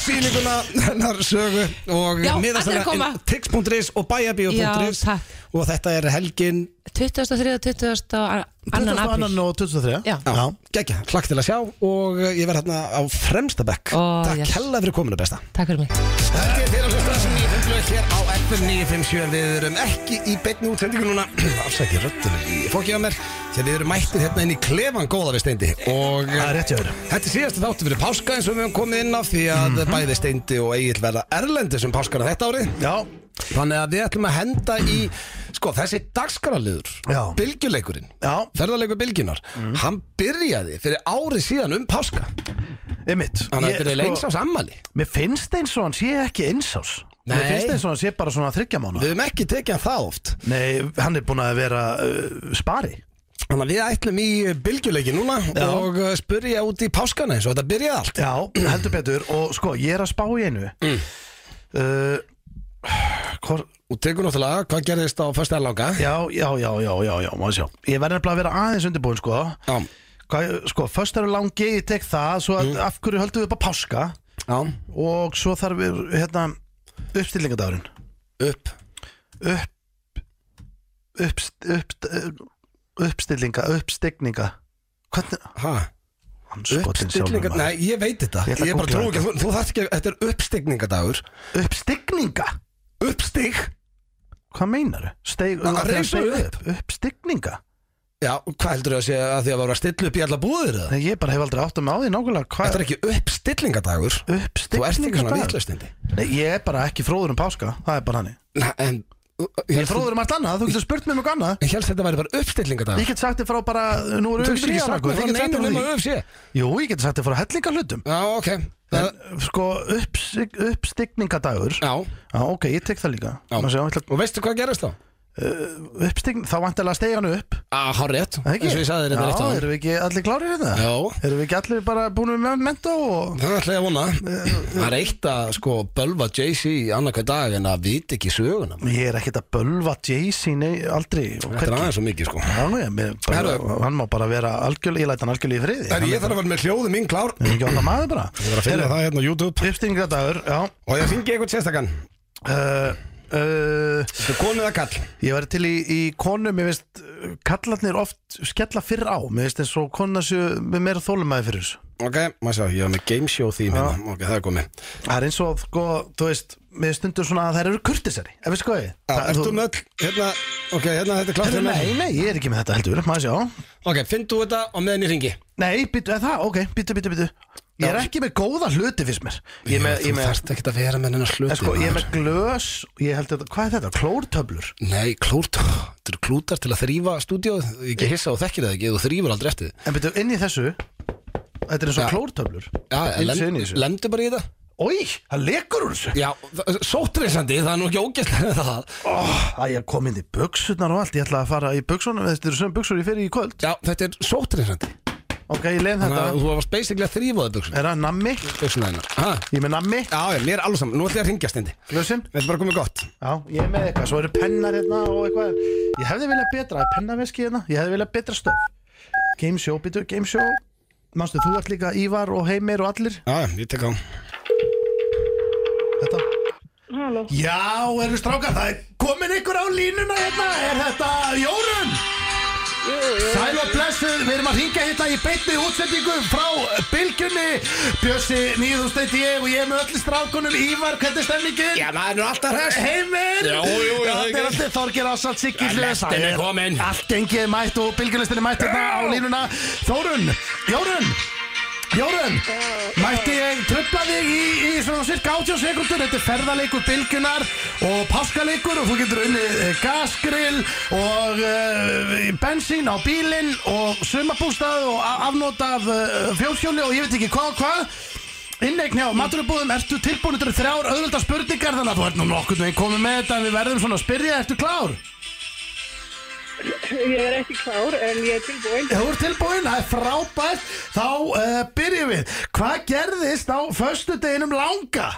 Speaker 1: sýninguna hennar sögu og
Speaker 6: Já,
Speaker 1: miðast
Speaker 6: allir að
Speaker 1: hana
Speaker 6: koma.
Speaker 1: inn- tix.is og bæjabíu.is
Speaker 6: Já, takk.
Speaker 1: Og þetta er helgin
Speaker 6: 23. og 20. og annan
Speaker 2: 22.
Speaker 6: apríl
Speaker 2: og 23
Speaker 6: Já.
Speaker 1: Já, geggja, hlakk til að sjá og eh, ég verð hérna á fremsta bekk
Speaker 6: Ó,
Speaker 1: Takk
Speaker 6: yes.
Speaker 1: hella fyrir kominu besta
Speaker 6: Takk fyrir mig
Speaker 1: Þetta er fyrir að hlusta sem nýjum fjöndlöð hér á FM 957 Við erum ekki í beinni útsendingu núna Afsækið röddunum í fólkið á mér Þegar við erum mættir hérna inn í klefan góða við steindi Og eh,
Speaker 2: Það er rétt hjá þér.
Speaker 1: Þetta er síðast þáttu fyrir páska eins og við höfum komið inn á Því að
Speaker 2: Mhm.
Speaker 1: bæði steindi og Egil verða erlendis um páskana þetta árið
Speaker 2: Já,
Speaker 1: Þannig að við ætlum að henda í Sko þessi dagskaraliður
Speaker 2: Já. Mhm.
Speaker 1: Bylgjuleikurinn
Speaker 2: já,
Speaker 1: Ferðarleikur bylgjunar Hann byrjaði fyrir árið síðan um páska
Speaker 2: einmitt
Speaker 1: Þannig að
Speaker 2: Ég, sko-
Speaker 1: þetta er eins á sammali
Speaker 2: Mér finnst eins og hann sé ekki einsás Mér
Speaker 1: Nei.
Speaker 2: finnst eins og hann sé bara svona þryggja mánu
Speaker 1: Við höfum ekki tekið hann það oft
Speaker 2: Nei, hann er búin að vera uh, spari
Speaker 1: Þannig að við ætlum í bylgjuleiki núna
Speaker 2: Já.
Speaker 1: og uh, spurja út í páskana eins og þetta byrjaði allt.
Speaker 2: Já, heldur betur og sko, ég er að spá í einu
Speaker 1: Mm.
Speaker 2: uh, hvor,
Speaker 1: Og tekur náttúrulega hvað gerðist á fyrsta langa.
Speaker 2: Já, já, já, já, já, já, maður sjá Ég verði nefnilega að vera aðeins undirbúin sko
Speaker 1: Já. Mm.
Speaker 2: Hvað, sko, först eru langi, ég tek það Svo að, af hverju höldum við upp á páska
Speaker 1: Já.
Speaker 2: Og svo þarf við, hérna, uppstillingadagurinn
Speaker 1: Upp.
Speaker 2: upp, upp, upp, uppstillinga, uppstigninga hvernig,
Speaker 1: Hæ?
Speaker 2: hann skotin sjálfur
Speaker 1: Uppstillinga?
Speaker 2: maður.
Speaker 1: Nei, ég veit þetta.
Speaker 2: Ég ætla
Speaker 1: Ég,
Speaker 2: að
Speaker 1: bara
Speaker 2: googla
Speaker 1: trú ekki. Þú, þú þarft ekki að þetta er uppstigningadagur.
Speaker 2: uppstigninga,
Speaker 1: Uppstig?
Speaker 2: hvað meinar Steig,
Speaker 1: Að
Speaker 2: að því að
Speaker 1: reisa
Speaker 2: steig
Speaker 1: upp.
Speaker 2: upp, uppstigninga
Speaker 1: Já, hvað heldur þú að segja að því að vera að stilla upp í alla búðir það?
Speaker 2: Nei, ég bara hef aldrei átt að með á því nákvæmlega
Speaker 1: Þetta
Speaker 2: hvað
Speaker 1: er ekki uppstillingadagur. Þú ert ekki svona
Speaker 2: uppstigninga
Speaker 1: vitlaustindi.
Speaker 2: Nei, ég er bara ekki fróður um páska, það er bara hann
Speaker 1: En
Speaker 2: Ég er fróður um allt annað, þú getur spurt mér um eitthvað annað
Speaker 1: Ég helst þetta væri bara uppstillingadagur.
Speaker 2: Ég get sagt þér frá bara, nú eru
Speaker 1: Þú getur ekki sagt
Speaker 2: uppstillinga
Speaker 1: mér frá neinum nema UFC.
Speaker 2: Jú, ég get sagt þér frá hellinga hlutum
Speaker 1: Já, ok. Það-
Speaker 2: En sko, uppstig- uppstigningadagur
Speaker 1: Já.
Speaker 2: Já, ok, ég tek það líka
Speaker 1: Já.
Speaker 2: Má sjá, ég ætla,
Speaker 1: Og veistu hvað gerist þá?
Speaker 2: uh, uppstign, Þá vantilega steig hann upp
Speaker 1: Ah, hár rétt,
Speaker 2: er það ekki?
Speaker 1: eins og ég sagði þér þetta rétt
Speaker 2: Já,
Speaker 1: á hann
Speaker 2: erum við ekki allir klárið hérna?
Speaker 1: Já,
Speaker 2: Erum við ekki allir bara búin með mentó og
Speaker 1: það ætla ég að vona Það er eitt að sko bölva Jay-Z annarkvæð dag en að vita ekki söguna maður.
Speaker 2: Ég er ekkert að bölva Jay-Z, nei, aldrei og
Speaker 1: Þetta er
Speaker 2: hvergi.
Speaker 1: aðeins svo mikið sko
Speaker 2: Já, ég, mér, bara,
Speaker 1: Herðu.
Speaker 2: hann má bara vera algjörl, ég læt hann algjörl í friði
Speaker 1: En ég þarf að vera með hljóðum minn klár
Speaker 2: Hann er ekki annað maður bara
Speaker 1: Ég þarf að finna það hérna á YouTube
Speaker 2: Uppstingadagur, já
Speaker 1: Og ég syngi eitthvað sérstakann
Speaker 2: uh, uh,
Speaker 1: Þetta er konu eða kall
Speaker 2: Ég væri til í, í konum, ég veist uh, kallarnir oft skella fyrr á mér veist eins og konar séu með meira þólumæði fyrir þessu
Speaker 1: Ok, maður sá, ég var með gameshow því minna hérna. Ok, það er komið
Speaker 2: Það er eins og, sko, þú veist með stundur svona að þær eru kurtisari ef við sko ég Það-
Speaker 1: Ertu
Speaker 2: þú-
Speaker 1: með öll, hérna, ok, hérna þetta er klart
Speaker 2: Heyrðu,
Speaker 1: hérna.
Speaker 2: Nei, nei, ég er ekki með þetta heldur, maður sjá
Speaker 1: Ok, finn þú þetta og meðan ég ringi
Speaker 2: Nei, býttu, eða það, ok, býttu, býttu, býttu Ég er ekki með góða hluti fyrst mér Ég er með, ég
Speaker 1: Þú
Speaker 2: er með,
Speaker 1: þarft ekki að vera með hennar
Speaker 2: en
Speaker 1: sluti
Speaker 2: sko, ég er með glös Ég held þetta, hvað er þetta, klórtöflur
Speaker 1: Nei, klórt, þetta eru klútar til að þrýfa stúdíóð, ekki hissa og þekkir það ekki, þú þrýfur aldrei eftir því.
Speaker 2: En býttu, inn í þessu Þetta er eins og
Speaker 1: Já.
Speaker 2: klórtöflur
Speaker 1: Já,
Speaker 2: Eins og inn í
Speaker 1: lend,
Speaker 2: þessu
Speaker 1: lendu bara í þetta.
Speaker 2: Ói, það lekur úr þessu
Speaker 1: Já, sótreysandi, það er nú ekki ógæslega það.
Speaker 2: Ó, Það ég kom inn í buksunar og allt Ég ætla að fara í buksunum, þetta eru söm buksur ég fyrir í kvöld
Speaker 1: Já, þetta er sótreysandi.
Speaker 2: Ok, ég leiðin
Speaker 1: Þannig að
Speaker 2: þetta
Speaker 1: þú varst basically að þrýfa það buksuna.
Speaker 2: Er það nammi?
Speaker 1: Buksuna hennar. Ha?
Speaker 2: Ég er með nammi,
Speaker 1: Já, já, mér er alveg saman. Nú ætlum ég að ringja stendi.
Speaker 2: glösin
Speaker 1: Þetta er bara komið gott.
Speaker 2: Já, ég er með eitthvað, svo eru pennar hérna og eitthvað Ég hefði viljað betra, er pennaveski hérna? Ég hefði viljað betra stöf Gameshow, býtu, gameshow Manstu, þú ert líka Ívar og Heimir og allir
Speaker 1: Já, já, ég tek á.
Speaker 2: Þetta Halló. Já, eru strákar, það er komin ykkur á línuna hérna Er þetta Jórun? Sæl og blessuð, við erum að ringa hérna í beinni útsendingu frá Bilgjunni Bjössi, nýðústeiti ég og ég er með öllu strákunum Ívar, hvernig er stemningin?
Speaker 1: Já, maður er nú alltaf hress
Speaker 2: Heimir!
Speaker 1: Já, jú, jú, það er
Speaker 2: Það
Speaker 1: ekki-
Speaker 2: er alltaf Þorgir Ásald, Siggi
Speaker 1: Já,
Speaker 2: Hlöðs
Speaker 1: lestin er komin.
Speaker 2: Allt gengið er mætt og bylgjulestin er mætt hérna á línuna Þórun, Jórun Jórun, mætti ég tröfla þig í, í svona cirka 80 sekundur Þetta er ferðaleikur bylgjunar og páskaleikur og þú getur unnið eh, gasgrill og uh, bensín á bílinn og sumabústað og a- afnot af uh, fjólhjóli og ég veit ekki hvað og hvað Innleikni á maturubúðum, ertu tilbúin til þrjár öðvölda spurningar þannig að þú ert nú nokkurn veginn komið með þetta en við verðum svona að spyrja, ertu klár?
Speaker 7: Ég er ekki klár en ég er tilbúin.
Speaker 2: Þú ert tilbúin, það er frábært, þá uh, byrjum við. Hvað gerðist á förstu deginum langa?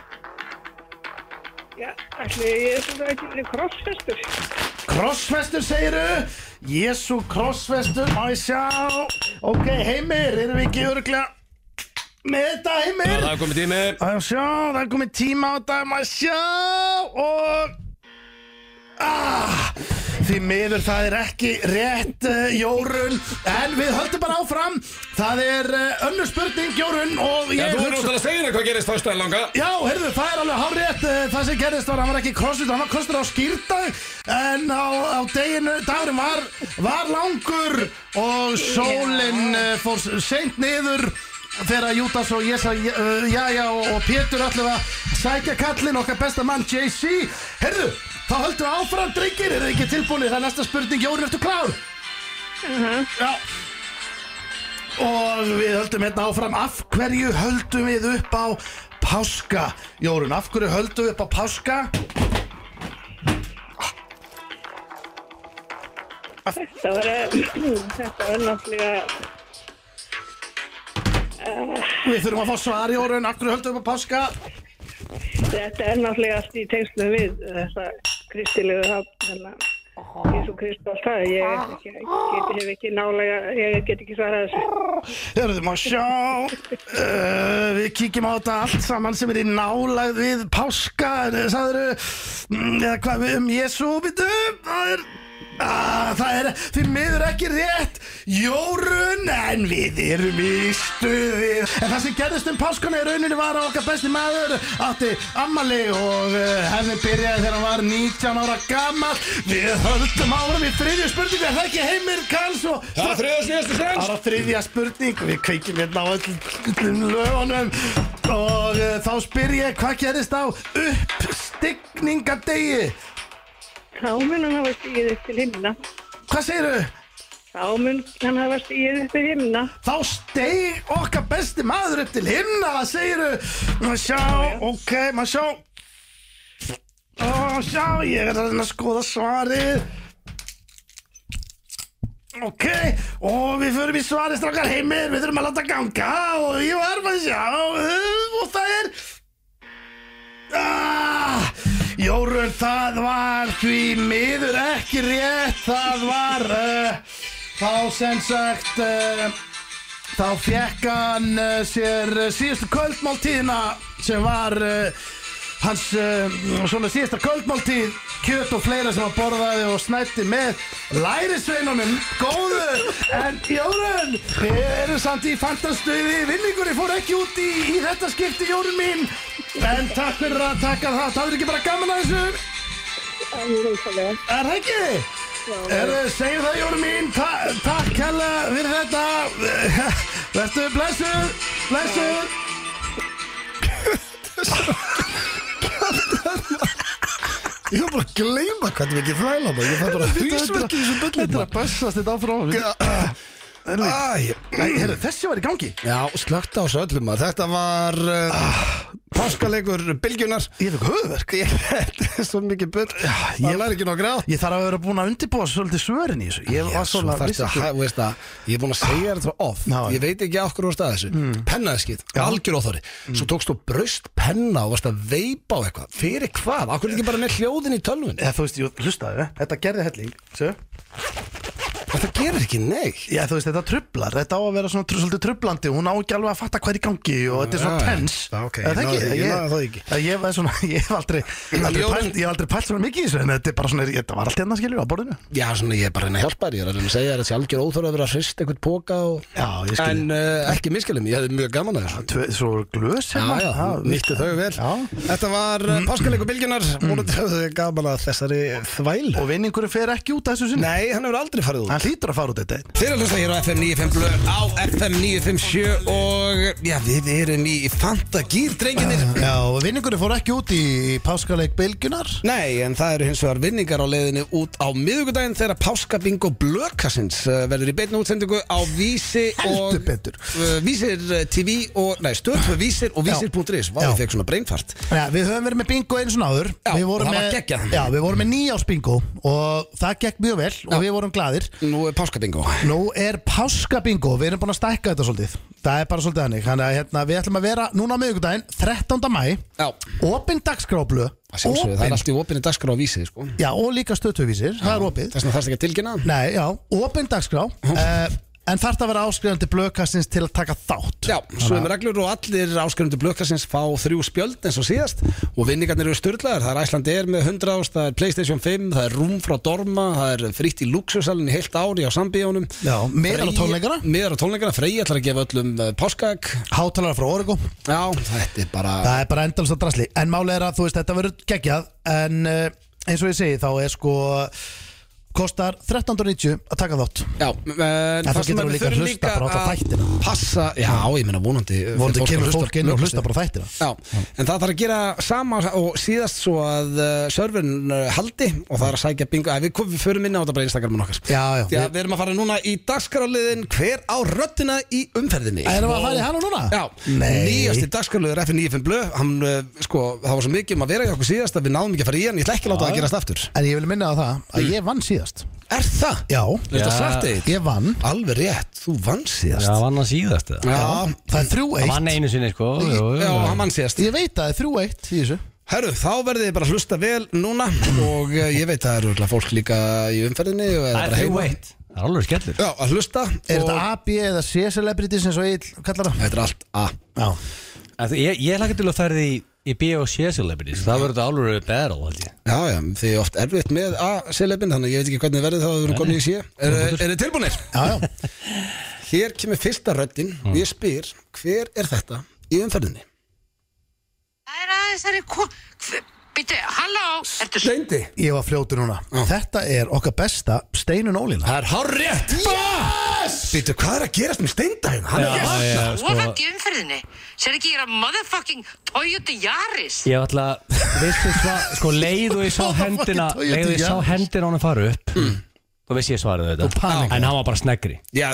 Speaker 7: Já, ætli ég er svona ekki verið krossfestur.
Speaker 2: Krossfestur segiru, Jésu krossfestur, má ég sjá. Ok, heimir, erum við ekki öruglega með þetta, heimir?
Speaker 3: Það er komið tími
Speaker 2: Má ég sjá, það er komið tíma á þetta, má ég sjá og... Ah, því miður það er ekki rétt uh, Jórun En við höldum bara áfram Það er uh, önnur spurning Jórun Og ég
Speaker 1: Já, þú er
Speaker 2: hugsa-
Speaker 1: náttúrulega að segja þér hvað gerist fyrst en langa
Speaker 2: Já, heyrðu, það er alveg hárétt eh, Það sem gerðist var, að hann var ekki crossfit Hann var crossfit á skýrdag En á, á deginu, dagurinn var, var langur Og sólin yeah. fór seint niður Þegar Jútas og Jésa, uh, Jæja og, og Pétur allir að sækja kallin Okkar besta mann JC Heyrðu, þá höldum við áfram drengir Er þið ekki tilbúinir? Það er næsta spurning Jórun, ertu klár? Já Og við höldum hérna áfram Af hverju höldum við upp á Páska Jórun, af hverju höldum við upp á Páska
Speaker 7: Þetta var, eh, þetta var náttúrulega,
Speaker 2: Við þurfum að fá svar Jórun Af hverju höldum við upp á Páska
Speaker 7: þetta er náttúrulega allt í tengslu við þessa kristilegu hafn, þannig að Jésu Kristi og allt það. Ég er ekki, get, hef ekki nálega, ég get ekki svarað þessu.
Speaker 2: Hörðum að sjá uh, Við kíkjum á þetta allt saman sem er í nálægð við Páska Sæður Eða hvað við um Jésu Býtu, það er Ah, það er því miður ekki rétt Jórun en við erum í stuði En það sem gerðist um páskana í rauninni var að okkar besti maður átti ammali og uh, hefði byrjaði þegar hann var 19 ára gammal Við höldum áfram í þriðju spurningu Er það ekki heimir Karls og
Speaker 1: Það er þriðast nýjastu sens
Speaker 2: Það var þriðja spurning og við kveikjum hérna á öllum lögunum og uh, þá spyr ég hvað gerist á uppstigningadegi
Speaker 7: Þá mun hann hafa stíðið upp til himna.
Speaker 2: Hvað segiru?
Speaker 7: Þá mun hann hafa stíðið upp til himna.
Speaker 2: Þá steig okkar besti maður upp til himna, hvað segiru? Má sjá, ok, má sjá Ó, sjá, ég er að reyna að skoða svarið Ok, og við förum í svarið strákar heimir, við þurfum að láta ganga og ég var maður sjá og það er ah, Jórun, það var því miður ekki rétt, það var uh, þá sem sagt uh, þá fekk hann uh, sér uh, síðustu kvöldmáltíðina sem var uh, hans uh, svona síðasta kvöldmáltíð kjöt og fleira sem hann borðaði og snætti með lærisveinunum góðu en Jórun við erum samt í fantastuði vinningunni fór ekki út í, í þetta skipti Jórun mín en takk fyrir að taka það það er ekki bara gaman að þessu
Speaker 7: Það er rosalega.
Speaker 2: Er það ekki? Er það, segjum það Jónu mín ta Takk hella fyrir þetta Vertu blessuð Blessuð
Speaker 8: Ég var bara að gleyma hvað þetta er mikið þvæla maður Ég fæ bara hvísverkið í þessu
Speaker 2: Þetta
Speaker 8: böllum
Speaker 2: er að bessast þetta áfram Nei, heyrðu, þessi var í gangi
Speaker 8: Já, slögt á þessu öllum maður Þetta var uh, páskaleikur bylgjunar
Speaker 2: Ég fekk höfverk
Speaker 8: Ég- Þetta er svo mikið bull Ég lær ekki nokkur á
Speaker 2: Ég þarf að vera búin að undirbúa svolítið svörin í þessu Ég var
Speaker 8: Svo
Speaker 2: svolítið
Speaker 8: þarftu að, hæ- þú veist að, ég er búin að segja þér þetta svo oft
Speaker 2: Já, já.
Speaker 8: Ég veit ekki af hverju úr stað þessu mm. Pennaðskið, algjör óþóri Svo tókst þú braust penna og varst að veipa á eitthvað Fyrir hvað? Akkur er ekki bara með hljóðin í tölvun
Speaker 2: eh. Eða þú veist, jú, hlustaðu, þetta gerði helling Sjö
Speaker 1: Þetta gerir ekki neitt
Speaker 2: Já, þú veist, þetta trublar, þetta á að vera svona tr- svolítið trublandi Hún á ekki alveg að fatta hvað er í gangi og þetta er
Speaker 1: Já,
Speaker 2: svona tens
Speaker 1: já, ok,
Speaker 2: Er það
Speaker 1: ég náði-
Speaker 2: ekki?
Speaker 1: ég náði það ekki.
Speaker 2: Ég, ég, var svona, ég hef aldrei, aldrei
Speaker 1: Ljóðin-
Speaker 2: pælt, Ég hef aldrei pælt svona mikið í þessu En þetta er bara svona, þetta var allt hérna skilur á borðinu
Speaker 1: Já, svona ég er bara að reyna að hjálpa þér Ég er að reyna að segja þér að þessi algjör óþörf að vera að hrist einhvern póka og...
Speaker 2: Já, ég skil
Speaker 1: En uh, ekki miskilum, ég hefði mjög gaman að þessu
Speaker 2: Tvö, Svo voru glös
Speaker 1: Já,
Speaker 2: hérna
Speaker 1: já, nýttu þau vel
Speaker 2: Já.
Speaker 1: Þetta var uh, páskaleiku bylginar Mónandi höfðu þau gaman að þessari þvæl
Speaker 2: Og vinningurinn fer ekki út af þessu sinni
Speaker 1: Nei, hann hefur aldrei farið út
Speaker 2: Hann hlýtur að fara út þetta
Speaker 9: Þeir eru að hlusta hér á FM 95 blöð á FM 957 og já, við erum í fantagýr, drenginir.
Speaker 2: Já, og vinningurinn fór ekki út í páskaleik bylgjunar
Speaker 1: Nei, en það eru hins vegar vinningar á leiðinni út á miðugudaginn þegar Páskabingo Blökkarsins uh, verður í beinu útsendingu á Vísi og
Speaker 2: Heldur betur.
Speaker 1: uh, Vísir eh, TV og, nei, stöð fyrir Vísir og
Speaker 2: Já.
Speaker 1: Vísir.is Vá,
Speaker 2: Já.
Speaker 1: ég fekk svona breinfart
Speaker 2: Já, við höfum verið með bingo eins og náður
Speaker 1: Já,
Speaker 2: Við
Speaker 1: og
Speaker 2: vorum
Speaker 1: það var
Speaker 2: með-
Speaker 1: geggjað.
Speaker 2: Já, við vorum með nýjárs bingo Og það gekk mjög vel og við vorum gladir
Speaker 1: Nú er Páskabingo
Speaker 2: Nú er páskabingo, við erum búin að stækka þetta svolítið Það er bara svolítið hannig Þannig að hérna, við ætlum að vera núna á miðvikudaginn 13. mæ
Speaker 1: Já,
Speaker 2: Opin dagskráblu
Speaker 1: að sjálfsögðu, það er allt í opinni dagskrá á Vísi, sko
Speaker 2: Já, og líka stöðtöfísir, það er opið
Speaker 1: Þess vegna þarfst ekki að tilkynna
Speaker 2: Nei, já, opin dagskrá uh, En þarf það að vera áskrifandi blökastins til að taka þátt
Speaker 1: Já, svo er reglur og allir áskrifendur blökkarsins fá þrjú spjöld eins og síðast og vinningarnir eru styrlaðar, það er Æsland Air með 100 ást, það er Playstation 5, það er Rúm frá Dorma, það er fritt í Luxusalinn í heilt ári á sambíjónum
Speaker 2: Já, miðar á tónleikana.
Speaker 1: Meðar á tónleikana, Freyja ætlar að gefa öllum eh, páskaegg
Speaker 2: Hátalara frá Origo
Speaker 1: Já, þetta er bara
Speaker 2: Það er bara endalast að drasli En máli er að þú veist þetta verður geggjað En uh, eins og ég segi þá er sko Kostar 13.90 að taka þátt
Speaker 1: Já, eh, en
Speaker 2: þá getur þú líka að hlusta bara á alla þættina.
Speaker 1: Passa, já, ég meina vonandi eh, fer
Speaker 2: Vonandi
Speaker 1: fólk að hlusta á
Speaker 2: kemur fólk inn og
Speaker 1: Blökkarsins.
Speaker 2: hlusta bara á þættina
Speaker 1: Já, en það þarf að gera sama og síðast svo að uh, serverin uh, haldi og það er að sækja bingo að við, kom- við förum inn á þetta bara í Instagramin okkar
Speaker 2: Já, já.
Speaker 1: Því að við erum að fara núna í dagskaraliðin hver á röddina í umferðinni
Speaker 2: Erum við að fara í hana núna?
Speaker 1: Já,
Speaker 2: Nei.
Speaker 1: nýjasti dagskaraliður F95 Blö hann, uh, sko, það var svo mikið um að vera hjá okkur síðast að við náðum ekki að fara í hann, ég ætla ekki að láta það að gerast aftur
Speaker 2: En ég vil minna á það að ég vann síðast
Speaker 1: Er það?
Speaker 2: Já,
Speaker 1: Er þetta satt eitt?
Speaker 2: ég vann
Speaker 1: Alveg rétt, þú vann síðast
Speaker 3: Já, vann hann síðast eða?
Speaker 1: Já,
Speaker 2: Það er
Speaker 3: Hann
Speaker 2: 3-1
Speaker 3: vann einu sinni sko jú, jú,
Speaker 1: já,
Speaker 3: jú.
Speaker 1: hann vann síðast
Speaker 2: Ég veit að það er 3-1 í þessu
Speaker 1: Herru, þá verðið þið bara að hlusta vel núna og eh, ég veit að það eru örugglega fólk líka í umferðinni og eða
Speaker 3: Það er
Speaker 1: bara heima.
Speaker 3: 3-1 Það er alveg skellur
Speaker 1: Já, að hlusta
Speaker 2: Er
Speaker 1: og
Speaker 2: þetta A, B eða C celebrities eins og ég kallar það?
Speaker 1: þetta er allt A
Speaker 2: Já,
Speaker 3: En þú- Ég, ég lakka til að ferði í, í B og C celebrities Það verður þetta alveg battle held ég
Speaker 1: Já, já, þið er oft erfitt með A-selefin þannig að ég veit ekki hvernig verðið þá að við erum konið í sé Er þið tilbúinir?
Speaker 2: já, já.
Speaker 1: Hér kemur fyrsta röddin og ég spyr hver er þetta í umferðinni?
Speaker 6: Það er aðeins þar í ko... Býtu, halló? Ertu svo...
Speaker 1: Steindi
Speaker 2: Ég var fljótur núna Þetta er okkar besta Steinun Ólína
Speaker 1: Það er hár rétt Yes! Býtu, hvað er að gerast með Steinda hérna? Hann er
Speaker 3: já, sko,
Speaker 1: jafn
Speaker 6: Þú er hægt í umferðinni. Sér ekki ég er að motherfucking Toyota Yaris.
Speaker 3: Ég var alltaf, veistu hvað, sko leiðu ég sá hendina
Speaker 2: Motherfucking Toyota
Speaker 3: leiðu ég sá
Speaker 2: Yaris.
Speaker 3: hendina honum fara upp þá vissi ég svarið þetta
Speaker 2: panikar.
Speaker 3: en hann var bara sneggri
Speaker 1: Já,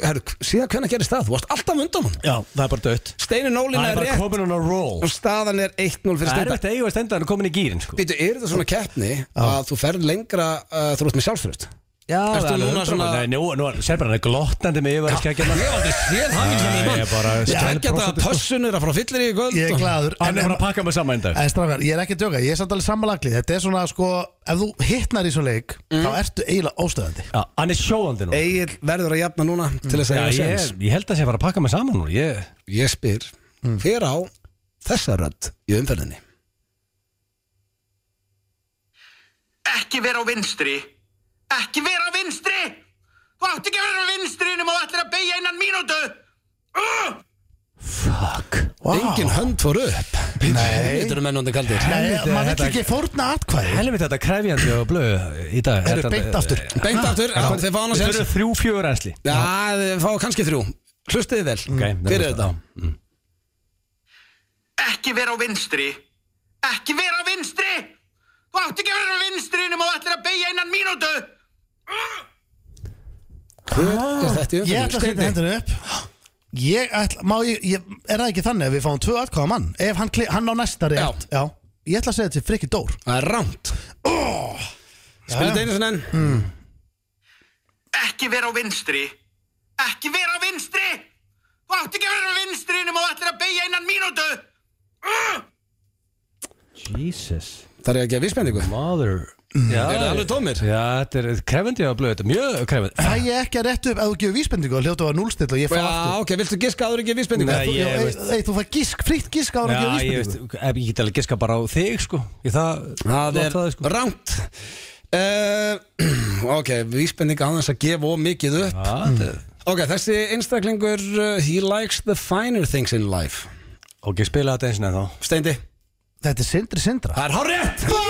Speaker 1: herru, síðan hvernig gerist það? Þú varst alltaf undan hann
Speaker 3: Já, það er bara dött
Speaker 1: Steini
Speaker 3: Hann
Speaker 1: Nólin
Speaker 3: er
Speaker 1: er
Speaker 3: bara
Speaker 1: rétt
Speaker 3: komin hún á roll
Speaker 1: og staðan er 1-0 fyrir
Speaker 3: Það er
Speaker 1: Steinda
Speaker 3: þetta eigu að stenda hann er komin í gýrin sko
Speaker 1: Býtu, er þetta svona keppni að þú ferð lengra uh, þú ert með sjálfsfröst?
Speaker 3: Já,
Speaker 1: Ertu
Speaker 3: það er
Speaker 1: núna
Speaker 3: núna
Speaker 1: svona-
Speaker 3: svona Nei, nú, nú, sér bara hann er glottandi með yfir að skækja
Speaker 1: Ég hef aldrei séð hangin sem ég hérna
Speaker 3: Ég er bara
Speaker 1: mann Tveggja daga
Speaker 3: 12%
Speaker 1: pössun er að fara fyllir í kvöld
Speaker 2: Ég er glaður
Speaker 3: Hann er bara að pakka mig saman einn dag
Speaker 2: En strafgar, ég er ekki að djóka, ég er samt alveg sammalagli Þetta er svona sko, ef þú hittnar í svona leik Þá ertu eiginlega óstöðandi
Speaker 3: Já, Hann er sjóðandi nú
Speaker 1: Egil verður að jafna núna til þess að
Speaker 3: Já,
Speaker 1: ég
Speaker 3: ég,
Speaker 1: séns
Speaker 3: ég held að sé bara að pakka mig saman nú Ég
Speaker 1: Ég spyr, hver á þessa rödd í umferðinni?
Speaker 10: Ekki vera á vinstri Ekki vera á vinstri Þú átt ekki að vera á vinstri nema þú ætlir að beigja innan mínútu uh!
Speaker 3: Fuck
Speaker 1: Engin hönd fór upp Nei Þetta eru mennandi kaldir
Speaker 2: Nei,
Speaker 3: Helviti,
Speaker 2: maður
Speaker 3: þetta-
Speaker 2: vill ekki fórna atkvæði
Speaker 3: Helvið þetta krefjandi og blöð í dag
Speaker 2: Eru
Speaker 3: Þetta-
Speaker 2: beint aftur
Speaker 1: Beint aftur,
Speaker 3: Já.
Speaker 1: þeir fá annars
Speaker 3: Þetta
Speaker 1: séns
Speaker 3: eru þrjú, fjögur ensli
Speaker 1: Já, þeir fá kannski þrjú Hlustiði vel Hver er þetta?
Speaker 10: Ekki vera á vinstri Ekki vera á vinstri Þú átt ekki að vera á vinstri nema þú ætlir að beigja innan mínútu
Speaker 1: Hver er þetta í
Speaker 2: Ah. Ég ætla að
Speaker 1: umferðinni?
Speaker 2: setja
Speaker 1: Steindi.
Speaker 2: hendinu upp Ég ætla, má ég, ég, er það ekki þannig að við fáum tvö atkvæða mann Ef hann, kli- hann á næsta rétt Já. Ég ætla að segja þetta til Frikki Dór
Speaker 1: Það er rámt Spilur þetta einu sinni enn
Speaker 10: Ekki vera á vinstri Ekki vera á vinstri Þú átt ekki að vera á vinstri nema þú ætlir að beigja innan mínútu
Speaker 3: Jesus
Speaker 1: Það er ekki að vísbendingu
Speaker 3: Mother Já,
Speaker 11: Eru þið alveg tómir?
Speaker 3: Já, þetta er krefandi að blöða þetta, mjög krefandi
Speaker 2: Fæ ég ekki að rétt upp ef þú gefur vísbendingu og hljóta var núlstill og ég fá
Speaker 3: Já,
Speaker 2: aftur
Speaker 1: ok, viltu giska áður ekki vísbendingu?
Speaker 3: Nei, ég veist-
Speaker 2: Ei, þú fæ gisk, fritt gisk ára
Speaker 3: Já,
Speaker 2: ekki
Speaker 3: ég veist,
Speaker 2: vísbendingu
Speaker 3: ef ég get alveg giska bara á þig, sko Ég það,
Speaker 1: Það
Speaker 3: láta
Speaker 1: er
Speaker 3: það, sko.
Speaker 1: rámt uh, Ok, vísbendinga aðeins að gefa of mikið upp
Speaker 3: Já, þetta er-
Speaker 1: Ok, þessi einstaklingur uh, He likes the finer things in life
Speaker 3: Ok, spila þetta eins og þá
Speaker 1: Steindi
Speaker 2: Þetta er sindri sindra
Speaker 3: Það er hárrétt!
Speaker 2: Yes!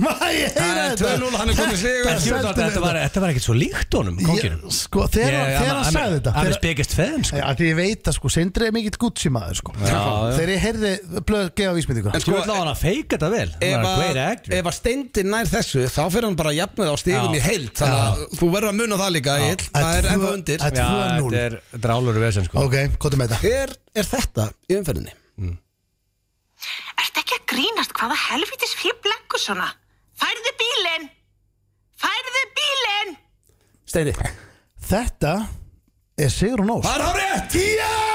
Speaker 2: Má ég
Speaker 1: Eh,
Speaker 2: heyra
Speaker 11: er
Speaker 2: þetta
Speaker 11: 2-0, hann er komið sigur.
Speaker 2: Þetta
Speaker 3: Þetta var-
Speaker 2: seldi
Speaker 3: þetta
Speaker 2: mig
Speaker 3: var, þetta var ekkert svo líkt honum,
Speaker 2: Ég-
Speaker 3: kókinum
Speaker 2: Sko, þegar hann- þegar hann sagði þetta
Speaker 3: Hann er
Speaker 2: þegar-
Speaker 3: spekist feðum, sko
Speaker 2: Já, því ég veit að sko, Sindri er mikill Gucci maður sko.
Speaker 3: já.
Speaker 2: Þegar ég heyrði blöð gefa vísbendingu
Speaker 1: En
Speaker 3: Þú vil á hann að feika þetta vel Hann
Speaker 1: Ef
Speaker 3: er
Speaker 1: að,
Speaker 3: great actor
Speaker 1: ef að steindi nær þessu þá fyrir hann bara að jafna það á stífum
Speaker 3: Já.
Speaker 1: í heild þannig að þú verður að muna það líka Egill. það er
Speaker 2: Að
Speaker 1: ennþá
Speaker 2: tvö-
Speaker 1: undir
Speaker 2: að-
Speaker 3: Já,
Speaker 2: 2-0.
Speaker 3: þetta er drálur vesen, sko
Speaker 2: Ok, hvað er með þetta?
Speaker 1: Hver er þetta í umferðinni?
Speaker 12: Ertu ekki að grínast hvaða helvitis fyrir blanku svona? Færðu bílinn! Færðu bílinn!
Speaker 1: Steindi
Speaker 2: Þetta er Sigrun Ós
Speaker 1: er hárið!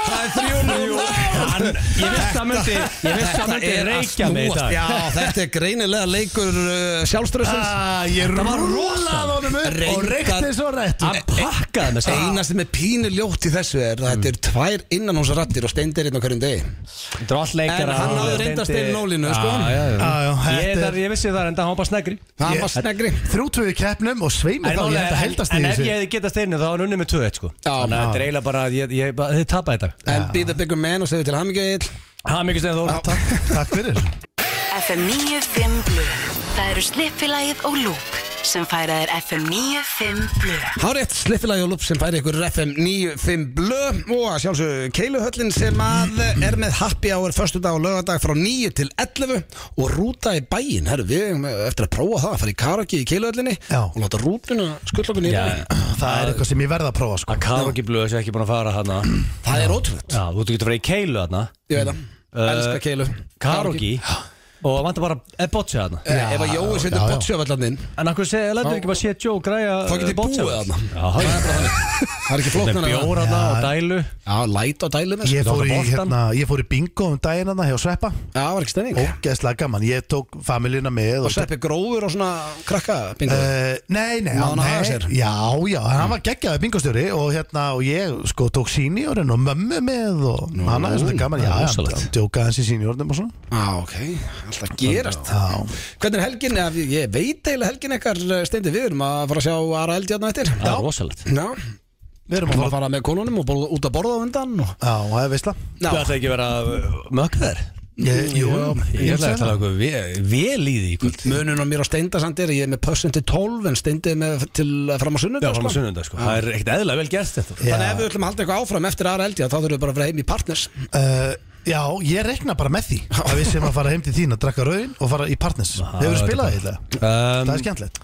Speaker 11: Það er 3-0
Speaker 3: Hann, ég veist að myndi Ég veist að myndi reykja mig í dag
Speaker 1: Já, þetta er greinilega leikur uh, sjálfströðsins
Speaker 2: Ah, Ég rúlaði honum upp og
Speaker 1: Reyndar-
Speaker 2: reykti svo rétt
Speaker 3: Hann pakkaði með sig
Speaker 1: Einast sem er pínu ljótt í þessu er að þetta er tvær innanhúsrattir og steindir einn á hverjum degi
Speaker 3: Drottleikara
Speaker 1: En hann náði reyndar Stein Nólinu, sko.
Speaker 2: Já, já,
Speaker 3: Ég,
Speaker 2: þetta
Speaker 3: þar, ég vissi það enda, hann var bara snegri
Speaker 1: Það
Speaker 2: Ég-
Speaker 1: var snegri
Speaker 2: Þrjútvöðu keppnum og sveimi þá ég þetta heldast í
Speaker 3: en ef
Speaker 2: þessu
Speaker 3: ég hefði getað steinu þá var hann unni með 2-1 sko
Speaker 1: Já.
Speaker 3: Þannig að þetta er eiginlega bara, að ég, ég, bara- þið tapaði þetta
Speaker 1: En be the bigger man og segðu til hamingju Egill.
Speaker 3: Það er mikið steinu þó
Speaker 2: Takk, takk fyrir
Speaker 13: FM 95 Blu Það eru Slippilagið og Lúp sem færa þér FM 95 Blu
Speaker 1: Hárétt sliffilagi og lúpp sem færi ykkur FM 95 blö og að sjálfsög Keiluhöllin sem að er með happy hour förstu dag og lögadag frá 9 til 11 og rúta í bæinn Herru, við eigum eftir að prófa það að fara í karaki í Keiluhöllinni
Speaker 2: Já.
Speaker 1: og láta rútuna skull okkur nýra
Speaker 2: Það er eitthvað sem ég verð að prófa sko
Speaker 3: Að Karokki Blöð sé ekki búin að fara hana
Speaker 1: Það er ótrúlegt
Speaker 3: Já, þú getur farið í keilu hana
Speaker 1: Ég veit það,
Speaker 3: Uh,
Speaker 1: elska Keilu
Speaker 3: Karokki Og vantar bara eða botja hana
Speaker 1: Eh, Ef að Jói
Speaker 2: já,
Speaker 1: setur
Speaker 2: já.
Speaker 1: botsjöfallaninn
Speaker 3: En akkur segja, lætur ekki bara sé Joe uh, græja
Speaker 1: Þá getið
Speaker 3: botja
Speaker 1: búið þarna.
Speaker 3: Já,
Speaker 1: Það er ekki
Speaker 3: það
Speaker 1: flóknar
Speaker 3: er bjór hana og dælu
Speaker 1: Já, læt á dælu með
Speaker 2: Ég
Speaker 1: sko.
Speaker 2: fór, í,
Speaker 3: boltan.
Speaker 2: hérna, ég fór í bingo um daginn hérna hjá Sveppa
Speaker 1: Já, var ekki stemning
Speaker 2: Ógeðslega gaman, ég tók familina með
Speaker 1: Og sveppi gróður og svona krakka bingo
Speaker 2: Uh, nei, nei,
Speaker 1: Náði
Speaker 2: hann-
Speaker 1: hann að haga
Speaker 2: nei
Speaker 1: sér?
Speaker 2: Já, já,
Speaker 3: Mm.
Speaker 2: hann var geggjaði bingostjóri og hérna, og ég sko tók sýnjórinn og mömmu með og hann aðeins þetta gaman, já, hann
Speaker 3: rosalegt.
Speaker 2: djókaði hans í sýnjórnum og svona
Speaker 1: Já, ok, alltaf gerast
Speaker 2: Já,
Speaker 1: Hvernig er helgin, Ef ég ég veit eiginlega helgin ekkar steindi við erum að fara að sjá Ara Eldjarnar eftir
Speaker 3: Það er rosalegt
Speaker 1: Já,
Speaker 2: við erum
Speaker 1: við erum
Speaker 2: að
Speaker 1: að
Speaker 2: fara
Speaker 1: fara með konunum og borða, út að borða á undan og...
Speaker 2: Já, það er veistla
Speaker 1: Já,
Speaker 3: Það ætla ekki að vera mökkaður
Speaker 2: Ég- Jú,
Speaker 3: Ég ætla að
Speaker 2: það
Speaker 3: tala um- okkur ve- vel í því í kvöld
Speaker 1: munun á mér og steinda samt er að ég er með pössin til 12 en steindi er með til fram á
Speaker 3: Já,
Speaker 1: sunnudag
Speaker 3: fram á
Speaker 1: sko.
Speaker 3: sunnundag sko Það er ekkert eðla vel gert þetta
Speaker 1: Þannig ef við ætlum að halda eitthvað áfram eftir Ara Eldjarnar þá þurfum við bara að vera heim í partners
Speaker 2: Uh, já, ég rekna bara með því að við sem að fara heim til þín að drakka rauðin og fara í partners Hefur
Speaker 3: Ah, þetta
Speaker 2: spilað
Speaker 3: bara-
Speaker 2: það eitthvað?
Speaker 3: Um,
Speaker 2: Það er skemmtilegt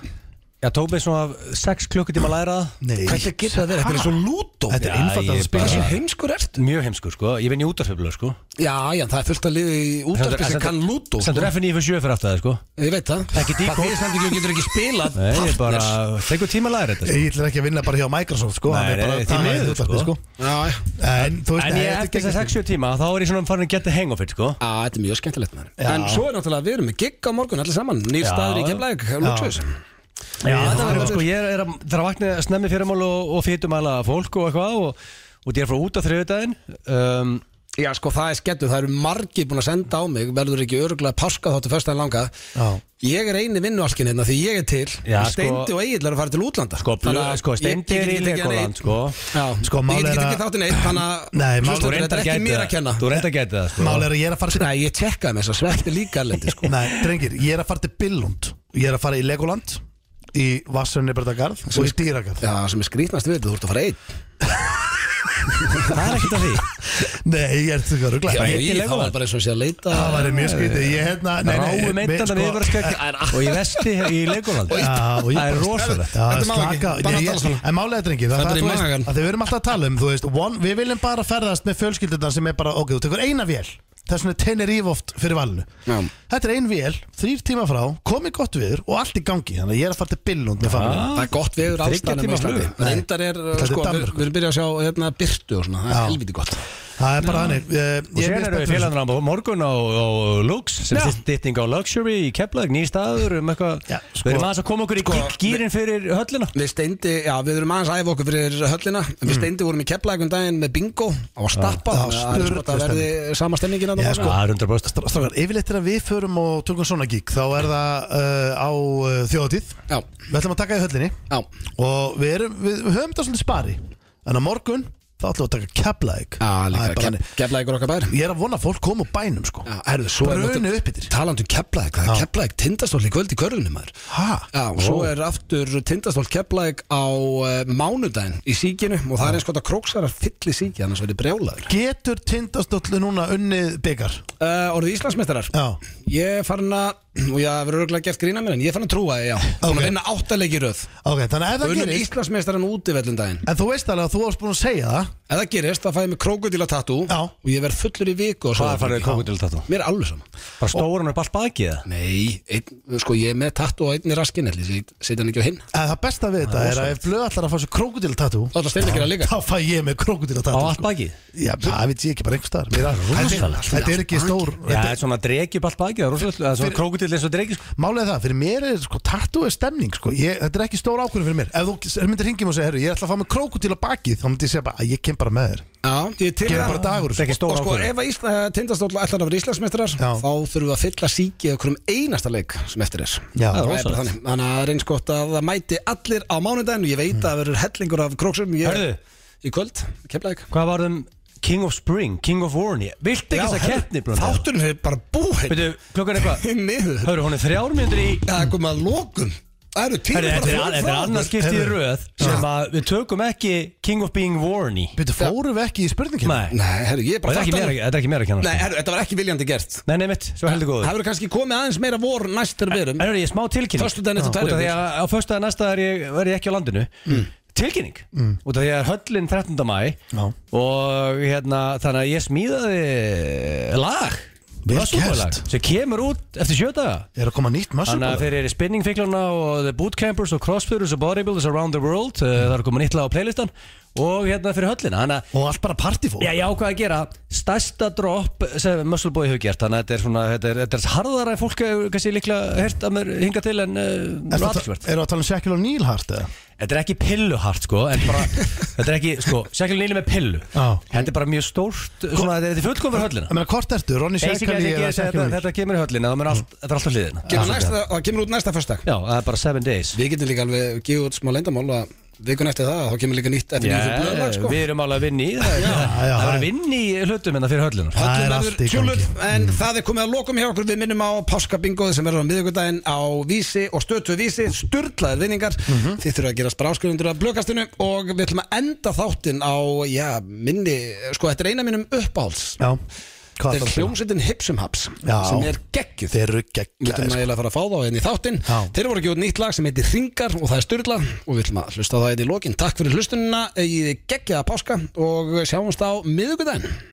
Speaker 3: Já, tók mig svona 6 klukkutíma að læra það
Speaker 2: Nei
Speaker 1: Hvernig getur það verið? Þetta er svo lútó
Speaker 2: Þetta er
Speaker 3: Já,
Speaker 2: einfalt að
Speaker 3: ég
Speaker 2: spila
Speaker 3: bara-
Speaker 1: Hversu heimskur ertu?
Speaker 3: Mjög heimskur sko, ég vinn í útarfjöflur sko
Speaker 1: Já, já, það er fullt að liði í útarpi sem kann lútó sko.
Speaker 3: Sendur FN í fyrir sjö fyrir aftur það sko
Speaker 1: Ég veit það
Speaker 3: Ekki díkó.
Speaker 1: Það fyrir samt ekki, þú getur ekki spilað
Speaker 3: Nei, ég
Speaker 1: partners
Speaker 3: bara, tekur tíma að læra þetta sko
Speaker 2: Ég ætlar ekki að vinna bara hjá Microsoft sko
Speaker 3: Nei,
Speaker 2: hann er bara að
Speaker 3: nei, því
Speaker 2: tala í
Speaker 3: miður,
Speaker 2: útvarpið,
Speaker 3: sko.
Speaker 1: Já, já
Speaker 2: En þú veist,
Speaker 3: En
Speaker 2: nei,
Speaker 3: ég
Speaker 2: þetta er
Speaker 3: eftir
Speaker 2: geggjað.
Speaker 3: þess að 60 tíma þá er ég svona farin að geta hang of it sko
Speaker 1: Já, þetta er mjög skemmtilegt maður
Speaker 2: Já.
Speaker 1: En svo er náttúrulega, við erum með gig á morgun allir saman Nýr
Speaker 3: Já.
Speaker 1: staður í Keflæk, Luxus
Speaker 3: Já, þetta verður sko, ég er að það er að vakna snemmi fyrirmál og, og fytumæla fólk og eitthvað og, og ég er frá út á þriðudaginn um,
Speaker 1: Já, sko, það er skemmtilegt, það eru margir búin að senda á mig Verður ekki öruglega páska þáttu föstaðin langa
Speaker 2: Já.
Speaker 1: Ég er eini vinnualkin hérna því ég er til
Speaker 3: Já,
Speaker 1: En Steindi
Speaker 3: sko-
Speaker 1: og Egil er að fara til útlanda
Speaker 3: Sko, blöð,
Speaker 1: Þannig að
Speaker 3: sko, Steindi
Speaker 1: ég- ég
Speaker 3: er í
Speaker 1: get ekki tekið hann einn.
Speaker 3: Legoland sko
Speaker 1: Já,
Speaker 2: Sko, mál
Speaker 1: ég
Speaker 2: er
Speaker 1: get ekki
Speaker 2: að-
Speaker 1: tekið þáttinn einn Þannig að
Speaker 2: Nei, mál-
Speaker 1: hlustendur, þetta
Speaker 3: Þú reyndar
Speaker 1: er ekki
Speaker 3: gæti
Speaker 1: mér að
Speaker 3: það,
Speaker 1: kenna
Speaker 3: þú reyndar gæti það sko
Speaker 2: Mál er að ég er að fara til
Speaker 1: Nei, ég tekkaði með þess að sveppi líka erlendi, sko.
Speaker 2: Nei, drengir, ég er að fara til Billund Ég er að fara í Legoland Í Vassarnibredagarð og í Dýragarð
Speaker 1: Já, sem er skrýtnast við, þú ert að fara einn
Speaker 3: Það er ekkert að því
Speaker 2: Nei, ég er þetta að
Speaker 1: Já,
Speaker 2: ruggla
Speaker 1: ég-
Speaker 3: til
Speaker 1: Það
Speaker 3: Legoland.
Speaker 1: var bara eins og sé að leita
Speaker 2: Það væri mjög skrítið Ég hérna nei, nei,
Speaker 3: Ráum
Speaker 2: mér-
Speaker 3: eindan að
Speaker 2: sko-
Speaker 3: yfirvarskjökk og í vesti í Legoland
Speaker 2: Já, og ég
Speaker 3: Það er
Speaker 2: bara-
Speaker 3: rosalegt
Speaker 2: Já,
Speaker 1: Þetta má ekki,
Speaker 2: slaka
Speaker 1: bara tala
Speaker 2: Ég- ég-
Speaker 1: svona.
Speaker 2: En málega drengir Það
Speaker 1: Stendur
Speaker 2: er
Speaker 1: í
Speaker 2: þú veist
Speaker 1: magann.
Speaker 2: að Þegar við erum alltaf að tala um Þú veist, one, við viljum bara ferðast með fjölskyldunar sem er bara Ok, þú tekur eina vél Það er svona Tenerife oft fyrir valinu
Speaker 1: Já.
Speaker 2: Þetta er ein vél, þrýr tíma frá Komið gott viður og allt í gangi Þannig að ég er að fara til Billund með familíu
Speaker 1: Það er gott veður
Speaker 3: Þriggja
Speaker 1: allstæðan
Speaker 3: tíma
Speaker 1: með Íslandi
Speaker 3: flug.
Speaker 1: Reyndar er,
Speaker 2: er
Speaker 1: sko, við
Speaker 2: Danmörk.
Speaker 1: við erum byrjað að sjá hérna, byrtu og svona, það
Speaker 2: Já.
Speaker 1: er helviti gott
Speaker 2: Það Það er bara þannig Eh, ég
Speaker 3: Og
Speaker 2: er
Speaker 3: sér
Speaker 2: mjög
Speaker 3: eru
Speaker 2: spenntur fyrir
Speaker 3: við
Speaker 2: þessu.
Speaker 3: félagarnir á morgun á, á Lux sem
Speaker 2: Já.
Speaker 3: stýtting á Luxury í Keflag, nýr staður um eitthvað Við erum aðeins að koma okkur í sko, gýrin fyrir höllina
Speaker 1: Við steindi, já við erum aðeins að æfa okkur fyrir höllina Við steindi vorum í keflækum daginn með bingo á að stappa
Speaker 2: Já,
Speaker 1: Það er sko að
Speaker 2: sturlu
Speaker 1: verði sama stemmingin að
Speaker 2: Já,
Speaker 1: það
Speaker 2: sko,
Speaker 3: Það er 100%
Speaker 2: Stra- Strákar, yfirleitt er að við förum og tökum svona gig Þá er það uh, á uh, þjóðatíð
Speaker 1: Já.
Speaker 2: Við ætlum að taka í höllinni
Speaker 1: Já.
Speaker 2: Og við, erum, við, við höfum það svolítið spari En á morgun, þá ætlum við að taka keflæk
Speaker 1: Keflæk, keflæk er okkar bær
Speaker 2: Ég er að vona að fólk kom úr bænum sko
Speaker 1: Já, herðu, svo er
Speaker 2: Brunið
Speaker 1: náttúrulega- Talandi um keflæk, það er keflæk tindastóll í kvöld í körlunum maður
Speaker 2: Ha?
Speaker 1: Já, og svo er aftur tindastóll keflæk á uh, mánudaginn í síkinu og það er eins gott að króksarar fylli síki annars verði brjálaður
Speaker 2: Getur tindastöllu núna unnið byggar?
Speaker 1: uh, Orðið Íslandsmeistarar
Speaker 2: Já
Speaker 1: Ég er farin að, og ég verður örgulega gert grína mér en ég er farin að trúa því, já Búin að vinna áttaleiki röð
Speaker 2: Ok, þannig að ef það
Speaker 1: Unnum
Speaker 2: gerist
Speaker 1: Íslandsmeistaran úti vellum daginn
Speaker 2: En þú veist alveg að þú varst búin að segja það
Speaker 1: Ef það gerist, þá fæði mér krókudíla tatú og ég verð fullur í viku og svo
Speaker 3: Hvað er farið kókutil þetta?
Speaker 1: Mér er alveg sama
Speaker 3: Bara stóran upp allt bakið það?
Speaker 1: Nei, einn, sko ég er með tattu á einni raskin allir, ég setja hann ekki á hinn
Speaker 2: En það besta við þetta
Speaker 1: Það er
Speaker 2: er að
Speaker 1: rosalegt.
Speaker 2: ef blöð allar að fá sér krokodiltatú
Speaker 1: Þá ætlar Steindi að gera líka.
Speaker 2: Þá fæ ég sko. með krokodiltatú
Speaker 3: Á allt bakið?
Speaker 2: Já, það veit ég ekki bara einhver staðar Mér er- Þetta
Speaker 3: rosalegt.
Speaker 2: er- Þetta er ekki stór
Speaker 3: Já, það er svona dregi upp allt bakið, það er rosalega, það er svona krókutil eins og dregi sko.
Speaker 2: Málega það, fyrir mér er sko tattu er stemning sko. ég, Þetta er ekki stór ákvörðin fyrir mér Ef þú myndir hringjum og segja, herru, ég ætla að fá með krokodil á bakið Þá myndi ég segja bara, "Æ, ég kem bara með þér
Speaker 1: Já, ég er til
Speaker 2: Gerum bara dagur, Þetta er ekki sko. stór
Speaker 1: Og sko,
Speaker 2: ákvörðun.
Speaker 1: ef að Ísla, tindastóla ætlar að vera Íslandsmeistrar þá þurfum við að fylla síki eða hverjum einasta leik sem eftir er
Speaker 2: Já,
Speaker 1: það er
Speaker 2: rosalegt.
Speaker 1: bara þannig Þannig að það er eins gott að það mæti allir á mánudaginn og ég veit að það verður hellingur af króksum ég,
Speaker 3: Hörðu.
Speaker 1: Í kvöld, kemlaðið
Speaker 3: Hvað var þeim King of Spring, King of Warney Viltu ekki
Speaker 1: Já,
Speaker 3: þess að
Speaker 1: herru,
Speaker 3: keppni Blöndal?
Speaker 1: Þátturinn er bara búinn
Speaker 3: Veitu, klukkan er hvað?
Speaker 1: Niður
Speaker 3: Hörru, hún er þrjár mínútur í
Speaker 1: Það er komið að lokum Það eru tíma
Speaker 3: Herru, þetta er- þetta er annars skiptið í röð sem að við tökum ekki King of Being Warney
Speaker 2: Byrju, fórum við ekki í spurningin?
Speaker 3: Nei,
Speaker 1: Nei, herru, ég er
Speaker 3: Og
Speaker 1: bara
Speaker 3: þetta er ekki
Speaker 1: þáttan-
Speaker 3: mér að- þetta er ekki mér að kenna
Speaker 1: Nei,
Speaker 3: sko.
Speaker 1: herru, þetta var ekki viljandi gert
Speaker 3: Nei, nei, mitt, svo heldur góður
Speaker 1: Það verður kannski komið aðeins meira vor næst þegar við erum
Speaker 3: En er ég er smá tilkynning
Speaker 1: Föstudaginn eftir
Speaker 3: Já.
Speaker 1: tvær
Speaker 3: Út af því
Speaker 1: vikur.
Speaker 3: að á föstudag næsta er ég, er ég ekki á landinu Tilkynning Út af því að höllin 13. mæ
Speaker 2: Mm. Já.
Speaker 3: Og hérna, þannig að ég smíðaði lag
Speaker 2: Vel
Speaker 3: Mössubólag,
Speaker 2: gert.
Speaker 3: Sem kemur út eftir sjö daga
Speaker 2: Er að koma nýtt
Speaker 3: Þannig að
Speaker 2: massubólag?
Speaker 3: fyrir spinningfiklana og the bootcampers og crossfitters og bodybuilders around the world uh, Það er komið nýttlega á playlistan Og hérna fyrir höllina Þannig að
Speaker 2: Og allt bara partyfólk
Speaker 3: Já, ég ákvaði að gera stærsta drop sem Muscle Boy hefur gert þannig að þetta er svona, þetta er, þetta er harðara en fólk hefur kannski líklega hert að mér hinga til en uh,
Speaker 2: Eru að ta-
Speaker 3: ratfjörð.
Speaker 2: eru að tala um Shaquille O'Neal hart eða?
Speaker 3: Þetta er ekki pilluhart sko, en bara, þetta er ekki, sko, sérstaklega nýli með pillu.
Speaker 2: Já.
Speaker 3: Þetta er bara mjög stórt, svona, þetta er fullkom fyrir höllina.
Speaker 2: Ég meina, hvort ertu, Ronny
Speaker 3: Basically,
Speaker 2: Shaquille
Speaker 3: þetta,
Speaker 2: eða
Speaker 3: þetta,
Speaker 2: Shaquille O'Neal?
Speaker 3: þetta kemur í höllina, það mun allt, þetta er alltaf hliðina.
Speaker 1: Kemur næsta, það kemur út næsta fyrsta
Speaker 3: Já, það er bara seven days.
Speaker 1: Við getum líka alveg gefið út smá lendamál að vikun eftir það, þá kemur líka nýtt eftir
Speaker 3: Já,
Speaker 1: nýjum blöðlag sko
Speaker 3: við erum alveg að vinna í það.
Speaker 2: já,
Speaker 3: Það
Speaker 2: já.
Speaker 3: er að vinna í hlutum en það fyrir sko. höllinar.
Speaker 2: Það
Speaker 1: Öllum
Speaker 2: er
Speaker 1: verður
Speaker 2: allt í
Speaker 1: tjúlluð,
Speaker 2: gangi. Mm.
Speaker 1: En það er komið að lokum hjá okkur Við minnum á páskabingoði sem verður á miðvikudaginn á vísi og stötu vísi Sturlaðir vinningar
Speaker 2: Mhm.
Speaker 1: Þið þurfa að gerast bara áskrifundur af blökastinu Og við ætlum að enda þáttinn á, já, minni Sko, þetta er eina minnum uppáhalds
Speaker 2: Já, hvað
Speaker 1: Þetta
Speaker 2: er
Speaker 1: er
Speaker 2: það?
Speaker 1: hljómsveitin Hipsum Haps
Speaker 2: Já.
Speaker 1: Sem er geggjuð
Speaker 2: um? Þeir eru
Speaker 1: Við ætlum
Speaker 2: geggjaðir
Speaker 1: að
Speaker 2: sko.
Speaker 1: eiginlega fara að fá þá inn í þáttinn
Speaker 2: Já.
Speaker 1: Þeir voru að gefa út nýtt lag sem heitir Ringar og það er styrla og við ætlum að hlusta á það inn í lokin Takk fyrir hlustunina, eigið geggjaða páska og sjáumst á miðugudaginn